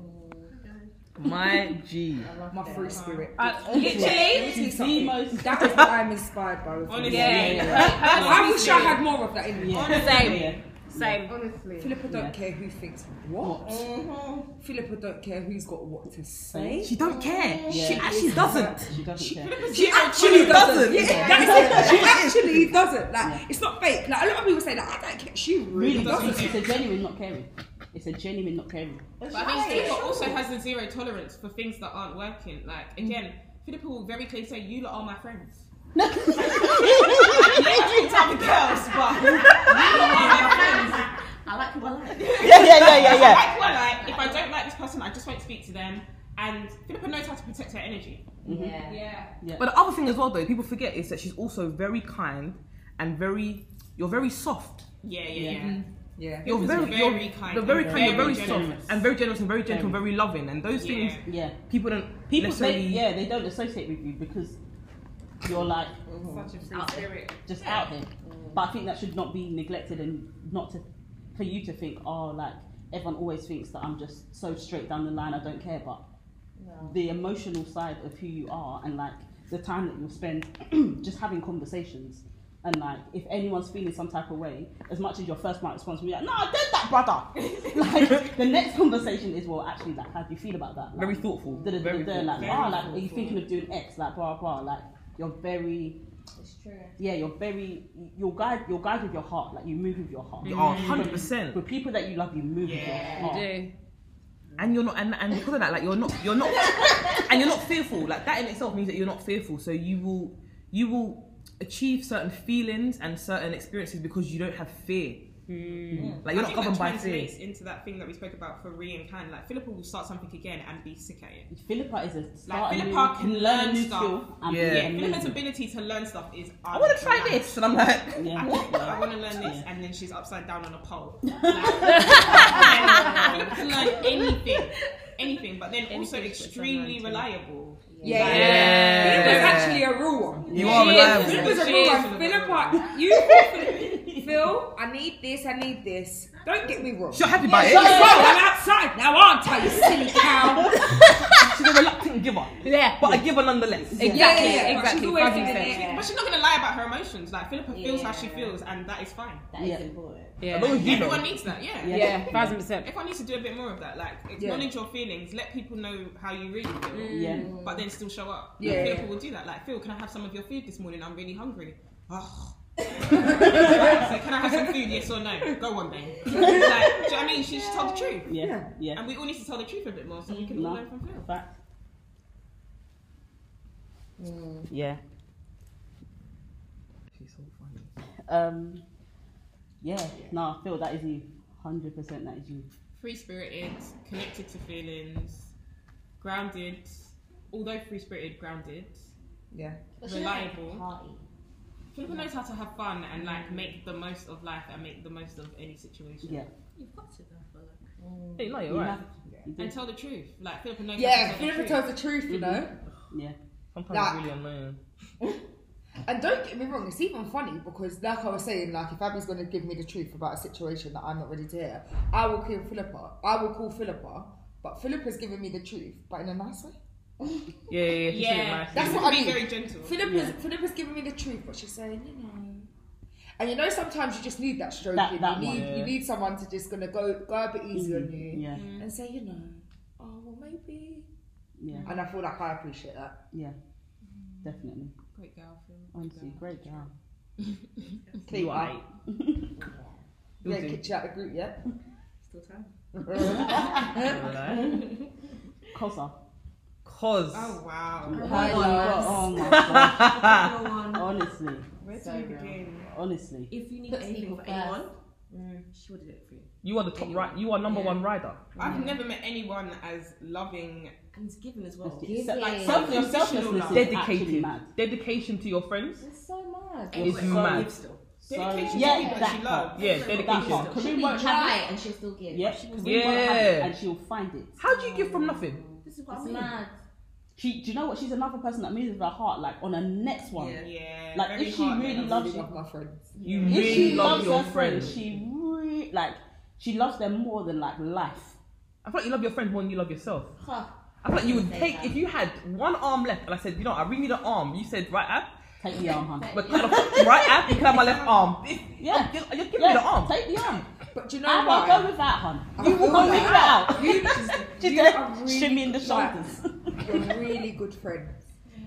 Speaker 2: My G.
Speaker 4: my free spirit.
Speaker 10: I,
Speaker 4: Let
Speaker 10: literally.
Speaker 4: me tell you
Speaker 9: the
Speaker 4: something.
Speaker 9: most-
Speaker 4: That is what I'm inspired by. With you.
Speaker 3: Honestly.
Speaker 10: Yeah.
Speaker 4: I wish I had more of that in me.
Speaker 9: Yeah.
Speaker 10: Same. Same.
Speaker 3: Honestly.
Speaker 4: Philippa don't care who thinks what.
Speaker 3: Uh-huh.
Speaker 4: Philippa don't care who's got what to say.
Speaker 2: She don't care.
Speaker 9: Yeah.
Speaker 2: She actually doesn't.
Speaker 9: She doesn't care.
Speaker 4: She actually doesn't. Yeah, that's it. She actually doesn't. Like,
Speaker 9: Yeah.
Speaker 4: it's not fake. Like, a lot of people say that I don't care. She really,
Speaker 9: Really
Speaker 4: doesn't.
Speaker 9: doesn't. It's a genuine not caring. It's a genuine not caring.
Speaker 3: But I think Philippa also has a zero tolerance for things that aren't working. Like again, Philippa will very clearly say, "You lot are my friends." Literally, type of girls, but you lot are my friends.
Speaker 8: I like who I like.
Speaker 9: Yeah, yeah, yeah,
Speaker 3: I
Speaker 9: yeah,
Speaker 3: like who I like. If I don't like this person, I just won't speak to them. And Philippa knows how to protect her energy.
Speaker 6: Yeah.
Speaker 3: Yeah.
Speaker 2: But the other thing as well, though, people forget is that she's also very kind and very. You're very soft.
Speaker 3: Yeah, yeah, yeah.
Speaker 9: Yeah.
Speaker 4: Yeah.
Speaker 2: You're
Speaker 3: People are
Speaker 2: very,
Speaker 3: very
Speaker 2: you're,
Speaker 3: kind
Speaker 2: You're
Speaker 3: and
Speaker 2: very kind. You're
Speaker 3: very
Speaker 2: very soft
Speaker 9: generous.
Speaker 2: and very generous and very gentle, and
Speaker 9: Very.
Speaker 2: very loving, and those
Speaker 3: Yeah.
Speaker 2: things
Speaker 9: Yeah.
Speaker 2: people don't
Speaker 9: People
Speaker 2: necessarily.
Speaker 9: say, yeah, they don't associate with you because you're like
Speaker 4: Mm-hmm.
Speaker 3: Such a free
Speaker 9: Out there.
Speaker 3: spirit.
Speaker 9: just out there. But I think that should not be neglected and not to, for you to think, oh, like everyone always thinks that I'm just so straight down the line, I don't care. But the emotional side of who you are and like the time that you'll spend just having conversations. And like, if anyone's feeling some type of way, as much as your first might response will be like, "No, I did that, brother." like, the next conversation is, "Well, actually, like, how do you feel about that?" Like,
Speaker 2: Very thoughtful.
Speaker 9: da, da, da,
Speaker 2: very
Speaker 9: da,
Speaker 2: thoughtful.
Speaker 9: like, ah, like, are you thinking of doing X? Like, blah, blah, like, you're very,
Speaker 6: It's true.
Speaker 9: yeah, you're very, you're guide, you're guide with your heart. Like, you move with your heart.
Speaker 2: You are
Speaker 3: Mm.
Speaker 2: hundred percent,
Speaker 9: With people that you love, you move with
Speaker 3: Mm-hmm. Yeah,
Speaker 9: your heart.
Speaker 10: do.
Speaker 2: and you're not, and, and because of that, like you're not, you're not, and you're not fearful. Like that in itself means that you're not fearful. So you will, you will achieve certain feelings and certain experiences because you don't have fear. Like you're
Speaker 3: Mm. I
Speaker 2: not
Speaker 3: think
Speaker 2: governed
Speaker 3: that
Speaker 2: by fear.
Speaker 3: translates into that thing that we spoke about for Re and Can. Like Philippa will start something again and be sick at it.
Speaker 9: Philippa is a start.
Speaker 3: Philippa
Speaker 9: Philippa
Speaker 3: can
Speaker 9: learn a
Speaker 3: learn
Speaker 9: new
Speaker 3: stuff.
Speaker 9: skill. And
Speaker 2: Yeah.
Speaker 9: be
Speaker 2: Yeah,
Speaker 3: Philippa's
Speaker 9: amazing.
Speaker 3: ability to learn stuff is.
Speaker 2: I want to try this, and I'm like,
Speaker 9: Yeah.
Speaker 3: I, want- I want to learn this,
Speaker 9: Yeah.
Speaker 3: and then she's upside down on a pole. Like, Philippa can learn anything, anything, but then also
Speaker 10: Anything she puts her mind
Speaker 3: extremely
Speaker 10: to.
Speaker 3: reliable.
Speaker 4: Yeah. yeah.
Speaker 2: Yeah.
Speaker 4: Philippa's actually a real one.
Speaker 2: You are
Speaker 10: She
Speaker 2: reliable.
Speaker 10: is.
Speaker 4: Philippa's a
Speaker 10: She
Speaker 4: real
Speaker 10: is.
Speaker 4: one. Philippa, you Phil, I need this, I need this. Don't get me wrong.
Speaker 2: She's not happy about
Speaker 4: Shut
Speaker 2: it.
Speaker 4: the fuck up, I'm outside now, aren't I, you silly cow?
Speaker 2: She's a reluctant giver,
Speaker 10: Yeah.
Speaker 2: but a giver nonetheless.
Speaker 10: Exactly,
Speaker 4: Yeah, yeah, yeah.
Speaker 10: exactly.
Speaker 4: She's always
Speaker 10: Fucking
Speaker 4: in
Speaker 10: sense.
Speaker 4: it.
Speaker 3: But she's not going to lie about her emotions. Like Philippa feels how she
Speaker 6: Yeah.
Speaker 3: feels, and that is fine.
Speaker 6: That is
Speaker 9: Yeah.
Speaker 6: important.
Speaker 2: As long
Speaker 10: Yeah.
Speaker 2: as you
Speaker 3: Everyone
Speaker 2: know.
Speaker 3: needs that, yeah.
Speaker 9: Yeah.
Speaker 10: Yeah, thousand percent.
Speaker 3: Everyone needs to do a bit more of that. Like acknowledge your feelings, let people know how you really feel,
Speaker 9: Yeah.
Speaker 3: but then still show
Speaker 4: Mm.
Speaker 3: up.
Speaker 4: Yeah,
Speaker 3: Like,
Speaker 4: yeah.
Speaker 3: Philippa will do that. Like Phil, can I have some of your food this morning? I'm really hungry. Ugh. so can I have some food? Yes or no? Go on then. like, do you know what I mean? She just told the truth,
Speaker 9: Yeah. Yeah.
Speaker 3: and we all need to tell the truth a bit more so we can all
Speaker 9: No.
Speaker 3: learn from Phil.
Speaker 9: Fact.
Speaker 3: Mm.
Speaker 9: Yeah.
Speaker 2: She's so funny.
Speaker 9: Um, yeah, nah, Phil, that is you. 100% that is you.
Speaker 3: free spirited, connected to feelings, grounded. Although free spirited, grounded.
Speaker 4: Yeah.
Speaker 6: But she doesn't
Speaker 3: Reliable.
Speaker 6: party.
Speaker 3: Philippa knows how to have fun and like make the most of life and make the most of any situation.
Speaker 9: Yeah.
Speaker 8: You've got to though, for like.
Speaker 2: Hey, no, you're
Speaker 9: You
Speaker 2: right.
Speaker 9: have-
Speaker 3: And tell the truth. Like Philippa knows.
Speaker 4: Yeah,
Speaker 3: how to tell
Speaker 4: Philippa
Speaker 3: the
Speaker 4: tells the truth, you know.
Speaker 9: Yeah.
Speaker 2: Sometimes
Speaker 4: Nah.
Speaker 2: it's really annoying.
Speaker 4: And don't get me wrong, it's even funny because, like I was saying, like if Abby's going to give me the truth about a situation that I'm not ready to hear, I will call Philippa. I will call Philippa, but Philippa's giving me the truth, but in a nice way.
Speaker 2: Yeah, yeah, yeah.
Speaker 3: truth.
Speaker 2: she's really
Speaker 3: Yeah,
Speaker 2: nice.
Speaker 4: That's
Speaker 3: that's
Speaker 4: what I
Speaker 3: being
Speaker 4: mean.
Speaker 3: very gentle.
Speaker 4: Philippa's Philippa's giving me the truth, but she's saying, you know. And you know, sometimes you just need that stroke.
Speaker 9: That-
Speaker 4: in.
Speaker 9: that
Speaker 4: you
Speaker 9: one.
Speaker 4: need you
Speaker 2: Yeah.
Speaker 4: need someone to just gonna go go a bit easy on you
Speaker 9: Yeah.
Speaker 4: and say, you know, oh well maybe.
Speaker 9: Yeah.
Speaker 4: And I feel like I appreciate that.
Speaker 9: Yeah. Definitely.
Speaker 3: Great girl, Phil. Good
Speaker 9: Honestly,
Speaker 3: girl.
Speaker 9: great girl.
Speaker 4: Clear
Speaker 2: You
Speaker 4: up.
Speaker 2: are.
Speaker 4: You ain't
Speaker 2: You'll do.
Speaker 4: kicked you out the group yet.
Speaker 8: Still time.
Speaker 2: Alright.
Speaker 9: Cosa.
Speaker 2: Cause
Speaker 3: Oh wow.
Speaker 9: Oh,
Speaker 4: my
Speaker 9: my
Speaker 4: God.
Speaker 9: God. oh my god.
Speaker 8: Number one.
Speaker 9: honestly.
Speaker 3: Where do
Speaker 6: So
Speaker 3: we
Speaker 6: real.
Speaker 3: begin?
Speaker 9: Honestly.
Speaker 8: If you need
Speaker 6: Puts
Speaker 8: anything
Speaker 6: people
Speaker 8: for
Speaker 6: first.
Speaker 8: anyone, she would do it for you.
Speaker 2: you are the top right. You are number one rider.
Speaker 3: I've never met anyone as loving.
Speaker 8: And it's given as well.
Speaker 9: Just-
Speaker 6: Give
Speaker 9: like,
Speaker 6: it.
Speaker 9: self- your
Speaker 3: Unconditional
Speaker 9: selflessness
Speaker 3: love.
Speaker 9: is actually
Speaker 2: Dedicated.
Speaker 9: mad.
Speaker 2: Dedication to your friends.
Speaker 6: It's so much.
Speaker 2: It's
Speaker 8: Anyway,
Speaker 2: mad.
Speaker 8: live still.
Speaker 9: So,
Speaker 3: Dedication
Speaker 9: yeah,
Speaker 3: to people that, she
Speaker 9: part.
Speaker 3: loves.
Speaker 2: Yeah,
Speaker 9: That
Speaker 2: dedication.
Speaker 9: part.
Speaker 6: She'll
Speaker 9: Kareem
Speaker 6: be
Speaker 9: won't have
Speaker 6: dry
Speaker 9: it.
Speaker 6: and she'll still give.
Speaker 9: Yeah.
Speaker 6: She
Speaker 9: Kareem
Speaker 6: was
Speaker 9: won't have it
Speaker 2: Yeah.
Speaker 9: and she'll find it.
Speaker 2: How do you give from nothing?
Speaker 8: This is what
Speaker 6: it's
Speaker 9: Mm.
Speaker 8: I mean.
Speaker 6: mad.
Speaker 9: She, do you know what? She's another person that moves with her heart, like on her next one.
Speaker 8: Yeah.
Speaker 3: Yeah.
Speaker 9: Like,
Speaker 3: very
Speaker 9: if she
Speaker 3: hard,
Speaker 9: really
Speaker 3: man.
Speaker 9: loves you,
Speaker 4: love my friends.
Speaker 2: You
Speaker 9: if
Speaker 2: really
Speaker 9: she
Speaker 2: love
Speaker 9: loves
Speaker 2: your
Speaker 9: her
Speaker 2: friends.
Speaker 9: friends, she really like she loves them more than like life.
Speaker 2: I feel like you love your friends more than you love yourself.
Speaker 6: Huh.
Speaker 2: I feel like you would
Speaker 6: Say
Speaker 2: take
Speaker 6: that.
Speaker 2: if you had one arm left, and I said, you know, I really need an arm. You said right ab,
Speaker 9: Take the arm, hun.
Speaker 2: but cut off right ab, you can have my left arm.
Speaker 9: Yeah,
Speaker 2: You're you're giving
Speaker 9: yeah.
Speaker 2: me the arm.
Speaker 9: Take the arm.
Speaker 4: But do you know
Speaker 9: I will
Speaker 4: what?
Speaker 9: go with that, hun.
Speaker 4: You will
Speaker 9: Go with that.
Speaker 4: You just,
Speaker 9: She's
Speaker 4: you
Speaker 9: there
Speaker 4: are really,
Speaker 9: shimmying the
Speaker 4: like,
Speaker 9: shoulders.
Speaker 4: You're really good friends.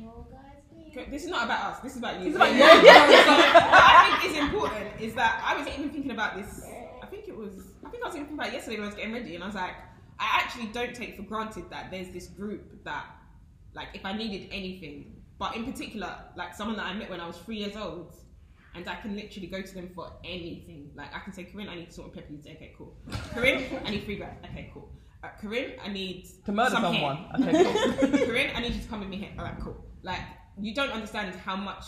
Speaker 6: Oh, guys, please.
Speaker 3: Okay, This is not about us. This is about you.
Speaker 2: It's like,
Speaker 3: Yeah.
Speaker 2: yeah, yeah.
Speaker 3: what I think is important is that I was even thinking about this. I think it was. I think I was even thinking about it yesterday when I was getting ready, and I was like, I actually don't take for granted that there's this group that, like, if I needed anything, but in particular, like someone that I met when I was three years old. And I can literally go to them for anything. Like I can say, Corinne, I need salt and pepper. You say, okay, cool. Corinne, I need free bread. Okay, cool. Uh, Corinne, I need
Speaker 2: To murder
Speaker 3: some hair.
Speaker 2: someone. Okay, cool.
Speaker 3: Corinne, I need you to come with me here. All right, cool. Like, you don't understand how much,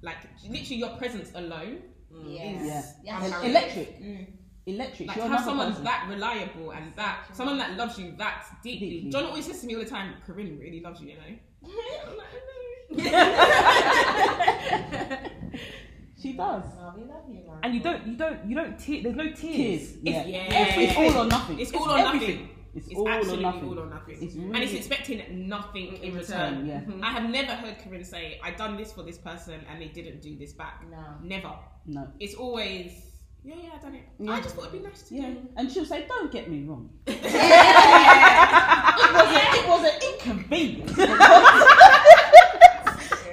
Speaker 3: like, literally your presence alone
Speaker 6: Yeah.
Speaker 3: is
Speaker 9: Yeah.
Speaker 6: Yeah.
Speaker 3: I'm
Speaker 9: It's
Speaker 3: sorry.
Speaker 9: Electric.
Speaker 3: Mm.
Speaker 9: electric.
Speaker 3: Like
Speaker 9: You're
Speaker 3: how
Speaker 9: another
Speaker 3: someone's
Speaker 9: person.
Speaker 3: that reliable and that someone that loves you that deeply.
Speaker 9: Deeply.
Speaker 3: John always says to me all the time, Corinne really loves you, you know. I'm like, "I know."
Speaker 9: She does.
Speaker 6: Oh, we love you, man.
Speaker 2: And you don't, you don't, you don't. Te- there's no tears.
Speaker 9: Tears. Yeah.
Speaker 3: yeah.
Speaker 9: It's all or nothing.
Speaker 3: It's all or nothing.
Speaker 2: everything.
Speaker 9: It's
Speaker 3: It's
Speaker 9: all or
Speaker 3: absolutely
Speaker 9: nothing.
Speaker 3: all or nothing.
Speaker 9: It's
Speaker 3: and it's
Speaker 9: really-
Speaker 3: expecting nothing in
Speaker 9: return,
Speaker 3: return. Mm-hmm.
Speaker 9: yeah.
Speaker 3: I have never heard Corinne say, I done this for this person and they didn't do this back.
Speaker 6: No.
Speaker 3: Never.
Speaker 9: No.
Speaker 3: It's always, yeah, yeah, I done it.
Speaker 9: Yeah.
Speaker 3: I just thought it'd be nice to
Speaker 9: Yeah.
Speaker 3: do.
Speaker 9: And she'll say, "Don't get me wrong. it was a, it was an inconvenience.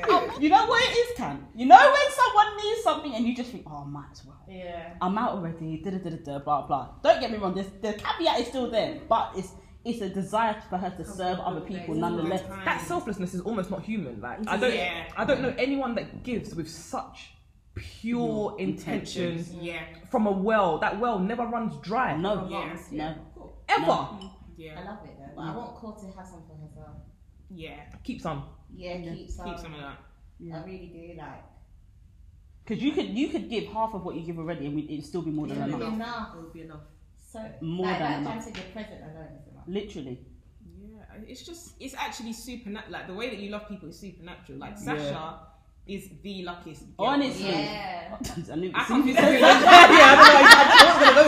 Speaker 9: Oh, you know what it is, Can? You know when someone needs something and you just think, oh, I might as well.
Speaker 6: Yeah.
Speaker 9: I'm out already, da da da da, blah blah. Don't get me wrong, this, the caveat is still there, but it's it's a desire for her to serve other people nonetheless.
Speaker 3: Time.
Speaker 2: That selflessness is almost not human. Like I don't,
Speaker 3: Yeah.
Speaker 2: I don't know anyone that gives with such pure intention
Speaker 3: yeah.
Speaker 2: from a well. That well never runs dry.
Speaker 9: No,
Speaker 3: Yeah.
Speaker 9: no,
Speaker 6: Cool.
Speaker 2: ever.
Speaker 6: I
Speaker 3: Yeah.
Speaker 6: love it
Speaker 9: Mm.
Speaker 6: though. But I want Cor to have some for herself.
Speaker 3: Yeah.
Speaker 2: Keep some.
Speaker 6: Yeah, keep some.
Speaker 9: Um,
Speaker 3: Keep some of that.
Speaker 6: I really do like.
Speaker 9: because you could you could give half of what you give already, and we, it'd still be more than
Speaker 6: It'll be
Speaker 9: enough.
Speaker 6: enough.
Speaker 8: It'll be enough.
Speaker 6: So
Speaker 9: More
Speaker 6: like,
Speaker 9: than
Speaker 6: like
Speaker 9: enough.
Speaker 6: Jan said, your present alone is enough.
Speaker 9: Literally,
Speaker 3: Yeah, it's just it's actually supernatural. Like the way that you love people is supernatural. Like Sasha is the luckiest. Girl.
Speaker 9: honestly.
Speaker 6: Yeah.
Speaker 9: I knew
Speaker 3: I
Speaker 9: as
Speaker 3: can't
Speaker 9: soon as
Speaker 3: do
Speaker 9: you said
Speaker 3: that.
Speaker 2: yeah, I don't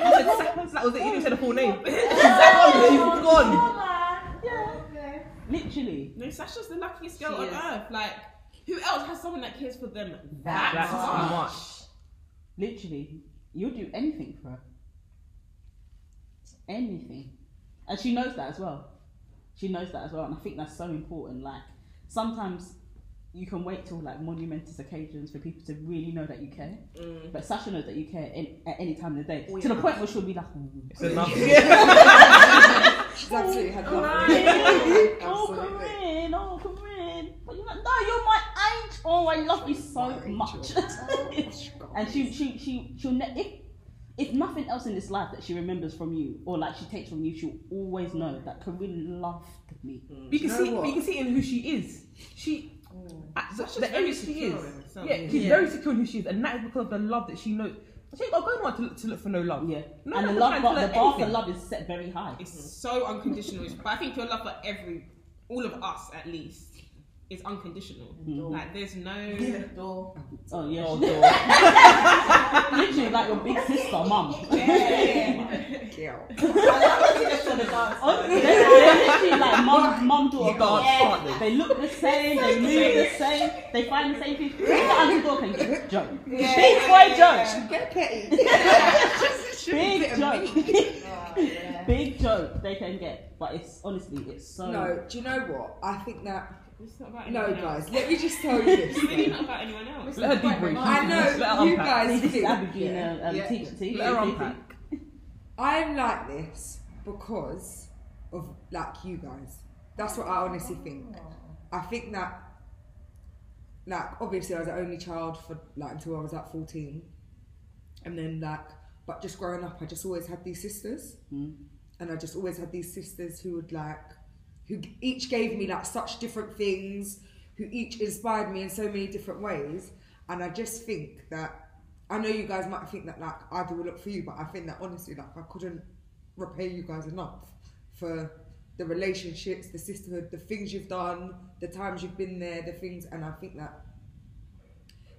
Speaker 2: know. I, I was gonna go there, you know, 'cause I thought. I said, that was it. You didn't say the full name. exactly. You've gone.
Speaker 9: literally,
Speaker 3: No, Sasha's the luckiest girl
Speaker 6: She
Speaker 3: on
Speaker 6: is.
Speaker 3: earth. Like, who else has someone that cares for them that,
Speaker 6: That
Speaker 2: That's
Speaker 3: much?
Speaker 2: much.
Speaker 9: literally, you'll do anything for her. Anything, and she knows that as well. She knows that as well, and I think that's so important. Like sometimes you can wait till like monumentous occasions for people to really know that you care.
Speaker 3: Mm.
Speaker 9: But Sasha knows that you care in, at any time of the day.
Speaker 3: Oh,
Speaker 9: to the point where she'll be like, "Mm,
Speaker 2: It's enough.
Speaker 4: She's absolutely had
Speaker 9: Corinne,
Speaker 4: love.
Speaker 9: oh Corinne, oh Corinne. But you're like, no, you're my angel. Oh, I love you so much. and she, she, she, she'll ne- if if nothing else in this life that she remembers from you or like she takes from you, she'll always know that Corinne loved me.
Speaker 2: You can
Speaker 4: You know
Speaker 2: see,
Speaker 4: what?
Speaker 2: you can see in who she is. She, at the- the
Speaker 3: very
Speaker 2: age she
Speaker 3: secure
Speaker 2: is.
Speaker 3: in herself.
Speaker 2: Yeah, she's very secure in who she is, and that is because of the love that she knows. She ain't got going on to look, to look for no love.
Speaker 9: Yeah,
Speaker 2: No,
Speaker 9: and the
Speaker 2: I'm
Speaker 9: love,
Speaker 2: trying to
Speaker 9: bar, the
Speaker 2: learn
Speaker 9: bar for
Speaker 2: anything.
Speaker 9: love is set very high.
Speaker 3: It's so unconditional. But I think your love for every, all of us at least, is unconditional. Like, there's no.
Speaker 6: Door.
Speaker 9: Oh yeah, literally like your big sister, mum.
Speaker 4: Girl.
Speaker 9: Honestly, they're, they're literally like mum, mum, daughter,
Speaker 2: Dance,
Speaker 9: dance.
Speaker 2: aren't they?
Speaker 9: They look the same, they move the same, they find the same thing. Look at Auntie Dork and get Joe. Big boy Joe.
Speaker 4: Get petty.
Speaker 9: Big joke.
Speaker 6: Oh, yeah.
Speaker 9: Big joke they can get. But it's honestly, it's so.
Speaker 4: No, do you know what? I think that.
Speaker 3: It's not about
Speaker 4: No,
Speaker 3: anyone else.
Speaker 4: guys, let me just tell you this.
Speaker 3: It's really not about anyone else.
Speaker 2: Let her debrief.
Speaker 4: I
Speaker 2: Let
Speaker 4: know
Speaker 2: her
Speaker 4: you
Speaker 2: unpack.
Speaker 4: guys
Speaker 9: This is
Speaker 4: think.
Speaker 9: Abigail, yeah. um,
Speaker 4: Yeah.
Speaker 9: teacher, teacher.
Speaker 2: Let her unpack.
Speaker 4: I'm like this because of like you guys. That's what I honestly think. I think that like obviously I was the only child for like until I was like 14. And then like but just growing up I just always had these sisters. And I just always had these sisters who would like who g- each gave me like such different things, who each inspired me in so many different ways. And I just think that I know you guys might think that like I do a lot for you, but I think that honestly, like I couldn't repay you guys enough for the relationships, the sisterhood, the things you've done, the times you've been there, the things, and I think that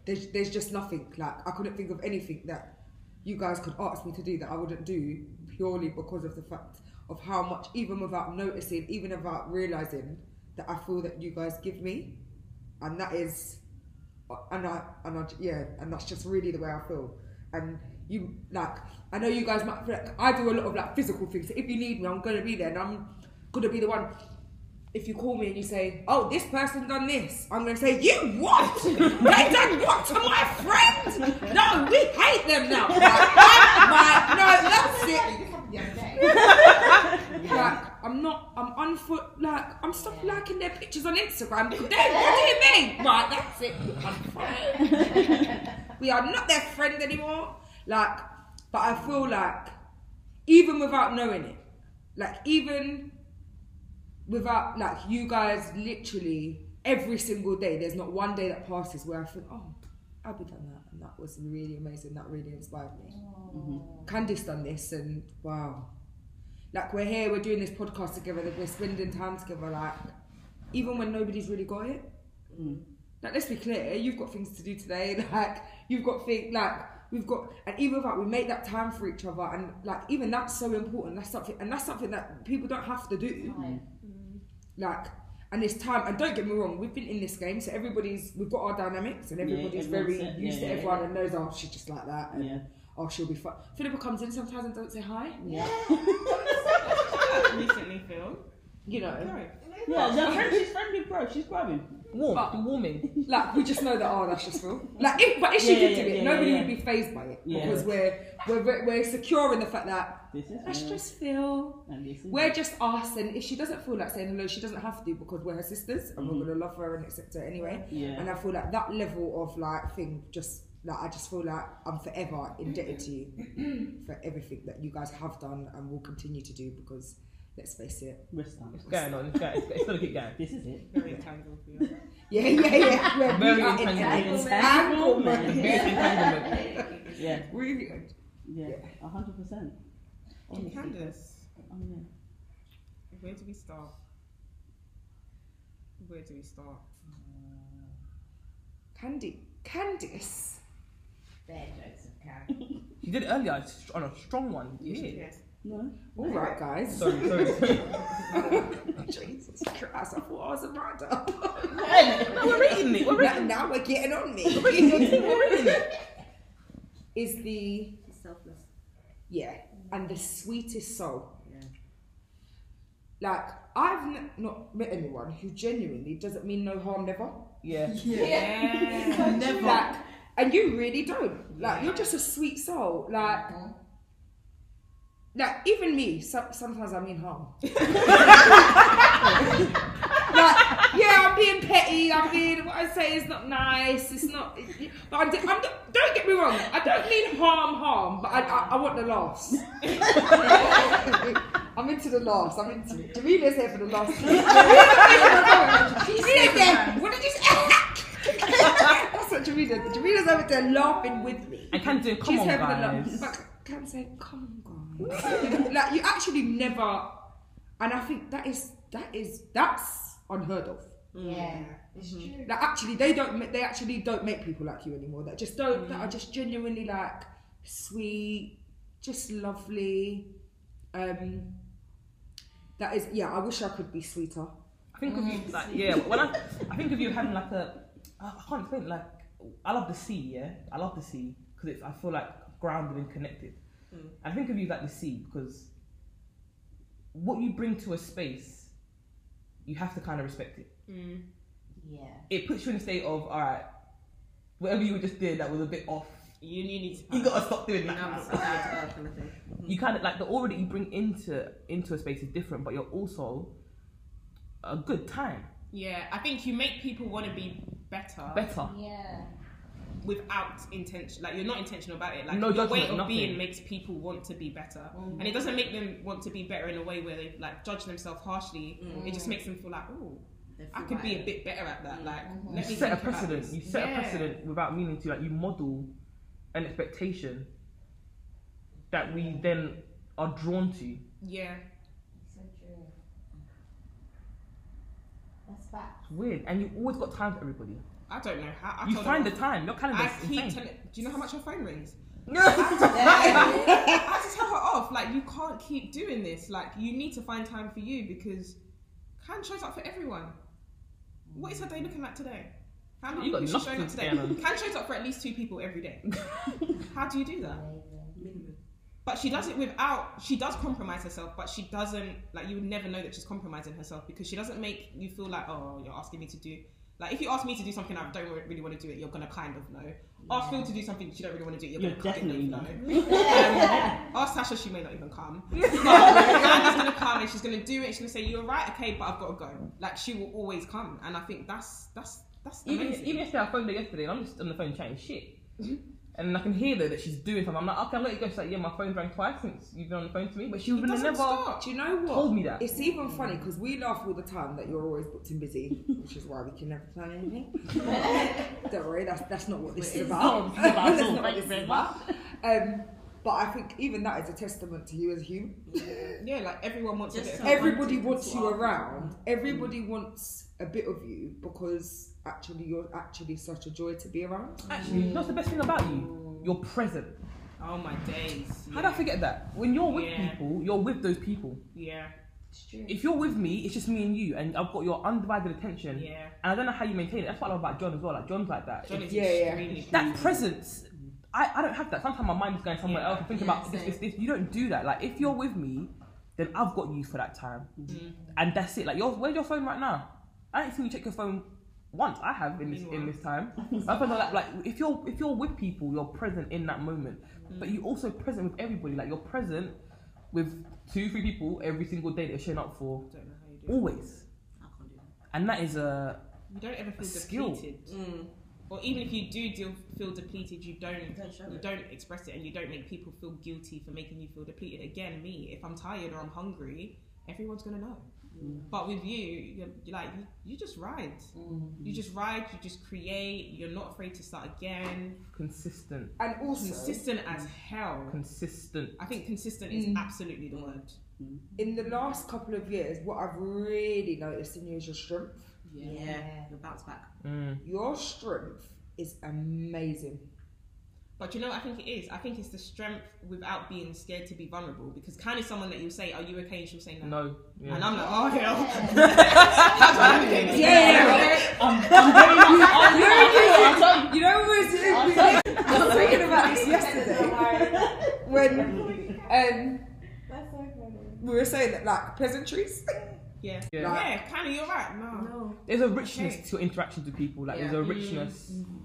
Speaker 4: there's there's just nothing like I couldn't think of anything that you guys could ask me to do that I wouldn't do purely because of the fact of how much even without noticing even without realizing that I feel that you guys give me and that is and I and I yeah and that's just really the way I feel and you like I know you guys might feel like I do a lot of like physical things so if you need me I'm gonna be there and I'm gonna be the one if you call me and you say, "Oh, this person done this," I'm gonna say, "You what? they done what to my friend? No, we hate them now." Like, I'm like, no, that's it. Like, I'm not. I'm unfo- Like, I'm stop liking their pictures on Instagram. They, what do you mean? Right, that's it. Unfollow. we are not their friend anymore. Like, but I feel like, even without knowing it, like even without like you guys literally every single day there's not one day that passes where i think oh Abby done that, and that was really amazing. That really inspired me.
Speaker 9: Mhm.
Speaker 4: Candice done this, and wow, like we're here, we're doing this podcast together, that we're spending time together, like even when nobody's really got it.
Speaker 9: Mm.
Speaker 4: Like let's be clear, you've got things to do today. Like you've got things like. We've got, and even if like, we make that time for each other, and like even that's so important. That's something, and that's something that people don't have to do like and it's time and don't get me wrong we've been in this game so everybody's we've got our dynamics and
Speaker 9: Yeah,
Speaker 4: everybody's very
Speaker 9: everyone's set, yeah,
Speaker 4: used to
Speaker 9: yeah,
Speaker 4: everyone and knows oh she's just like that and
Speaker 9: Yeah.
Speaker 4: oh she'll be fine Philippa comes in sometimes and don't say hi
Speaker 3: recently, Phil.
Speaker 4: you know
Speaker 3: No.
Speaker 9: Yeah, yeah, friend- she's friendly, bro. She's grabbing.
Speaker 2: Warm,
Speaker 4: But-
Speaker 2: you're warming.
Speaker 4: like we just know that oh that's just real like if but if she
Speaker 9: Yeah,
Speaker 4: did
Speaker 9: yeah,
Speaker 4: do it
Speaker 9: yeah,
Speaker 4: nobody
Speaker 9: yeah,
Speaker 4: would
Speaker 9: yeah.
Speaker 4: be phased by it
Speaker 9: Yeah.
Speaker 4: because we're we're ve- we're secure in the fact that
Speaker 9: This is
Speaker 4: that's
Speaker 9: her,
Speaker 4: just Phil
Speaker 9: and this is
Speaker 4: we're
Speaker 9: her.
Speaker 4: just us and if she doesn't feel like saying hello she doesn't have to because we're her sisters and
Speaker 9: Mm-hmm.
Speaker 4: we're gonna love her and accept her anyway
Speaker 9: yeah.
Speaker 4: And I feel like that level of like thing just like I just feel like I'm forever indebted to you for everything that you guys have done and will continue to do because let's face it.
Speaker 9: Wrist down.
Speaker 2: It's going on. It's going. It's, it's gonna keep going.
Speaker 9: This is it.
Speaker 3: Very entangled, Phil.
Speaker 4: Yeah, yeah, yeah. We're
Speaker 2: Very
Speaker 4: we are in-
Speaker 2: entangled.
Speaker 4: in- Angle
Speaker 9: man.
Speaker 4: man.
Speaker 2: Biggest entanglement.
Speaker 9: Yeah,
Speaker 4: Really
Speaker 9: yeah, a hundred percent. Honestly.
Speaker 3: Candace,
Speaker 9: Oh, yeah.
Speaker 3: where do we start? Where do we start?
Speaker 4: Candy Candice.
Speaker 6: Bear jokes of character.
Speaker 2: You did it earlier it's on a strong one. Yeah.
Speaker 3: Yes.
Speaker 9: No.
Speaker 4: Alright guys.
Speaker 2: Sorry, sorry.
Speaker 4: Jesus Christ, I thought I was a writer.
Speaker 2: We're reading it. We're
Speaker 4: now,
Speaker 2: reading it.
Speaker 4: now we're getting on
Speaker 2: Your
Speaker 4: me.
Speaker 2: team, We're reading it.
Speaker 4: Is the
Speaker 6: Selfless.
Speaker 4: Yeah, and the sweetest soul.
Speaker 6: Yeah.
Speaker 4: Like I've n- not met anyone who genuinely doesn't mean no harm never.
Speaker 2: Yeah.
Speaker 3: Yeah. Never.
Speaker 4: Like, and you really don't. Like you're just a sweet soul. Like, like even me. So- sometimes I mean harm. like yeah, I'm being petty. I'm being what I say is not nice. It's not. But I'm, I'm not, don't get me wrong. I don't mean harm, harm. But I, I, I want the laughs. I'm into the laughs. I'm into. Jamila's here for the laughs. Jamila's there. What did you say? That's what Jamila. Jamila's over there laughing with me.
Speaker 2: I can do. Come
Speaker 4: She's
Speaker 2: on,
Speaker 4: here for the laughs.
Speaker 2: guys.
Speaker 4: But can say, come on, guys. like you actually never. And I think that is that is that's unheard of.
Speaker 6: Yeah. Mm-hmm. It's true.
Speaker 4: Like actually, they don't. ma- They actually don't make people like you anymore. That just don't. That are just genuinely like sweet, just lovely. Um, that is yeah. I wish I could be sweeter.
Speaker 2: I think
Speaker 8: Mm.
Speaker 2: of you like yeah. When I I think of you having like a I I can't explain it, like I love the sea. Yeah, I love the sea because it's I feel like grounded and connected.
Speaker 8: Mm.
Speaker 2: I think of you like the sea because what you bring to a space, you have to kind of respect it.
Speaker 3: Mm.
Speaker 6: Yeah.
Speaker 2: It puts you in a state of all right, whatever you just did that was a bit off.
Speaker 3: You, you need to.
Speaker 2: You gotta stop doing that.
Speaker 8: Numbers are down to earth kind of thing. Mm.
Speaker 2: you kind of like the aura that you bring into into a space is different, but you're also a good time,
Speaker 3: Yeah, I think you make people want to be better
Speaker 2: better.
Speaker 6: Yeah.
Speaker 3: without intention. Like you're not intentional about it. Like
Speaker 2: No
Speaker 3: your
Speaker 2: judgment,
Speaker 3: way of
Speaker 2: nothing.
Speaker 3: being makes people want to be better,
Speaker 8: Oh
Speaker 3: and it doesn't make them want to be better in a way where they like judge themselves harshly. It just makes them feel like, oh,
Speaker 8: Mm. They feel
Speaker 3: I could be a
Speaker 8: like- Oh
Speaker 3: bit better at that. Like
Speaker 2: You
Speaker 3: let
Speaker 2: set a
Speaker 3: me think about
Speaker 2: precedent.
Speaker 3: this.
Speaker 2: You set
Speaker 3: Yeah.
Speaker 2: a precedent without meaning to. Like you model an expectation that we then are drawn to.
Speaker 3: Yeah,
Speaker 6: So true. That's fact.
Speaker 2: It's weird, and you always got time for everybody.
Speaker 3: I don't know how. I
Speaker 2: you
Speaker 3: told
Speaker 2: find
Speaker 3: her-
Speaker 2: the time. Your
Speaker 3: I
Speaker 2: calendar's
Speaker 3: keep
Speaker 2: insane.
Speaker 3: telling. Do you know how much her phone rings?
Speaker 6: Yeah.
Speaker 3: I had to tell her off. Like you can't keep doing this. Like you need to find time for you because Can shows up for everyone. What is her day looking like today? How many
Speaker 2: You got
Speaker 3: people is she showing
Speaker 2: nothing
Speaker 3: up today?
Speaker 2: going on.
Speaker 3: Can shows up for at least two people every day. How do you do that? But she does it without. She does compromise herself, but she doesn't. Like you would never know that she's compromising herself because she doesn't make you feel like, oh, you're asking me to do. Like if you ask me to do something I don't really want to do it, you're gonna kind of know. Ask Phil to do something that you don't really want to do, it, you're,
Speaker 9: You're
Speaker 3: gonna
Speaker 9: definitely
Speaker 3: kind
Speaker 9: not.
Speaker 3: of know. Um, ask Sasha, she may not even come. But Anna's gonna come and she's gonna do it. She's gonna say, "You're right, okay, but I've got to go." Like she will always come, and I think that's that's that's
Speaker 2: Even
Speaker 3: amazing. Mm-hmm.
Speaker 2: even yesterday, I phoned her yesterday, and I'm just on the phone chatting shit. And I can hear though that she's doing something. I'm like, okay, I'll let you go. She's like, yeah, my phone's rang twice since you've been on the phone to me, but she would have
Speaker 3: doesn't
Speaker 2: never
Speaker 3: stop.
Speaker 4: Do you know what?
Speaker 2: told me that.
Speaker 4: It's even funny because we laugh all the time that you're always booked and busy, which is why we can never plan anything. Don't worry, that's that's not what this is about.
Speaker 9: not about
Speaker 4: That's
Speaker 9: all.
Speaker 4: not what
Speaker 9: Thank
Speaker 4: this
Speaker 9: you very
Speaker 4: is about. Um, but I think even that is a testament to you as a human.
Speaker 3: Yeah, like everyone wants
Speaker 8: Just
Speaker 3: a bit
Speaker 8: so-
Speaker 3: of
Speaker 4: Everybody
Speaker 8: wanting
Speaker 4: wants
Speaker 8: to
Speaker 4: you
Speaker 8: ask.
Speaker 4: around. Everybody wants a bit of you because actually you're actually such a joy to be around.
Speaker 2: Actually, that's the best thing about you. You're present.
Speaker 3: Oh my days.
Speaker 2: How do I forget that? When you're with
Speaker 3: Yeah.
Speaker 2: people, you're with those people.
Speaker 3: Yeah,
Speaker 8: It's true.
Speaker 2: If you're with me, it's just me and you, and I've got your undivided attention.
Speaker 3: yeah.
Speaker 2: And I don't know how you maintain it. That's what I love about John as well. Like John's like that.
Speaker 3: John is
Speaker 4: Yeah, yeah.
Speaker 3: extremely
Speaker 2: that presence I, I don't have that sometimes my mind is going somewhere
Speaker 3: Yeah.
Speaker 2: else and thinking
Speaker 8: Yeah,
Speaker 2: about this,
Speaker 8: same.
Speaker 2: this this you don't do that like if you're with me then I've got you for that time and that's it like your where's your phone right now I ain't seen you check your phone once I have in this in this time my phone's like, like if you're if you're with people you're present in that moment but you're also present with everybody like you're present with two three people every single day that you're showing up for
Speaker 3: I don't know how you do it.
Speaker 2: always
Speaker 8: I can't do that.
Speaker 2: and that is a
Speaker 3: You don't ever feel
Speaker 2: Skill.
Speaker 3: depleted.
Speaker 8: Mm.
Speaker 3: Or even if you do deal, feel depleted, you don't
Speaker 8: Don't show
Speaker 3: you
Speaker 8: it.
Speaker 3: don't express it, and you don't make people feel guilty for making you feel depleted. Again, me, if I'm tired or I'm hungry, everyone's gonna know. But with you, you're, you're like you, you just ride.
Speaker 8: Mm-hmm.
Speaker 3: You just ride. You just create. You're not afraid to start again.
Speaker 2: consistent
Speaker 4: And also,
Speaker 3: Consistent
Speaker 2: Mm.
Speaker 3: as hell.
Speaker 2: consistent
Speaker 3: I think consistent
Speaker 8: Mm.
Speaker 3: is absolutely the word.
Speaker 4: in the last couple of years, what I've really noticed in you is your strength.
Speaker 8: Yeah. You'll bounce back.
Speaker 2: mm.
Speaker 4: Your strength is amazing.
Speaker 3: But you know, what I think it is. I think it's the strength without being scared to be vulnerable. Because kind of someone that you say, "Are you okay?" and she'll say, "No."
Speaker 2: no yeah.
Speaker 3: And I'm like, "Oh hell."
Speaker 9: Um,
Speaker 4: You know, we was, we were thinking about this yesterday when um, we were saying that like peasantries.
Speaker 3: Yeah.
Speaker 2: Yeah.
Speaker 3: Yeah, kind of, you're right. No.
Speaker 2: there's a richness to your interactions with people. Like there's a richness
Speaker 8: Mm-hmm.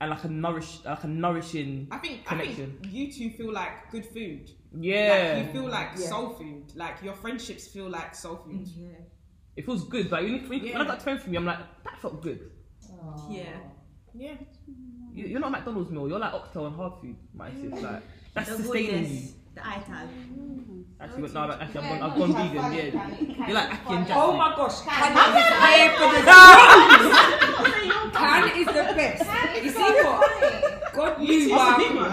Speaker 2: and like a nourish, like a nourishing.
Speaker 3: I think
Speaker 2: Connection.
Speaker 3: I think you two feel like good food.
Speaker 2: Yeah,
Speaker 3: Like, you feel like
Speaker 4: Yeah.
Speaker 3: soul food. Like your friendships feel like soul food.
Speaker 2: it feels good. Like when, you- when, you- when I got turned from you, I'm like that felt good.
Speaker 8: Yeah.
Speaker 3: Yeah.
Speaker 2: You, you're not McDonald's meal. You're like oxtail and hard food. My sis, like that's
Speaker 8: The
Speaker 2: sustaining you.
Speaker 8: goodness, The eye tag.
Speaker 2: Actually, no, like, actually, I've gone, I've gone vegan. Yeah, you're like Aki and Jack.
Speaker 4: Oh my gosh, Can is there for the best. Can is the best. You see what? God knew why. I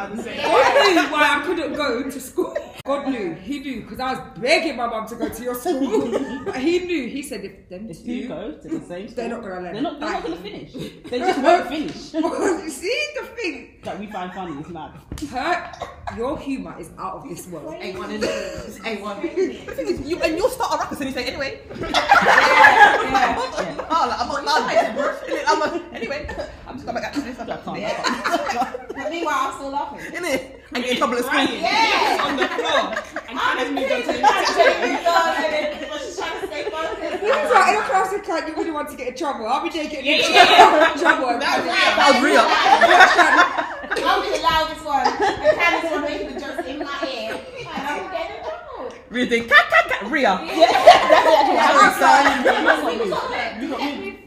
Speaker 4: couldn't- God knew why I couldn't go to school. God knew. He knew because I was begging my mum to go to your school. But he knew. He said if them
Speaker 9: If
Speaker 4: two
Speaker 9: you go to the same school,
Speaker 4: They're not gonna let
Speaker 9: They're not, they're not
Speaker 4: it.
Speaker 9: gonna finish. They just won't finish.
Speaker 4: you see the thing,
Speaker 9: That we find funny is mad.
Speaker 4: her, your humour is out of this world.
Speaker 8: A1 in it. It's A1.
Speaker 2: The thing is, you and you'll start a ruckus and you say anyway.
Speaker 9: Yeah.
Speaker 2: Oh, like, I'm not lying. I'm a, anyway, I'm just going back to this. I'm
Speaker 9: I
Speaker 2: like,
Speaker 9: can't.
Speaker 2: yeah,
Speaker 6: But meanwhile, I'm still laughing.
Speaker 2: innit? And get in trouble at school.
Speaker 3: Yeah. on the floor. And Hannah's moved on to the next
Speaker 6: But she's trying to stay focused.
Speaker 4: He was like, in a class of clan, you wouldn't want to get in trouble. I'll be there getting in
Speaker 3: Yeah,
Speaker 4: trouble. trouble.
Speaker 2: That was real.
Speaker 6: I'll be the loudest one. The cat is one making the jokes in my ear. Like, I'm getting in trouble.
Speaker 2: Real thing. Cat, cat, cat. Rhea.
Speaker 9: You got me.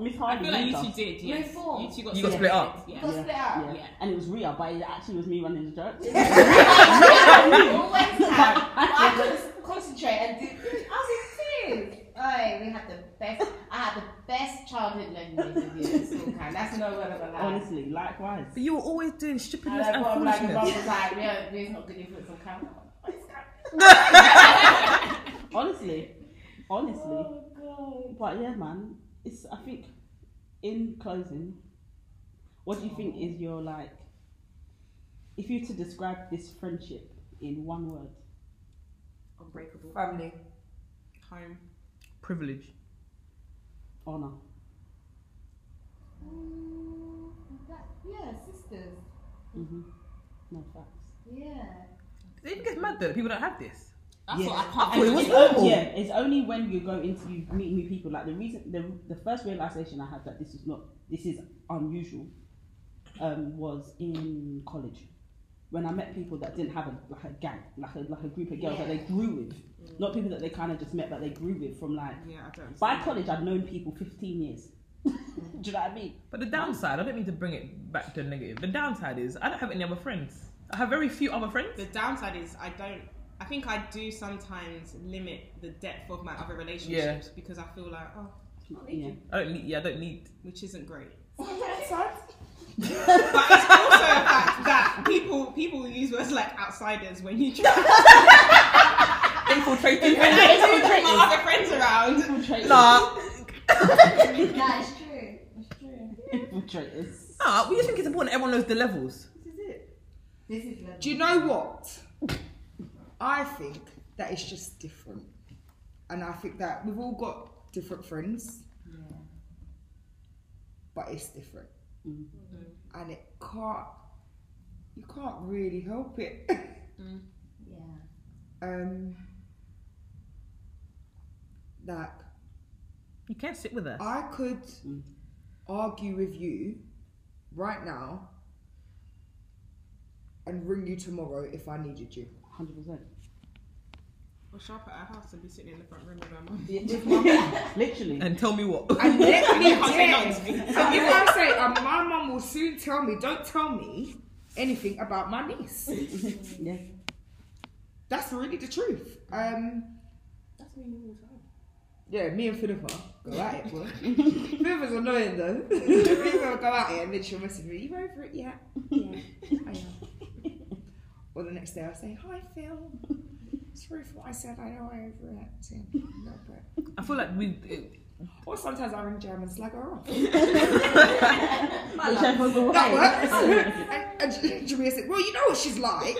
Speaker 9: Miss
Speaker 3: I
Speaker 9: Hardy.
Speaker 3: feel like you
Speaker 9: Rita.
Speaker 3: two did. Yes.
Speaker 6: form.
Speaker 3: You two got,
Speaker 2: You got
Speaker 3: together.
Speaker 2: split up.
Speaker 3: Yeah.
Speaker 6: Go split up.
Speaker 9: Yeah. And it was Ria, but it actually was me running the church.
Speaker 6: Always have. But I couldn't concentrate and do. I was in tears. Oh, we had the best. I had the best childhood memories of you in school time. That's no word of a lie.
Speaker 9: Honestly, likewise.
Speaker 2: But you were always doing stupidness
Speaker 6: And
Speaker 2: and
Speaker 6: I got like, my mum
Speaker 2: foolishness.
Speaker 6: was like, we're, we're not good influence on camera. What is camera?
Speaker 9: Honestly, honestly.
Speaker 6: Oh, God.
Speaker 9: But yeah, man, it's. I think, in closing, what do you think is your like? If you were to describe this friendship in one word,
Speaker 8: Unbreakable.
Speaker 4: Family.
Speaker 3: Home.
Speaker 2: Privilege.
Speaker 9: honor.
Speaker 6: Mm, that- Yeah, sisters.
Speaker 9: Mm-hmm. No facts.
Speaker 6: Yeah.
Speaker 2: It even gets mad though that people don't have this.
Speaker 10: That's
Speaker 9: Yeah.
Speaker 10: what I can't.
Speaker 2: Oh, it was
Speaker 9: It's o-
Speaker 2: normal.
Speaker 9: yeah, it's only when you go into you meet new people. Like the reason, the, the first realization I had that this is not this is unusual um, was in college when I met people that didn't have a, like a gang, like a, like a group of girls that they grew with, not people that they kind of just met but they grew with from like.
Speaker 3: Yeah, I don't.
Speaker 9: By college, I'd known people fifteen years. Do you know what I mean?
Speaker 2: But the downside, I don't mean to bring it back to the negative. The downside is I don't have any other friends. I have very few other friends.
Speaker 3: The downside is I don't. I think I do sometimes limit the depth of my other relationships because I feel like, oh,
Speaker 9: Yeah.
Speaker 2: I don't need. Yeah, I don't need.
Speaker 3: which isn't great. but it's also a fact that people people use words like outsiders when you try
Speaker 2: Infiltrating.
Speaker 3: when I do bring my other friends around.
Speaker 2: nah,
Speaker 6: That is true. It's true.
Speaker 9: Infiltrators.
Speaker 2: nah. We just think it's important. Everyone knows the levels.
Speaker 6: This is level.
Speaker 4: Do you know what? I think that it's just different. And I think that we've all got different friends. But it's different. And it can't, you can't really help it.
Speaker 6: Yeah.
Speaker 4: um, like,
Speaker 2: You can't sit with us.
Speaker 4: I could argue with you right now and ring you tomorrow if I needed you.
Speaker 9: Hundred percent.
Speaker 3: Or shop at our house and be sitting in the front room with my mum.
Speaker 9: Literally.
Speaker 2: And tell me what.
Speaker 4: And let me
Speaker 3: can't say no
Speaker 4: dare.
Speaker 3: to
Speaker 4: And if I say, um, my mum will soon tell me, don't tell me anything about my niece.
Speaker 9: Yeah.
Speaker 4: That's really the truth. Um,
Speaker 8: That's me all the time.
Speaker 4: yeah, me and Philippa go at it. boy. Philippa's annoying though. Philippa will go at it and then she'll message me, you over it yet? Yeah, I know. Or the next day I'll say, hi Phil. Sorry for what I said, I know I overreacted. No, but...
Speaker 2: I feel like we.
Speaker 4: Or sometimes I ring German slag her off.
Speaker 9: Whichever's the
Speaker 4: oh. That
Speaker 9: way.
Speaker 4: works. and and Jamia said, well, you know what she's like.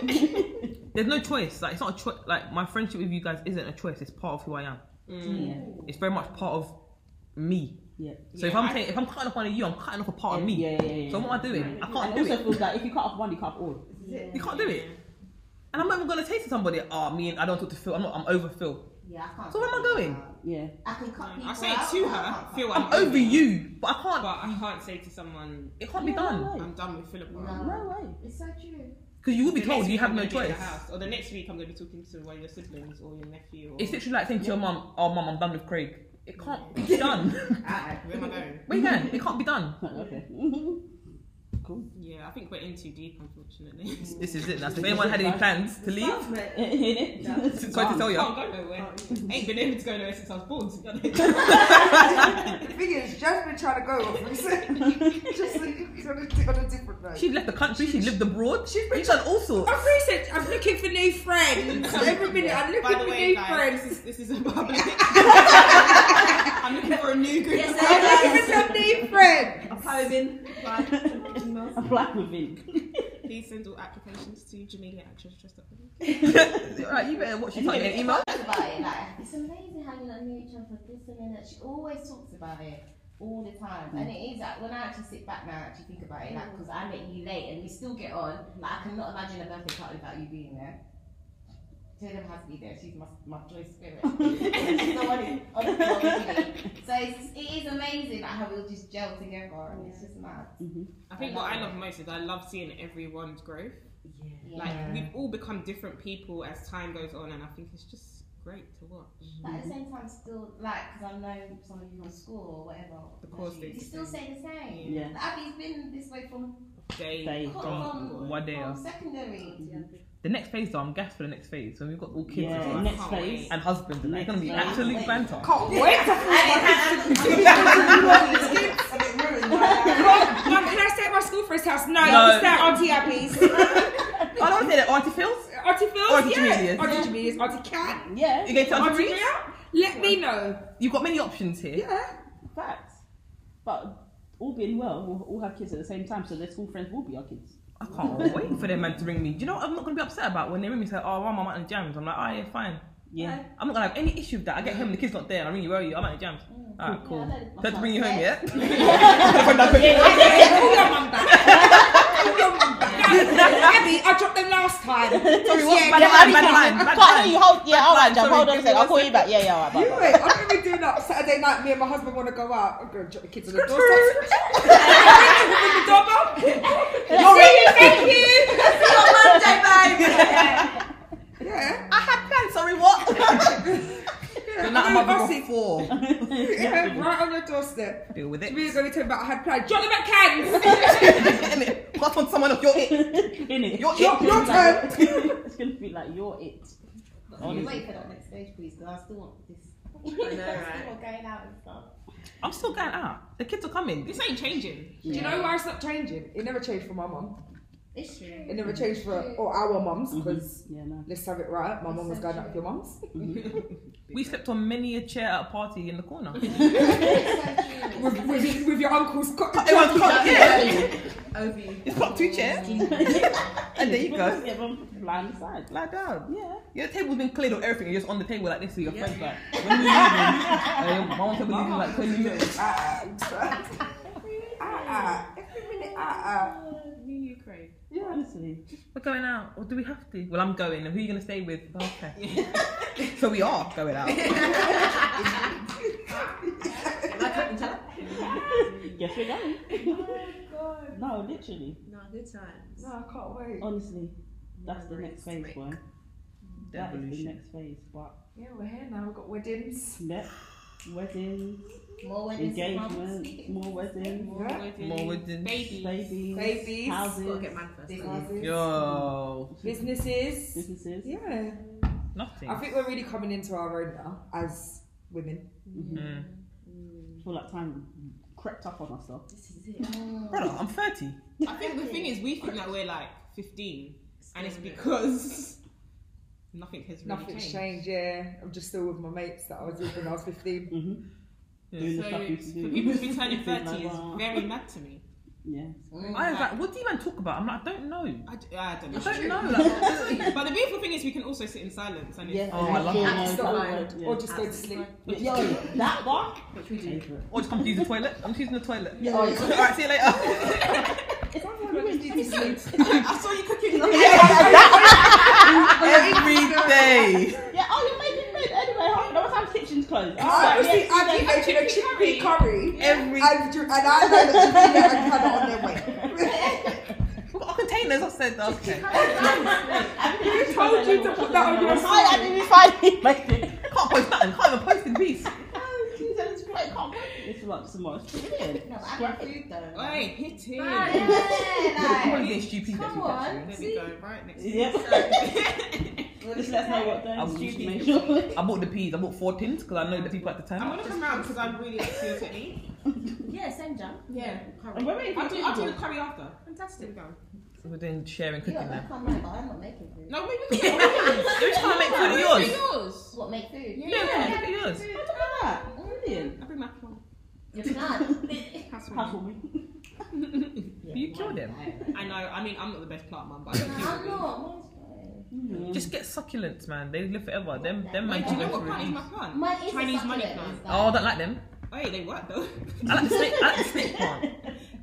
Speaker 2: There's no choice. Like it's not a choice. Like my friendship with you guys isn't a choice. It's part of who I am.
Speaker 9: Yeah.
Speaker 2: It's very much part of me.
Speaker 9: Yeah.
Speaker 2: So if I'm saying, if I'm cutting off one of you, I'm cutting off a part of me.
Speaker 9: Yeah, yeah, yeah, yeah.
Speaker 2: So what am I doing? I
Speaker 9: And
Speaker 2: can't
Speaker 9: it
Speaker 2: do
Speaker 9: also
Speaker 2: it.
Speaker 9: feels like if you cut off one, you cut off all.
Speaker 2: You can't do it. And I'm not even gonna say to somebody, oh, me and I don't talk to Phil. I'm not. I'm over Phil.
Speaker 6: Yeah, I can't.
Speaker 2: So where am I going?
Speaker 9: Yeah.
Speaker 6: I can cut people
Speaker 3: Mm, I say it
Speaker 6: out,
Speaker 3: to
Speaker 6: but I
Speaker 3: her,
Speaker 6: can't
Speaker 3: feel
Speaker 2: I'm
Speaker 3: I'm
Speaker 2: over you, but I
Speaker 3: but
Speaker 2: can't.
Speaker 3: I can't say to someone
Speaker 2: It can't be
Speaker 9: Yeah, no
Speaker 2: done
Speaker 9: way.
Speaker 3: I'm done with Philip.
Speaker 6: cut- No.
Speaker 9: No way.
Speaker 6: It's so true.
Speaker 2: because you will be
Speaker 3: The next
Speaker 2: told you
Speaker 3: week
Speaker 2: have
Speaker 3: I'm
Speaker 2: no
Speaker 3: gonna be at
Speaker 2: choice.
Speaker 3: the house, Or the next week I'm going to be talking to one of your siblings or your nephew. Or
Speaker 2: It's literally like saying to your mum, oh, mum, I'm done with Craig. It can't be done.
Speaker 3: where am I going?
Speaker 2: we can. It can't be done.
Speaker 9: Okay. cool.
Speaker 3: Yeah, I think we're in too deep, unfortunately.
Speaker 2: This is it. That's if anyone had any plans to leave,
Speaker 9: In it.
Speaker 2: sorry to tell you.
Speaker 3: Can't go nowhere. Ain't been able to go nowhere since I was born. To be honest.
Speaker 4: The thing is, Jasmine trying to go off recently. Just like, it's on a, on a different note.
Speaker 2: She left the country. She lived abroad. She's done all sorts.
Speaker 4: I've researched, I'm looking for new friends. Every minute I'm looking
Speaker 3: By
Speaker 4: for
Speaker 3: the way,
Speaker 4: new
Speaker 3: guys,
Speaker 4: friends.
Speaker 3: this is, this is a public. I'm looking for a new group.
Speaker 8: Yes,
Speaker 3: of
Speaker 8: I-
Speaker 4: I'm looking for some new friends.
Speaker 8: I've probably been like,
Speaker 9: A black within.
Speaker 3: Please send all applications to Jamelia at JustJustUp.
Speaker 2: right, you better watch. You can't get an email.
Speaker 6: Talks about it. Like, it's amazing how you like, knew each other for this and then that. She always talks about it all the time. And it is like when I actually sit back now, and actually think about it, like because I met you late and we still get on. Like I cannot imagine a birthday party without you being there. Taylor has to be there. She's my, my joy spirit. She's the one who- honestly, honestly. So it's, it is amazing like, how we all just gel together and it's just mad.
Speaker 3: I think what I love most is I love seeing everyone's growth.
Speaker 6: Yeah.
Speaker 3: Like we've all become different people as time goes on, and I think it's just great to watch.
Speaker 6: But at the same time, still like because I know some of you from school or whatever.
Speaker 3: The course
Speaker 6: you,
Speaker 3: stays the
Speaker 6: still say the same.
Speaker 9: Yeah.
Speaker 6: Like, Abby's been this way from
Speaker 3: Day.
Speaker 9: Day.
Speaker 6: from,
Speaker 2: From
Speaker 6: from,
Speaker 2: what day
Speaker 6: from
Speaker 2: else?
Speaker 6: secondary.
Speaker 2: The next phase, though, I'm gassed for the next phase when we've got all kids
Speaker 9: Yeah.
Speaker 2: and, stuff.
Speaker 9: Next
Speaker 3: Can't
Speaker 9: phase.
Speaker 3: wait.
Speaker 2: and husbands, and that's gonna be
Speaker 9: Next phase.
Speaker 2: absolute banter.
Speaker 4: Can't wait to Mum, can I stay at my school friend's house?
Speaker 2: No.
Speaker 4: No, you can stay at Auntie Abby's.
Speaker 2: I don't want to say that Auntie Phil's.
Speaker 4: Auntie Phil's,
Speaker 2: Auntie
Speaker 4: yeah.
Speaker 2: Jamelia's.
Speaker 4: Auntie Jamelia's, Auntie Cat,
Speaker 9: Yeah.
Speaker 2: You going to Auntie
Speaker 4: Auntie
Speaker 2: Phil's?
Speaker 4: Mia. Let me know.
Speaker 2: You've got many options here.
Speaker 4: Yeah.
Speaker 9: Facts. But all being well, we'll all have kids at the same time, so their school friends will be our kids.
Speaker 2: I can't wait for them man to ring me. Do you know what I'm not gonna be upset about when they ring me and say, "Oh, well, I'm out in jams." I'm like, "Oh yeah, fine."
Speaker 9: Yeah.
Speaker 2: I'm not gonna have any issue with that. I get home, and the kid's not there, and I ring you, where are you? I'm at the jams. Alright, cool.
Speaker 6: Yeah, I know.
Speaker 2: Don't bring you home yet.
Speaker 4: Call your mum back. Call your mum back. Abby, I dropped them last time.
Speaker 2: Sorry, what's bad line?
Speaker 4: get out of
Speaker 2: Bad line. Bad
Speaker 11: Can't
Speaker 2: line.
Speaker 11: hear you. Hold, yeah, all right,
Speaker 2: Sorry,
Speaker 11: Jam. Hold on
Speaker 2: give
Speaker 11: a
Speaker 2: me
Speaker 11: sec.
Speaker 2: one
Speaker 11: I'll call you back. Yeah, yeah, all right. Bye,
Speaker 4: You
Speaker 11: bye.
Speaker 4: wait, I'm gonna be doing that Saturday night. Me and my husband want to go out. I'm gonna drop the kids on the doorstep. With the doorbell. Yeah.
Speaker 2: I had plans. Sorry, what?
Speaker 4: yeah.
Speaker 2: now
Speaker 4: I'm
Speaker 2: I'm having
Speaker 4: gonna
Speaker 2: a
Speaker 4: gossip. door. Yeah, right on your doorstep.
Speaker 2: Deal with
Speaker 4: She
Speaker 2: it.
Speaker 4: really going to tell me about I had plans.
Speaker 8: Talking about cans.
Speaker 2: Pass on someone of your it.
Speaker 9: In it.
Speaker 2: Your-
Speaker 9: It's
Speaker 2: your-
Speaker 9: gonna
Speaker 4: your
Speaker 9: be like- it's gonna be like you're it.
Speaker 6: Can you
Speaker 9: Honestly.
Speaker 6: wait for that next stage, please, because I still want this.
Speaker 8: I know,
Speaker 6: I
Speaker 8: right?
Speaker 6: still want going out and stuff.
Speaker 2: I'm still going out. The kids are coming.
Speaker 3: This ain't changing.
Speaker 4: Do you know why it's not changing? It never changed for my mum.
Speaker 6: It's true.
Speaker 4: It never changed for or our mums because
Speaker 9: Yeah, no.
Speaker 4: let's have it right. My mum was going out with your mums.
Speaker 2: We slept on many a chair at a party in the corner.
Speaker 6: It's so true.
Speaker 4: with, with, with your uncle's co-
Speaker 2: Everyone's cock, yeah.
Speaker 8: Over you.
Speaker 2: It's got two chairs. and there you go.
Speaker 9: Yeah, but blind side.
Speaker 2: Lie down.
Speaker 9: Yeah.
Speaker 2: Your table's been cleared of everything. You're just on the table like this. So your
Speaker 8: Yeah.
Speaker 2: friend's like, when are you leaving? uh, your mom's table leaving in like 20 minutes.
Speaker 4: Ah, ah, ah, every minute, ah, ah.
Speaker 8: New Ukraine.
Speaker 9: Yeah, honestly.
Speaker 2: We're going out. Or do we have to? Well, I'm going. And who are you going to stay with? Okay. so we are going out.
Speaker 8: Am I cutting tell?
Speaker 9: Yes, we're going.
Speaker 8: Oh god.
Speaker 9: No, literally.
Speaker 8: No, good times.
Speaker 4: No, I can't wait.
Speaker 9: Honestly. That's the
Speaker 8: Never
Speaker 9: next
Speaker 8: is
Speaker 9: phase,
Speaker 8: break.
Speaker 9: boy. That is the next phase. But
Speaker 4: Yeah, we're here now. We've got weddings.
Speaker 9: yeah, weddings,
Speaker 6: More weddings. to come.
Speaker 9: engagements, more weddings,
Speaker 4: Yeah.
Speaker 2: More weddings.
Speaker 3: Baby.
Speaker 9: babies,
Speaker 4: Babies.
Speaker 8: Gotta
Speaker 9: houses,
Speaker 8: get man first.
Speaker 6: This
Speaker 8: don't you?
Speaker 4: Houses.
Speaker 2: Yo,
Speaker 4: Businesses.
Speaker 9: businesses.
Speaker 4: Yeah.
Speaker 2: nothing.
Speaker 4: I think we're really coming into our own now as women.
Speaker 2: Mm.
Speaker 9: I feel like time crept up on us though.
Speaker 6: This is it.
Speaker 2: Brother, I'm 30.
Speaker 3: I think the thing is, we think that we're like 15, and it's because nothing has really
Speaker 4: Nothing's
Speaker 3: changed.
Speaker 4: changed, yeah. I'm just still with my mates that I was with when I was 15.
Speaker 9: Mm-hmm.
Speaker 2: Yeah.
Speaker 9: Doing
Speaker 3: So
Speaker 9: the stuff we used to
Speaker 3: for
Speaker 9: do.
Speaker 3: people to be turning
Speaker 9: It's like,
Speaker 3: 30 is
Speaker 9: wow.
Speaker 3: very mad to me.
Speaker 9: Yeah.
Speaker 2: I was like, what do you even talk about? I'm like, I don't know.
Speaker 3: I, d- I don't know.
Speaker 2: I don't know. Like,
Speaker 3: but the beautiful thing is, we can also sit in silence, and it's,
Speaker 9: Yeah.
Speaker 2: Oh, I love
Speaker 9: Yeah,
Speaker 2: that.
Speaker 9: no,
Speaker 4: Just
Speaker 9: that
Speaker 4: not
Speaker 9: word,
Speaker 4: ironed,
Speaker 9: yeah.
Speaker 4: Or just go to sleep.
Speaker 9: Yeah, Yo, that one. Which we do.
Speaker 2: or Oh, just come to use the toilet. I'm choosing the toilet.
Speaker 9: Yeah.
Speaker 2: All right, see you later.
Speaker 3: I saw you cooking.
Speaker 2: Every day.
Speaker 9: Yeah. Oh, you're making food anyway. Half an hour time kitchen's closed.
Speaker 4: I
Speaker 9: Alright,
Speaker 4: honestly,
Speaker 9: yeah,
Speaker 4: I've
Speaker 9: see you
Speaker 4: eaten a chickpea curry.
Speaker 2: Every.
Speaker 4: And, you- and I know that Jamaica and Canada on their way.
Speaker 2: We've got containers. I said, okay.
Speaker 9: later.
Speaker 4: Who told you to put that on your
Speaker 9: Hi, I didn't find it.
Speaker 2: Can't post nothing. Can't even post in peace.
Speaker 9: It's like so much. Brilliant.
Speaker 6: No, but I have food though.
Speaker 3: Oi, hit it.
Speaker 6: Yeah,
Speaker 2: Probably
Speaker 6: like,
Speaker 2: being stupid.
Speaker 6: Come
Speaker 2: next week, actually.
Speaker 6: on.
Speaker 3: There we go, right next to
Speaker 9: Yep. Just let us know what
Speaker 2: I
Speaker 9: day.
Speaker 2: will
Speaker 9: Stupid.
Speaker 2: make
Speaker 9: Make sure.
Speaker 2: I bought the peas. I bought four tins because I know the people at the
Speaker 3: I'm
Speaker 2: time.
Speaker 3: gonna come round because I'm really like to to eat.
Speaker 6: yeah, same jam.
Speaker 3: Yeah.
Speaker 9: And
Speaker 6: Curry.
Speaker 9: we're waiting for
Speaker 3: I'll do, I'll do the
Speaker 9: the
Speaker 3: curry after.
Speaker 6: Fantastic.
Speaker 2: So we're doing sharing cooking
Speaker 6: You're not
Speaker 2: now.
Speaker 6: come round, but I'm not making food.
Speaker 3: No, wait, we can get
Speaker 2: You're trying to make food of yours.
Speaker 8: Yours.
Speaker 6: What make food?
Speaker 2: Yeah, come cook of yours.
Speaker 9: Brilliant.
Speaker 3: I'll bring my phone.
Speaker 6: You can't.
Speaker 9: Housewarming.
Speaker 2: You killed him.
Speaker 3: I know, I mean, I'm not the best plant mum, but I
Speaker 6: No,
Speaker 3: don't
Speaker 6: I'm
Speaker 3: think
Speaker 6: not. Mine's fine.
Speaker 2: Just get succulents, man. They live forever. Them, them
Speaker 6: Wait,
Speaker 2: man
Speaker 3: Do
Speaker 2: do
Speaker 3: you know
Speaker 2: go
Speaker 3: what
Speaker 2: through
Speaker 3: plant is
Speaker 2: these.
Speaker 3: my plant?
Speaker 6: Mine is
Speaker 3: Chinese
Speaker 6: a
Speaker 3: money
Speaker 6: succulent,
Speaker 3: plant.
Speaker 6: it's
Speaker 2: Oh, I
Speaker 6: like-
Speaker 2: don't like them.
Speaker 3: Hey, they work though.
Speaker 2: I like the snake. I like the snake plant.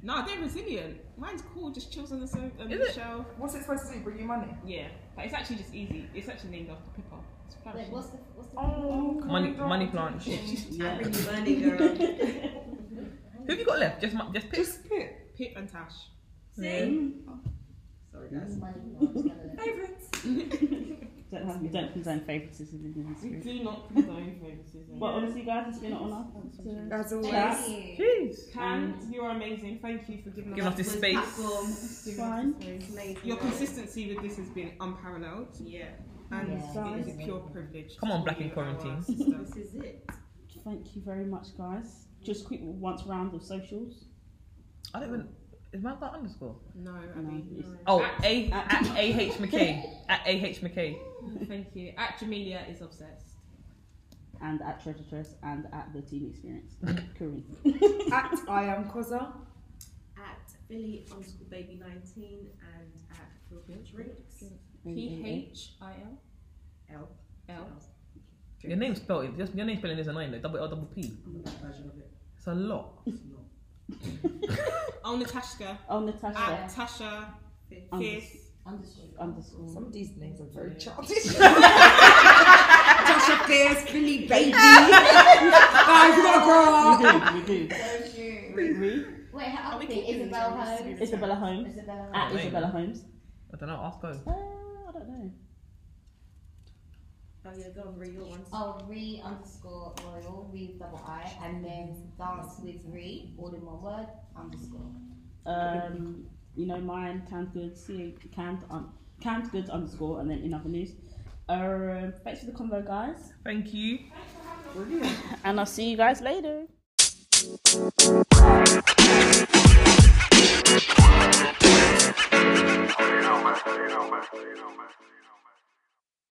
Speaker 3: No, they're resilient. Mine's cool, just chills on the, so- on
Speaker 2: Is
Speaker 3: the
Speaker 2: it?
Speaker 3: shelf.
Speaker 4: What's it supposed to do? Bring you money?
Speaker 3: Yeah, but it's actually just easy. It's actually named after Pippa. It's
Speaker 6: Wait,
Speaker 3: flourishing.
Speaker 6: what's the what's the?
Speaker 3: Oh.
Speaker 2: Money, money plant. Who
Speaker 9: Yeah.
Speaker 8: Bring your money, girl.
Speaker 2: have you got left? Just, mu- just pick.
Speaker 4: Just pit.
Speaker 3: Pip and Tash.
Speaker 8: See? Sorry, guys.
Speaker 6: Money.
Speaker 8: Favorites.
Speaker 9: Don't have, we don't condone favouritism in this
Speaker 3: We
Speaker 9: group.
Speaker 3: do not condone favoritism.
Speaker 9: But honestly, guys, it's been an honour.
Speaker 4: As always.
Speaker 9: Chat.
Speaker 2: Jeez.
Speaker 3: Can, you're amazing. Thank you for giving
Speaker 2: Giving
Speaker 3: us
Speaker 2: Mm. us this space.
Speaker 8: Platform.
Speaker 9: Fine.
Speaker 3: Your consistency with this has been unparalleled,
Speaker 8: Yeah.
Speaker 3: and
Speaker 6: Yeah.
Speaker 3: it is a pure privilege.
Speaker 2: Come on,
Speaker 3: to
Speaker 2: Black
Speaker 3: be
Speaker 2: in Quarantine.
Speaker 3: our sisters.
Speaker 8: This is it.
Speaker 9: Thank you very much, guys. Just quick once round of socials.
Speaker 2: I don't even. Is mine got underscore?
Speaker 3: no, I
Speaker 9: No,
Speaker 3: mean,
Speaker 9: it's-
Speaker 2: Oh,
Speaker 3: At-
Speaker 2: A at A H McKay at A H McKay.
Speaker 3: thank you. At Jamelia is obsessed.
Speaker 9: And at Treasure Tress and at the Teen Experience. Corinne.
Speaker 4: At I am Koza.
Speaker 8: At Billy underscore baby 19 and at Philbill Drinks.
Speaker 3: P H I L
Speaker 8: L.
Speaker 3: L.
Speaker 2: Your name spelling, just your name spelling is annoying. Like double L double P.
Speaker 8: I'm that version of it.
Speaker 2: It's a lot.
Speaker 8: It's not.
Speaker 3: Oh, Natasha.
Speaker 9: Oh, Natasha.
Speaker 3: At Tasha
Speaker 9: Um,
Speaker 3: Fierce.
Speaker 9: underscore.
Speaker 4: Some of these names are very childish. Tasha Fierce, Billy Baby. Guys, we gotta grow up.
Speaker 9: We do, we do.
Speaker 6: So cute.
Speaker 9: We,
Speaker 6: Wait, how
Speaker 3: Are we
Speaker 6: often
Speaker 3: keeping
Speaker 6: Isabel
Speaker 3: these on
Speaker 6: Holmes?
Speaker 3: this?
Speaker 9: Isabella Holmes.
Speaker 6: Isabel.
Speaker 9: At Uh,
Speaker 2: Name.
Speaker 9: Isabella Holmes.
Speaker 2: I don't know. Ask go.
Speaker 9: Uh, I don't know.
Speaker 8: Oh yeah, go on, read your ones.
Speaker 6: Oh, re underscore royal, re double I, and then dance with re, all in one word, underscore.
Speaker 9: Um, you know mine, canned goods, C canned um, canned goods underscore, and then in other news. Um, thanks for the convo, guys,
Speaker 2: Thank you.
Speaker 9: and I'll see you guys later.